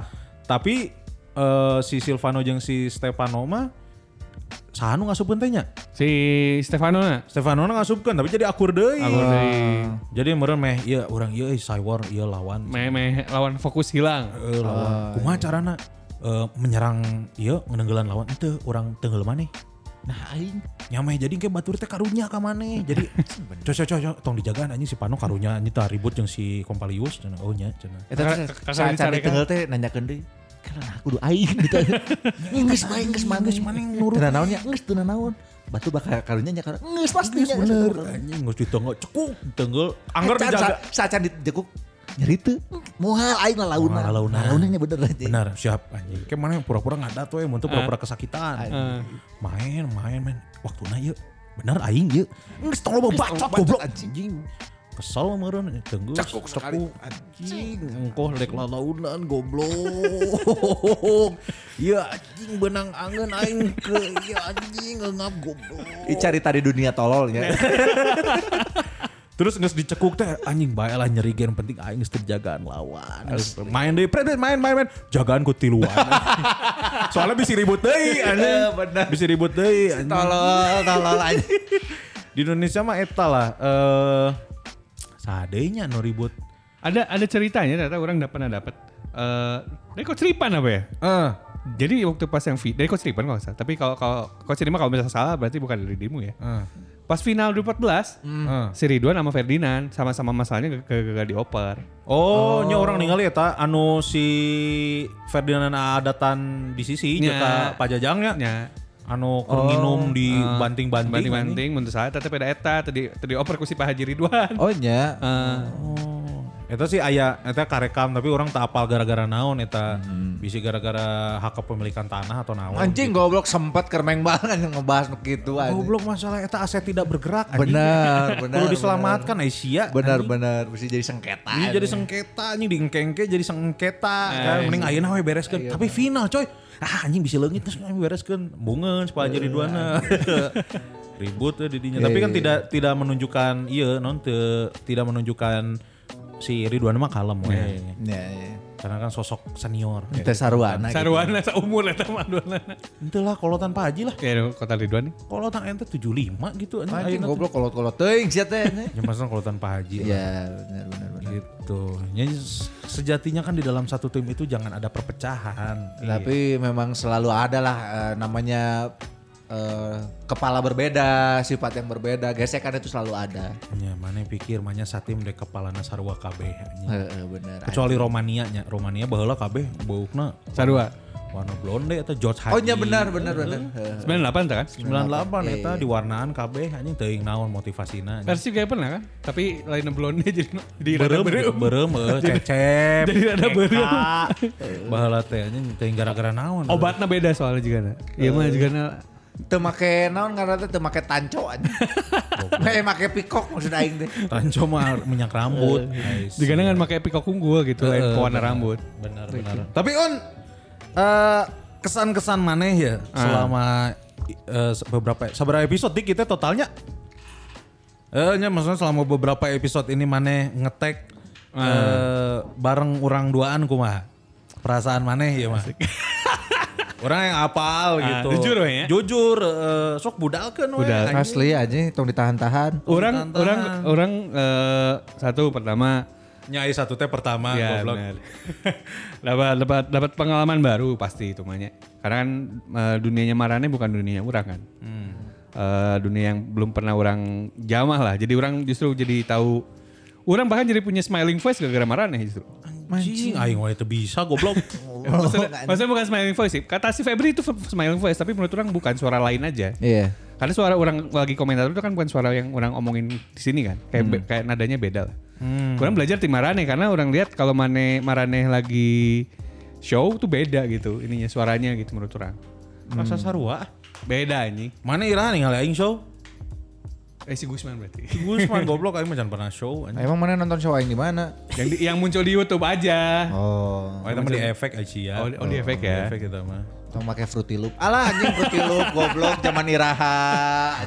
Speaker 6: tapi eh, si Silvano jeung si Stefano mah sanu ngasupeun teh nya
Speaker 1: Si Stefano nah, na.
Speaker 6: Stefano ngasupkan tapi jadi akur deui. Ah.
Speaker 1: Akur deui.
Speaker 6: Jadi meureun meh ieu urang ieu euy, cyber ieu lawan.
Speaker 1: Meh Ah, iya. meh lawan fokus hilang.
Speaker 6: Euy, lawan. Kumaha carana Eh, menyerang ieu ngeunggelan lawan teu urang teu maneh.
Speaker 7: Nah aing.
Speaker 6: Nyameh jadi ke batur teh karunya ka maneh. [LAUGHS] Jadi cocok cocok tong dijagaan anjing si Pano karunya anjing tah ribut jeung si Kompalius cenah. Oh nya cenah.
Speaker 7: Eta
Speaker 1: Kakak- kakak
Speaker 7: teh saat
Speaker 1: dicarekan.
Speaker 7: cari kan? tengel teh nanyakeun deui. Karena aku udah aing [LAUGHS] gitu. Nges main, nges main, nges main, nurut. Tuna naonnya, nges tuna naon. Batu bakal karunya nya karena Eh, nges pastinya.
Speaker 6: Geus bener anjing geus ditenggel cekuk tenggel angger dijaga.
Speaker 7: Saat cari jekuk nyeritu. Mual aing lalauna.
Speaker 6: Moal lalauna.
Speaker 7: Lalaunanya bener aja.
Speaker 6: Benar, siap anjing. Kayak mana yang pura-pura ngadat we mun teu pura-pura kesakitan. Main, main, main. Waktuna ieu. Bener aing ieu. Geus tong loba bacot goblok anjing. Kesel meureun tenggeus. Cekuk cekuk anjing. Engkoh lek lalaunan goblok. [LAUGHS] Ieu anjing benang angeun aing ke ieu anjing ngeungap goblok.
Speaker 7: Icari tadi dunia tolol ya.
Speaker 6: Terus nges dicekuk teh anjing bae lah nyeri gen penting aing geus teu jagaan lawan. Geus Main deui pret pret, main main main jagaan ku [LAUGHS] tiluan. Soalnya bisa ribut deui anjing. Iya, Bisa ribut deui anjing.
Speaker 7: [LAUGHS] Tolol, tolol aja.
Speaker 6: Di Indonesia mah eta lah eh sadenya nu ribut.
Speaker 1: Ada ada ceritanya ternyata orang dapat pernah dapat. Eh, dari Coach Ripan apa ya?
Speaker 6: Eh,
Speaker 1: Jadi waktu pas yang fi- dari Coach Ripan kalau nggak salah. Tapi kalau kalau Coach Ripan kalau misalnya salah berarti bukan dari demo ya.
Speaker 6: Ah.
Speaker 1: Pas final 2014,
Speaker 6: Hmm.
Speaker 1: Ah. si Ridwan sama Ferdinand sama-sama masalahnya gagal gagal dioper.
Speaker 6: Oh, nya orang ningali eta anu si Ferdinand Adatan di sisi
Speaker 7: Iya.
Speaker 1: Nya.
Speaker 6: jeung pajajangnya.
Speaker 1: Ya.
Speaker 6: Anu
Speaker 7: Oh,
Speaker 6: keur nginum di
Speaker 7: ah.
Speaker 6: banting-banting.
Speaker 1: Banting-banting menurut saya tapi ada eta tadi tadi oper ku si Pak Haji Ridwan. [LAUGHS]
Speaker 7: Oh nya.
Speaker 1: Eh,
Speaker 6: Eta sih aya eta karekam tapi orang tak apal gara-gara naon eta.
Speaker 7: Hmm.
Speaker 6: Bisa gara-gara hak kepemilikan tanah atau naon.
Speaker 7: Anjing goblok sempat kermeng banget [LAUGHS] yang ngebahas nu kitu anjing.
Speaker 6: Goblok masalah eta aset tidak bergerak anjing.
Speaker 7: Benar, benar.
Speaker 6: Perlu diselamatkan Aisyah.
Speaker 7: Benar, benar. Mesti Iya, jadi sengketa.
Speaker 6: Ini
Speaker 7: anjing.
Speaker 6: Iya jadi sengketa anjing diengkengke jadi sengketa kan mending ayeuna we bereskeun. Tapi final coy. Ah anjing bisa leungit terus kami bereskeun. Bungeun sepala jadi duana. [LAUGHS] Ribut ya didinya. Tapi kan tidak tidak menunjukkan iya non teu- tidak menunjukkan si Ridwan mah kalem we.
Speaker 7: Ya, ya.
Speaker 6: Karena kan sosok senior.
Speaker 7: Teh sarwana. gitu.
Speaker 1: Sarwana seumur eta mah duanana.
Speaker 6: Ente lah kalau tanpa Haji lah.
Speaker 1: Ya kota Ridwan nih.
Speaker 6: Kalau tanpa ente 75 gitu anjing.
Speaker 7: Anjing
Speaker 6: ayeuna tuh. Iya.
Speaker 7: goblok kolot-kolot teuing sia teh.
Speaker 6: Ya maksudnya kalau tanpa Haji lah.
Speaker 7: Ya, benar benar benar.
Speaker 6: Gitu. Ya, sejatinya kan di dalam satu tim itu jangan ada perpecahan.
Speaker 7: Tapi memang selalu ada lah eh, namanya eh, kepala berbeda, sifat yang berbeda, gesekan itu selalu ada.
Speaker 6: Ya, mana pikir mana satim dek kepala sarua kabeh.
Speaker 1: Iya.
Speaker 6: anjing.
Speaker 7: Heeh, bener.
Speaker 6: Kecuali Romania nya. Romania baheula kabeh baukna
Speaker 1: Sarua.
Speaker 6: warna blonde atau George Haji.
Speaker 7: Oh iya benar benar benar. Heeh.
Speaker 1: 98 tak kan?
Speaker 6: 98 eta diwarnaan kabeh anjing teuing naon motivasina. anjing.
Speaker 1: Versi kayak pernah kan? Tapi lain blonde jadi jadi rada
Speaker 6: Berem,
Speaker 1: berem.
Speaker 6: berem, eh, cecep,
Speaker 1: jadi rada berem.
Speaker 6: bahala teh anjing teuing gara-gara naon.
Speaker 1: Obatnya beda soalnya juga. na. Iya mah juga na.
Speaker 7: Teu make naon karena teh teu make tanco anjing. Kayak make pikok maksud aing teh.
Speaker 6: Ranco mah minyak
Speaker 1: Eh,
Speaker 6: rambut. I see.
Speaker 1: Juga na kan pakai pikok unggul gitu lain pewarna rambut.
Speaker 6: benar benar tapi on eh, kesan-kesan maneh ya
Speaker 1: Ah.
Speaker 6: selama eh, se- beberapa seberapa episode dik kita totalnya eh nya maksudnya selama beberapa episode ini maneh ngetek
Speaker 1: Ah.
Speaker 6: eh bareng orang duaan kumaha perasaan maneh ya mah [LAUGHS] orang yang apal gitu
Speaker 1: jujur we ya?
Speaker 6: jujur eh, sok budalkeun we
Speaker 1: Budal.
Speaker 6: anjing.
Speaker 7: Asli aja tong ditahan-tahan.
Speaker 1: Orang
Speaker 6: Tantangan.
Speaker 1: orang orang eh, satu pertama
Speaker 6: nyai satu teh pertama
Speaker 1: ya
Speaker 6: goblok.
Speaker 1: benar. [LAUGHS] dapat dapat dapat pengalaman baru pasti itu mahnya. Karena kan eh, dunianya Marane bukan dunianya orang kan. Eh, dunia yang belum pernah orang jamah lah. Jadi orang justru jadi tahu orang bahkan jadi punya smiling face gara-gara Marane justru.
Speaker 6: anjing aing wae teu bisa
Speaker 1: [LAUGHS]
Speaker 6: goblok
Speaker 1: Maksudnya, maksudnya bukan smiling voice sih. Kata si Febri itu f- smiling voice, tapi menurut orang bukan suara lain aja.
Speaker 7: Iya.
Speaker 1: Karena suara orang lagi komentator itu kan bukan suara yang orang omongin di sini kan. Kayak be- kayak nadanya beda lah. Orang belajar tim Marane karena orang lihat kalau Mane Marane lagi show tuh beda gitu ininya suaranya gitu menurut orang.
Speaker 6: masa sarua
Speaker 1: Beda anjing.
Speaker 6: mana irahan ningali aing show
Speaker 1: Eh si Gusman berarti.
Speaker 6: Gusman goblok aing mah jangan pernah show anjing.
Speaker 7: Emang mana nonton show aing di mana?
Speaker 1: yang di- yang muncul di YouTube aja.
Speaker 7: Oh,
Speaker 6: Oh, itu mah di efek aja ya.
Speaker 1: Oh, di- oh, di efek ya.
Speaker 6: Di efek itu mah.
Speaker 7: tong make Fruity Loop. Alah anjing Fruity Loop goblok zaman Iraha.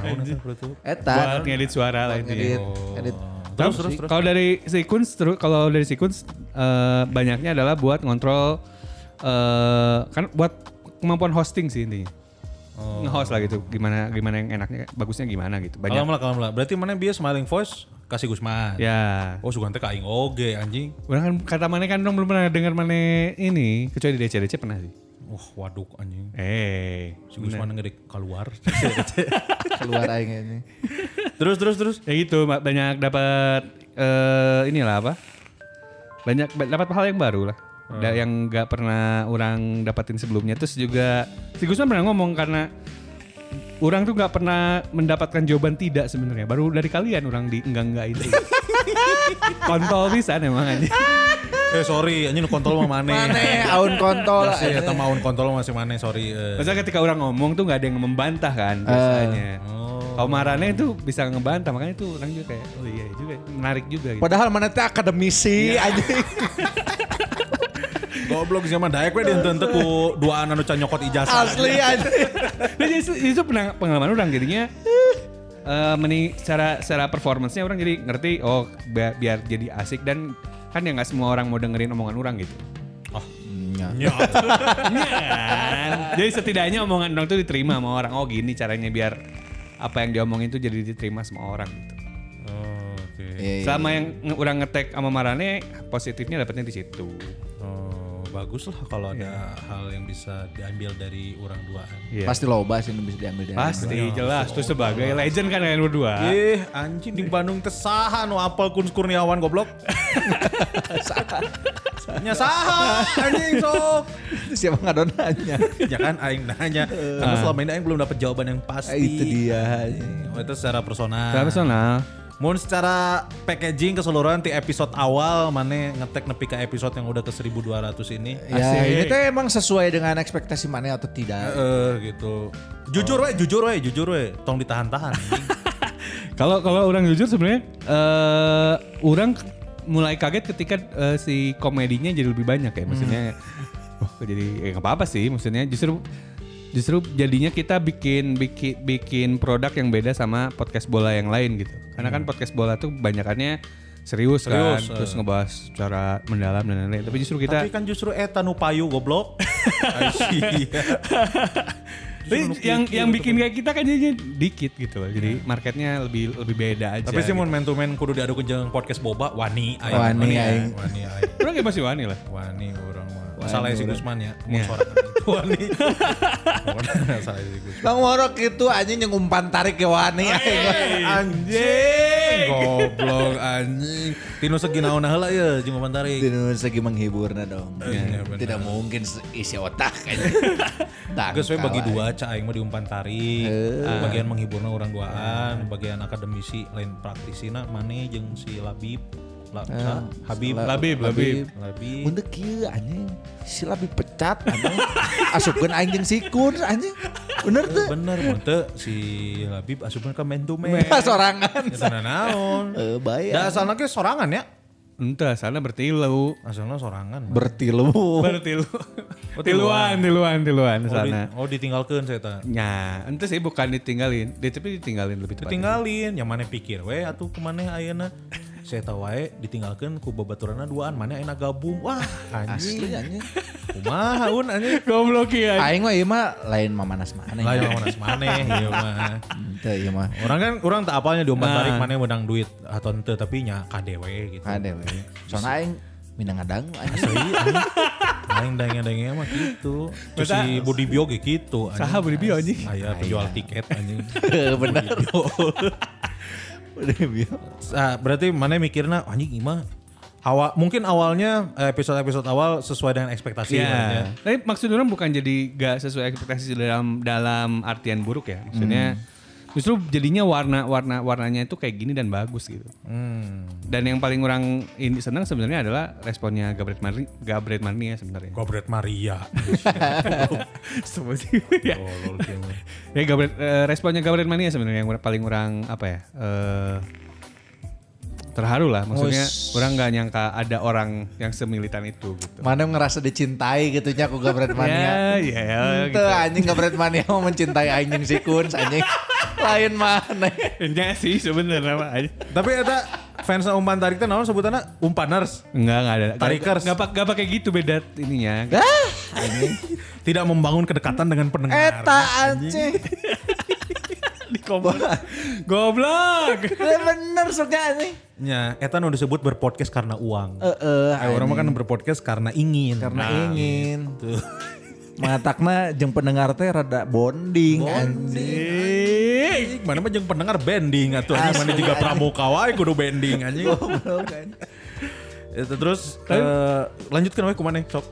Speaker 6: Anjing, perut tuh.
Speaker 1: Buat
Speaker 7: Eta.
Speaker 1: ngedit suara lah intinya.
Speaker 7: Edit, edit.
Speaker 1: Terus, terus, Kalau dari sequence, terus kalau dari sequence eh, banyaknya adalah buat ngontrol eh kan buat kemampuan hosting sih intinya. Nge-host lah gitu, gimana gimana yang enaknya, bagusnya gimana gitu.
Speaker 6: Kalau
Speaker 1: Banyak.
Speaker 6: malah kalau malah. Berarti mana bias smiling voice kasih Gusman.
Speaker 1: Ya.
Speaker 6: Oh, sugan teh ka aing oge anjing.
Speaker 1: Orang kan kata mana kan dong belum pernah dengar mana ini, kecuali di DCDC pernah sih.
Speaker 6: Wah, waduk anjing.
Speaker 1: Eh.
Speaker 6: Si Gusman ngedek
Speaker 1: [LAUGHS]
Speaker 6: keluar.
Speaker 7: Keluar aing ini.
Speaker 6: terus terus terus.
Speaker 1: Ya gitu, ma- banyak dapat eh inilah apa? Banyak ba- dapat hal yang baru lah. Da- yang nggak pernah orang dapatin sebelumnya. Terus juga si Gusman pernah ngomong karena orang tuh nggak pernah mendapatkan jawaban tidak sebenarnya. Baru dari kalian orang di enggak enggak itu. Kontol pisan emang aja.
Speaker 6: Eh, sorry, anjing nu kontol mah maneh.
Speaker 7: Mana ya? aun kontol.
Speaker 6: Masih ya. iya, eta mah aun kontol masih maneh, sorry. eh.
Speaker 1: Maksudnya ketika orang ngomong tuh nggak ada yang membantah kan biasanya. Kalau marahnya itu bisa ngebantah makanya tuh orang juga kayak oh iya juga ya. menarik juga gitu.
Speaker 7: Padahal mana teh akademisi anjing.
Speaker 6: Goblok sih mah daek we dienteu ku dua anu can nyokot ijazah.
Speaker 7: Asli anjing.
Speaker 1: Nah, jadi itu, itu pernah- pengalaman orang jadinya eh meni secara secara performance-nya orang jadi ngerti oh bi- biar jadi asik dan kan ya nggak semua orang mau dengerin omongan orang gitu. Kan? jadi setidaknya omongan orang itu diterima sama orang. Oh gini caranya biar apa yang diomongin itu jadi diterima sama orang gitu.
Speaker 6: Oh, Oke.
Speaker 1: Iya. Selama yang nge- orang ngetek sama Marane positifnya dapatnya di situ.
Speaker 6: Oh, bagus lah kalau ada hal yang bisa diambil dari orang duaan.
Speaker 1: Iya.
Speaker 7: Pasti loba sih yang bisa diambil dari
Speaker 1: Pasti jelas tuh sebagai legend kan kalian berdua.
Speaker 6: Eh, anjing di Bandung tesahan nu apal Kun Kurniawan goblok. Nya saha anjing sok.
Speaker 7: Itu [LAUGHS] siapa ngadonannya?
Speaker 6: Ya kan aing nanya. Karena selama ini aing belum dapat jawaban yang pasti.
Speaker 7: Eh, itu dia.
Speaker 6: Oh, itu secara personal.
Speaker 1: Secara personal.
Speaker 6: Mun secara packaging keseluruhan di episode awal mana ngetek nepi ke episode yang udah ke 1200 ini.
Speaker 7: Ya ini tuh emang sesuai dengan ekspektasi mana atau tidak.
Speaker 6: Heeh, gitu. Jujur we, jujur we, jujur we. Tong ditahan-tahan. anjing.
Speaker 1: Kalau kalau orang jujur sebenarnya eh orang k- mulai kaget ketika eh, si komedinya jadi lebih banyak ya maksudnya. Oh, jadi ya nggak apa-apa sih maksudnya justru justru jadinya kita bikin bikin bikin produk yang beda sama podcast bola yang lain gitu. Karena kan podcast bola tuh banyakannya serius, kan,
Speaker 6: Serius, eh.
Speaker 1: terus ngebahas secara mendalam dan lain-lain. Tapi justru kita
Speaker 6: Tapi Iya. kan justru eta nu payu goblok. [LAUGHS] Aisyah.
Speaker 1: Tapi yang yang bikin kayak kita kan jadinya dikit gitu loh. Jadi marketnya lebih lebih beda aja.
Speaker 6: Tapi sih mun man to man kudu diadukeun jeung podcast boba wani aing.
Speaker 7: Wani
Speaker 6: aing.
Speaker 7: aing.
Speaker 6: Wani aing.
Speaker 1: Orang kayak masih wani lah.
Speaker 6: Wani urang mah. Salah si Gusman ya. Mun
Speaker 1: Iya.
Speaker 6: sorangan. Wani. Salah si Gusman.
Speaker 7: Bang Warok itu anjing yang umpan tarik ke wani.
Speaker 6: Anjing. Goblok anjing. Tino seginaon heula ya jeung pantari.
Speaker 7: Dinu segi menghiburnya nah dong.
Speaker 6: Iya, benar.
Speaker 7: Tidak mungkin se- isi otak
Speaker 6: [LAUGHS]
Speaker 7: kan? eh. aja. Tak
Speaker 6: Geus we bagi dua
Speaker 7: kalah.
Speaker 6: ca aing mah diumpan tari.
Speaker 7: Eh.
Speaker 6: Bagian menghiburna urang duaan, bagian akademisi lain praktisina maneh jeung si Labib. La- sa- Habib,
Speaker 7: Eh, La-
Speaker 6: Labib, Labib.
Speaker 7: Untuk kieu anjing. Si Labi pecat
Speaker 6: [LAUGHS]
Speaker 7: anjing. Asupkeun aing jeung sikun anjing. Bener tuh.
Speaker 6: Bener, mute si Labib ah, asupan ke man to
Speaker 7: [LAUGHS]
Speaker 6: man.
Speaker 7: Bener. Nah, Sorangan.
Speaker 6: Ya sana naon.
Speaker 7: [LAUGHS] Eh, baik.
Speaker 6: Da asalna ge sorangan ya.
Speaker 1: Entah, sana bertilu.
Speaker 6: Asalna sorangan.
Speaker 7: Bertilu.
Speaker 1: Bertilu. tiluan, tiluan, tiluan
Speaker 6: oh, di,
Speaker 1: sana.
Speaker 6: oh ditinggalkeun saya tah.
Speaker 1: Ya, entah sih bukan ditinggalin. Dia tapi ditinggalin lebih tepatnya.
Speaker 6: Ditinggalin, yang mana pikir we atuh kemana ya, ayeuna. Saya tahu wae ditinggalkeun ku babaturanna duaan, mana enak gabung. Wah, anjing.
Speaker 7: Asli anjing.
Speaker 6: Kumaha un anjing.
Speaker 1: [LAUGHS] Goblok ya.
Speaker 7: Aing mah ieu mah lain mamanas maneh.
Speaker 6: Lain mana maneh ieu iya mah.
Speaker 7: Teu ieu mah.
Speaker 6: Orang kan orang tak apalnya
Speaker 1: Nah.
Speaker 6: diombat tarik mana menang duit atau ente tapi nya kadewe gitu.
Speaker 7: Ada we. Soalnya aing minangadang anjing.
Speaker 6: Asli Iya, anjing. Aing denge-denge mah gitu. Terus si Budi Bio ge gitu anjing.
Speaker 1: Saha Budi Bio, anjing?
Speaker 6: Aya penjual tiket anjing.
Speaker 7: [LAUGHS] Bener. Udah biar.
Speaker 6: Ah, berarti mana mikirnya anjing imah Awal, mungkin awalnya eh, episode-episode awal sesuai dengan ekspektasi.
Speaker 1: Ya.
Speaker 6: kan, ya.
Speaker 1: Tapi maksud orang bukan jadi gak sesuai ekspektasi dalam dalam artian buruk ya. Maksudnya justru jadinya warna warna warnanya itu kayak gini dan bagus gitu. Dan yang paling orang ini senang sebenarnya adalah responnya Gabriel Marni Gabriel Marnia sebenarnya.
Speaker 6: Gobret Maria.
Speaker 1: Seperti itu ya.
Speaker 6: Tolol dia mah.
Speaker 1: Ya Gabriel, eh, responnya Gabriel Mania sebenarnya yang paling orang apa ya? eh, terharu lah maksudnya orang nggak nyangka ada orang yang semilitan itu gitu.
Speaker 7: Mana ngerasa dicintai gitu nya aku Gabret Mania.
Speaker 1: Ya, ya,
Speaker 7: Itu
Speaker 1: gitu.
Speaker 7: anjing Gabret Mania mau mencintai anjing si Kun, [LAUGHS] anjing. Lain mana.
Speaker 1: Enya sih sebenarnya mah.
Speaker 6: Tapi eta fans umpan tarik teh naon sebutanna umpaners.
Speaker 1: Enggak, enggak ada.
Speaker 6: Tarikers.
Speaker 1: Enggak enggak pakai gitu beda ininya.
Speaker 7: Dah,
Speaker 6: Tidak membangun kedekatan dengan pendengar.
Speaker 7: eta anjing.
Speaker 1: Goblok.
Speaker 7: Ya, Bener soknya anjing.
Speaker 6: Ya, eta nu disebut berpodcast karena uang.
Speaker 7: Eh, eh,
Speaker 6: Eh, orang mah kan berpodcast karena ingin.
Speaker 7: karena ingin. [LAUGHS] Matakna jeung pendengar teh rada bonding,
Speaker 6: Ih,
Speaker 7: anjing.
Speaker 6: Mana mah jeung pendengar bending atuh anjing mana juga pramuka wae kudu bending anjing.
Speaker 7: Goblok, anjing.
Speaker 6: Eta terus eh, lanjutkan wae kumaneh sok.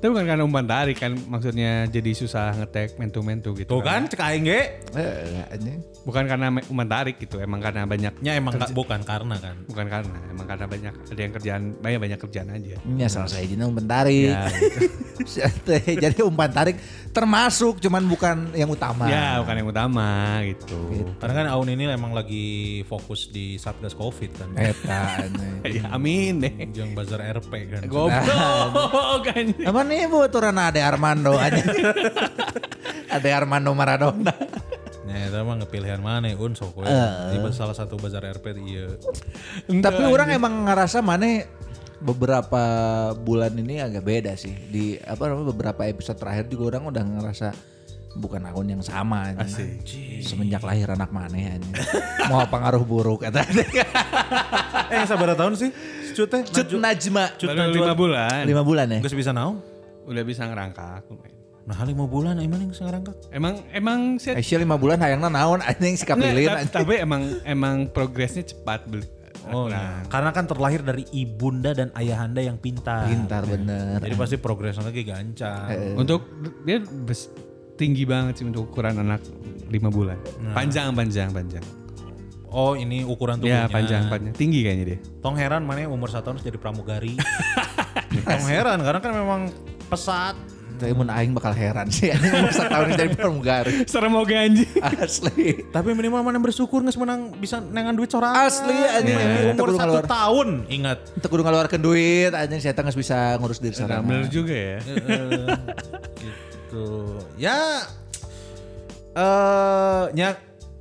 Speaker 1: Tapi bukan karena umpan tarik kan maksudnya jadi susah ngetek mentu mentu
Speaker 6: Tuh
Speaker 1: gitu.
Speaker 6: kan cek aing ge.
Speaker 7: Eh, anjing.
Speaker 1: Bukan karena me- umpan tarik gitu, emang karena banyak
Speaker 6: Nya emang nggak- bukan karena kan.
Speaker 1: bukan karena emang karena banyak ada yang kerjaan banyak banyak kerjaan aja. Nah,
Speaker 7: Ya gitu. salah saya jadi umpan tarik.
Speaker 1: Ya.
Speaker 7: [LAUGHS] jadi umpan tarik termasuk cuman bukan yang utama.
Speaker 6: Nah.
Speaker 1: Ya bukan yang utama gitu.
Speaker 6: Karena kan Aun ini emang lagi fokus di Satgas Covid kan.
Speaker 7: Eta anjing.
Speaker 1: Ya amin deh.
Speaker 6: Jeung buzzer RP kan.
Speaker 1: Goblok anjing.
Speaker 7: Emang nih bu turun Ade Armando
Speaker 6: [LAUGHS]
Speaker 7: aja. Ade Armando Maradona.
Speaker 6: Nah, itu mah ngepilihan mana un sok we.
Speaker 7: Eh.
Speaker 6: Ini salah satu bazar RP iya.
Speaker 7: Tapi orang emang ngerasa mana beberapa bulan ini agak beda sih. Di apa namanya beberapa episode terakhir juga orang udah ngerasa bukan akun yang sama anjing. Semenjak lahir anak mana anjing. [LAUGHS] Mau pengaruh buruk kata.
Speaker 6: [LAUGHS] eh sabar tahun sih? Cut teh.
Speaker 7: Cut
Speaker 6: maju.
Speaker 7: Najma.
Speaker 1: Baru lima bulan.
Speaker 7: Gitu. Lima bulan ya.
Speaker 6: Geus bisa naon?
Speaker 1: udah bisa ngerangkak lumayan.
Speaker 6: Nah, lima bulan emang yang sekarang kak.
Speaker 1: Emang emang set
Speaker 7: Actually lima bulan hayangna naon anjing sikap
Speaker 1: Nggak,
Speaker 7: lilin
Speaker 1: ta-
Speaker 7: anjing.
Speaker 1: tapi emang emang progresnya cepat beli.
Speaker 6: Oh,
Speaker 1: nah,
Speaker 6: Karena kan terlahir dari ibunda dan ayahanda yang pintar.
Speaker 7: Pintar bener.
Speaker 6: Jadi pasti progresnya lagi
Speaker 7: Eh.
Speaker 6: gancang.
Speaker 1: untuk dia bes- tinggi banget sih untuk ukuran anak lima bulan.
Speaker 6: Nah.
Speaker 1: Panjang panjang panjang.
Speaker 6: Oh, ini ukuran
Speaker 1: Ya
Speaker 7: Iya,
Speaker 6: tubuhnya.
Speaker 1: panjang panjang tinggi kayaknya dia.
Speaker 6: Tong heran mana umur satu tahun jadi
Speaker 7: [LAUGHS]
Speaker 6: pramugari. Tong heran karena kan memang pesat.
Speaker 7: Tapi mun aing bakal heran sih anjing umur setahun jadi pramugari.
Speaker 1: [LAUGHS] Serem oge anjing.
Speaker 7: Asli.
Speaker 6: Tapi minimal mana bersyukur nggak menang bisa nengan duit sorangan.
Speaker 7: Asli anjing.
Speaker 6: Di
Speaker 7: Teu
Speaker 6: umur
Speaker 7: kudu
Speaker 6: satu
Speaker 7: ngeluar-
Speaker 6: tahun ingat.
Speaker 7: teu kudu ngeluarkeun duit anjing saya geus bisa ngurus diri
Speaker 1: Nah,
Speaker 7: sendiri.
Speaker 1: bener juga ya.
Speaker 6: [LAUGHS] gitu. Ya, eh, nyak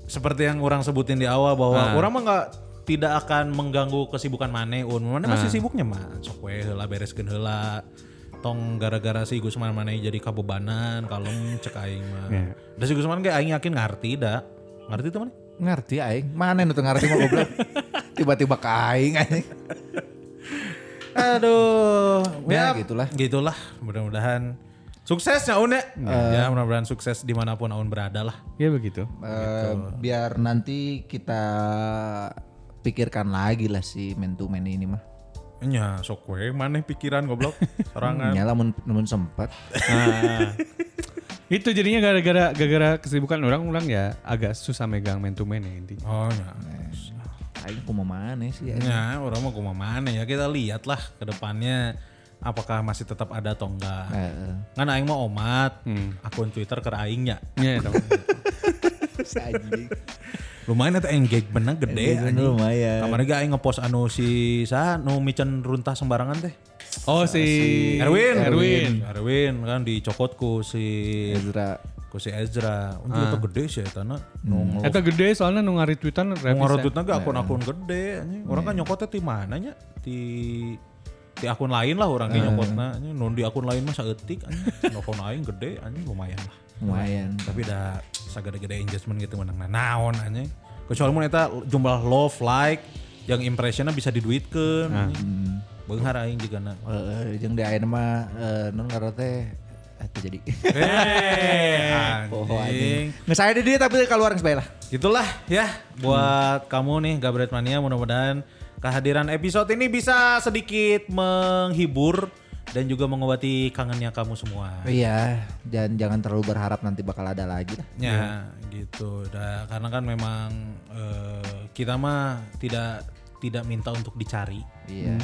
Speaker 6: seperti yang orang sebutin di awal bahwa orang mah nggak tidak akan mengganggu kesibukan Mane. Un, Mane masih sibuknya mah. Sok we heula bereskeun heula. Tong gara-gara si Gusman Mane jadi kabobanan, kalem cek aing mah. Da si Gusman ge aing yakin ngarti da. Ngerti tuh Mane?
Speaker 7: Ngerti aing. Mana nu teu ngarti mah goblok. Tiba-tiba ke aing anjing.
Speaker 6: [LAUGHS] Aduh,
Speaker 7: Ya, gitulah.
Speaker 6: Gitulah, mudah-mudahan suksesnya Un ya. Ya, mudah-mudahan sukses dimanapun Aun berada lah.
Speaker 1: Ya begitu.
Speaker 7: Eh, biar nanti kita pikirkan lagi lah si men to man ini mah.
Speaker 6: Nya sok we maneh pikiran goblok
Speaker 7: [LAUGHS]
Speaker 6: sorangan.
Speaker 7: Nyala mun, mun sempat.
Speaker 1: Itu jadinya gara-gara gara-gara kesibukan orang-orang ya agak susah megang man to man ya intinya.
Speaker 6: oh nya.
Speaker 7: Aing kumaha maneh sih anjing.
Speaker 6: Nya orang mau kumaha maneh ya kita lihat lah ke depannya apakah masih tetap ada atau enggak.
Speaker 7: Heeh.
Speaker 6: Kan aing mah omat akun Twitter ke aingnya.
Speaker 1: Ya, [LAUGHS] itu.
Speaker 7: Si anjing.
Speaker 6: Lumayan eta engagementnya gede
Speaker 7: Engagement lumayan.
Speaker 6: Kemarin ge aing ngepost anu si sa nu micen runtah sembarangan teh.
Speaker 1: Oh si
Speaker 6: Erwin,
Speaker 1: Erwin.
Speaker 6: Erwin kan dicokotku si
Speaker 7: Ezra.
Speaker 6: ku si Ezra. Untuk itu gede sih eta na. Nu ngelu-
Speaker 1: Eta gede soalnya nu ngaretweetan
Speaker 6: Mau
Speaker 1: Travis ya?
Speaker 6: ngarututnya gak akun-akun gede anjing. Orang kan nyokotnya di mana nya? Di di akun lain lah orang ge nyokotna anjing. Nun di akun lain mah saeutik anjing. Akun lain gede anjing lumayan lah.
Speaker 7: Lumayan.
Speaker 6: Tapi dah sagede-gede engagement gitu menang nah, naon anjing. Kecuali mun eta jumlah love like yang impressionnya bisa diduitkeun anjing.
Speaker 7: Hmm.
Speaker 6: Beunghar aing jigana.
Speaker 7: Heeh, jeung Eh, di ayeuna mah eh, non ngaran teh atuh
Speaker 6: [LAUGHS]
Speaker 7: jadi.
Speaker 6: Hei,
Speaker 7: Poho
Speaker 6: Eh, anjing.
Speaker 7: anjing. Nggak saya di dia tapi keluar nggak sebaya lah.
Speaker 6: Itulah ya
Speaker 7: Hmm.
Speaker 6: buat kamu nih Gabret Mania mudah-mudahan kehadiran episode ini bisa sedikit menghibur dan juga mengobati kangennya kamu semua.
Speaker 7: Iya, dan jangan terlalu berharap nanti bakal ada lagi lah.
Speaker 6: Ya, gitu. Da- karena kan memang eh, kita mah tidak tidak minta untuk dicari
Speaker 7: Iya.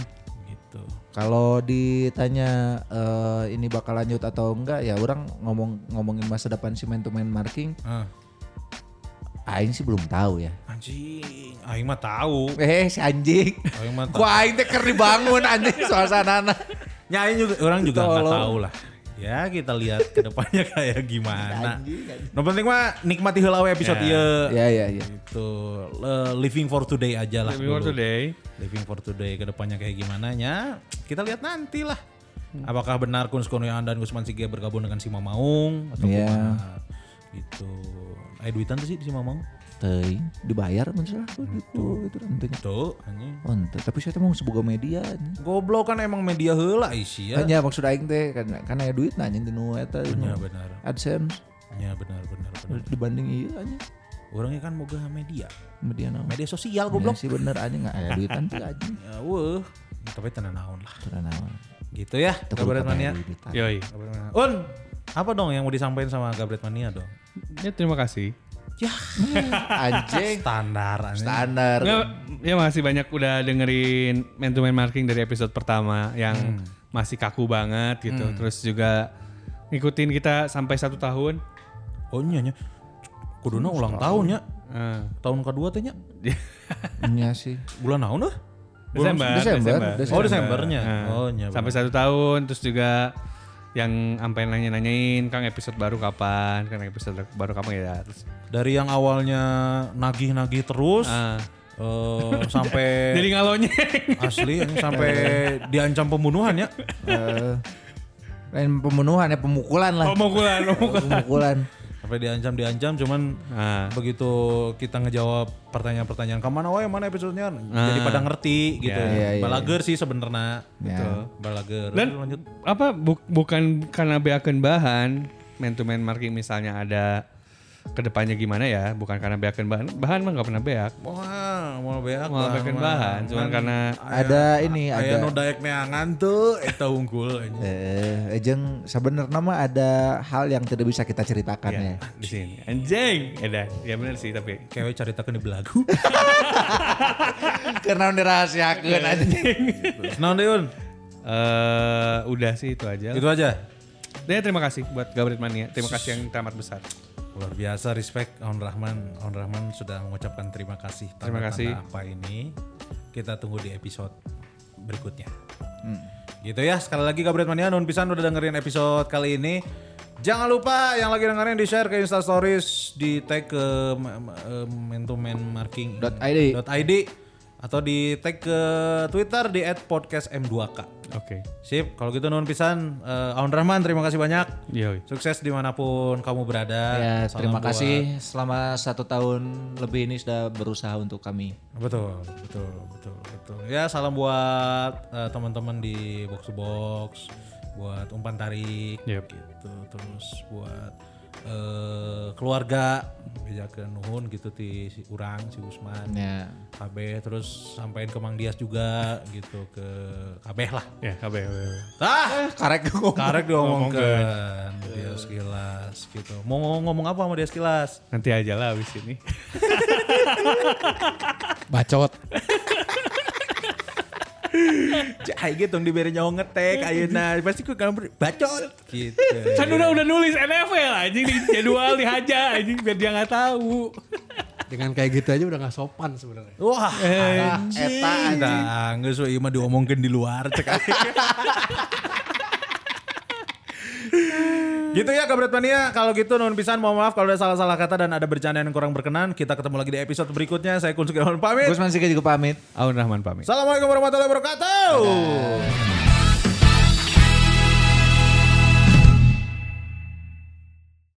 Speaker 6: gitu.
Speaker 7: Kalau ditanya eh, ini bakal lanjut atau enggak ya orang ngomong ngomongin masa depan si man to man marking,
Speaker 6: Ah,
Speaker 7: aing sih belum tahu ya.
Speaker 6: anjing, aing mah tahu.
Speaker 7: Eh si anjing.
Speaker 6: Aing mah tahu.
Speaker 7: Gua aing teh keur dibangun anjing
Speaker 6: [LAUGHS]
Speaker 7: suasana
Speaker 6: Ya, aing juga orang juga nggak
Speaker 7: Tolong.
Speaker 6: tahu lah. Ya kita lihat ke depannya [LAUGHS] kayak gimana. No penting mah nikmati heula we episode ieu.
Speaker 7: Ya ya ya.
Speaker 6: Iya. itu le- living for today aja lah
Speaker 1: Living for
Speaker 6: dulu.
Speaker 1: today.
Speaker 6: living for today kedepannya kayak gimana nya kita lihat nanti lah
Speaker 1: Hmm.
Speaker 6: apakah benar Kunz Kurniawan dan Gusman Sige bergabung dengan Sima Maung atau
Speaker 7: Iya.
Speaker 6: gimana gitu eh duitan tuh sih di Sima Maung
Speaker 7: Teuing dibayar muncul aku gitu itu tentunya.
Speaker 6: tuh hanya
Speaker 7: Oh, ente. tapi saya tuh mau sebuah media. anjing.
Speaker 6: goblok kan emang media heula isi ya
Speaker 7: Hanya maksud aing teh karena karena aya duit nanya di nu eta nu
Speaker 6: ya benar
Speaker 7: AdSense
Speaker 6: ya benar benar benar
Speaker 7: dibanding iya anjing
Speaker 6: orangnya kan moga media
Speaker 7: media naon.
Speaker 6: media sosial goblok
Speaker 7: Goblok Iya sih bener anjing nggak ada duitan tuh anjing.
Speaker 6: ya weh tapi tenang naon lah
Speaker 7: Karena naon.
Speaker 6: gitu ya kabar Ya. mania
Speaker 1: Yoi.
Speaker 6: Un apa dong yang mau disampaikan sama Gabret Mania dong
Speaker 1: Ya terima kasih.
Speaker 7: Anjing
Speaker 6: standar anjing.
Speaker 7: standar.
Speaker 1: Nggak, ya masih banyak udah dengerin man to man marking dari episode pertama yang masih kaku banget gitu. Terus juga ngikutin kita sampai satu tahun.
Speaker 6: Oh iya nya. Kuduna ulang tahunnya.
Speaker 1: Eh,
Speaker 6: Tahun kedua teh
Speaker 1: [LAUGHS]
Speaker 6: nya.
Speaker 7: Iya sih.
Speaker 6: Bulan naon euy?
Speaker 1: Desember,
Speaker 7: Desember,
Speaker 6: Oh
Speaker 7: Desember.
Speaker 6: Desembernya.
Speaker 1: Eh,
Speaker 6: Oh iya.
Speaker 1: sampai satu tahun. Terus juga yang sampai nanya-nanyain Kang episode baru kapan, Kang episode baru kapan ya. Terus,
Speaker 6: dari yang awalnya nagih-nagih terus
Speaker 1: ah.
Speaker 6: eh, sampai
Speaker 1: [LAUGHS] Jadi
Speaker 6: [LAUGHS]
Speaker 1: ngalonya.
Speaker 6: asli anjing,
Speaker 1: [LAUGHS]
Speaker 6: sampai diancam pembunuhan ya.
Speaker 7: Eh, Lain pembunuhan ya pemukulan lah.
Speaker 1: Omokulan, omokulan.
Speaker 7: Pemukulan.
Speaker 6: Sampai diancam diancam cuman
Speaker 1: Ah.
Speaker 6: begitu kita ngejawab pertanyaan-pertanyaan kemana wae mana episodenya jadi pada ngerti gitu.
Speaker 1: Ya,
Speaker 7: ya, ya.
Speaker 6: Balager sih sebenarnya
Speaker 7: Ya.
Speaker 6: gitu. Balager.
Speaker 1: Iya. Dan
Speaker 6: Aduh, lanjut.
Speaker 1: apa bu- bukan karena beakan bahan man to man marking misalnya ada kedepannya gimana ya bukan karena beakan bahan bahan mah nggak pernah beak
Speaker 6: Wah, mau beak.
Speaker 1: malah beakan bahan cuman karena
Speaker 7: Ada ini,
Speaker 6: ada.
Speaker 7: ada-
Speaker 6: Aya nu daek neangan tuh eta unggul anjing.
Speaker 7: Eh, ejeng sebenarnya mah ada hal yang tidak bisa kita ceritakan
Speaker 6: Iya.
Speaker 7: ya. [LAUGHS]
Speaker 1: di sini anjing ada ya benar sih tapi
Speaker 6: Kewe caritakeun di [LAUGHS] belagu.
Speaker 7: Karena dirahasiakan
Speaker 6: Iya.
Speaker 7: aja.
Speaker 6: [LAUGHS] Naon deun?
Speaker 1: eh udah sih itu aja
Speaker 6: Itu aja.
Speaker 1: ya terima kasih buat Gabrit Mania terima kasih yang teramat besar
Speaker 6: Luar biasa respect Aun Rahman. Aun Rahman sudah mengucapkan terima kasih.
Speaker 1: Terima
Speaker 6: Tanda-tanda
Speaker 1: kasih.
Speaker 6: Apa ini? Kita tunggu di episode berikutnya.
Speaker 1: Hmm.
Speaker 6: Gitu ya. Sekali lagi Kabret Mania Nun Pisan udah dengerin episode kali ini. Jangan lupa yang lagi dengerin di share ke Insta Stories, di tag ke eh, mentomanmarking.id
Speaker 7: Dot ID.
Speaker 6: atau di tag ke Twitter di @podcastm2k.
Speaker 1: oke
Speaker 6: Sip, kalau gitu Nun Pisan, eh, Aun Rahman terima kasih banyak.
Speaker 1: yoi
Speaker 6: Sukses dimanapun kamu berada.
Speaker 7: Ya,
Speaker 6: Salam
Speaker 7: terima
Speaker 6: buat-
Speaker 7: kasih selama satu tahun lebih ini sudah berusaha untuk kami.
Speaker 6: Betul, betul, betul, betul. Ya salam buat eh, teman-teman di box to box, buat umpan tarik,
Speaker 1: Yep.
Speaker 6: gitu. Terus buat eh, keluarga, bejakeun nuhun gitu ti si Urang, si Usman,
Speaker 7: Ya.
Speaker 6: KB, terus sampein ke Mang Dias juga gitu ke KB lah.
Speaker 1: ya kabe
Speaker 6: Tah,
Speaker 7: Karek
Speaker 6: karek diomongkeun Dias Kilas gitu. Mau ngomong apa sama Dias Kilas?
Speaker 1: nanti aja lah abis ini
Speaker 12: Bacot.
Speaker 6: Cai gitu diberi nyawa ngetek ayeuna pasti ku kan bacot Eh. gitu.
Speaker 13: [LAUGHS] Kan udah udah nulis NFL anjing di jadwal dihaja anjing biar dia nggak tahu.
Speaker 12: Dengan kayak gitu aja udah gak sopan sebenarnya.
Speaker 6: Wah,
Speaker 7: Eta anjing.
Speaker 6: nah, nggak so ieu mah diomongkeun di luar [LAUGHS] cek aja. Gitu ya Kabret Mania, kalau gitu nuhun pisan mohon maaf kalau ada salah-salah kata dan ada bercandaan yang kurang berkenan. Kita ketemu lagi di episode berikutnya. Saya Kun Sugihon pamit.
Speaker 7: Gus Mansika juga pamit.
Speaker 1: Aun Rahman pamit
Speaker 6: Assalamualaikum warahmatullahi wabarakatuh.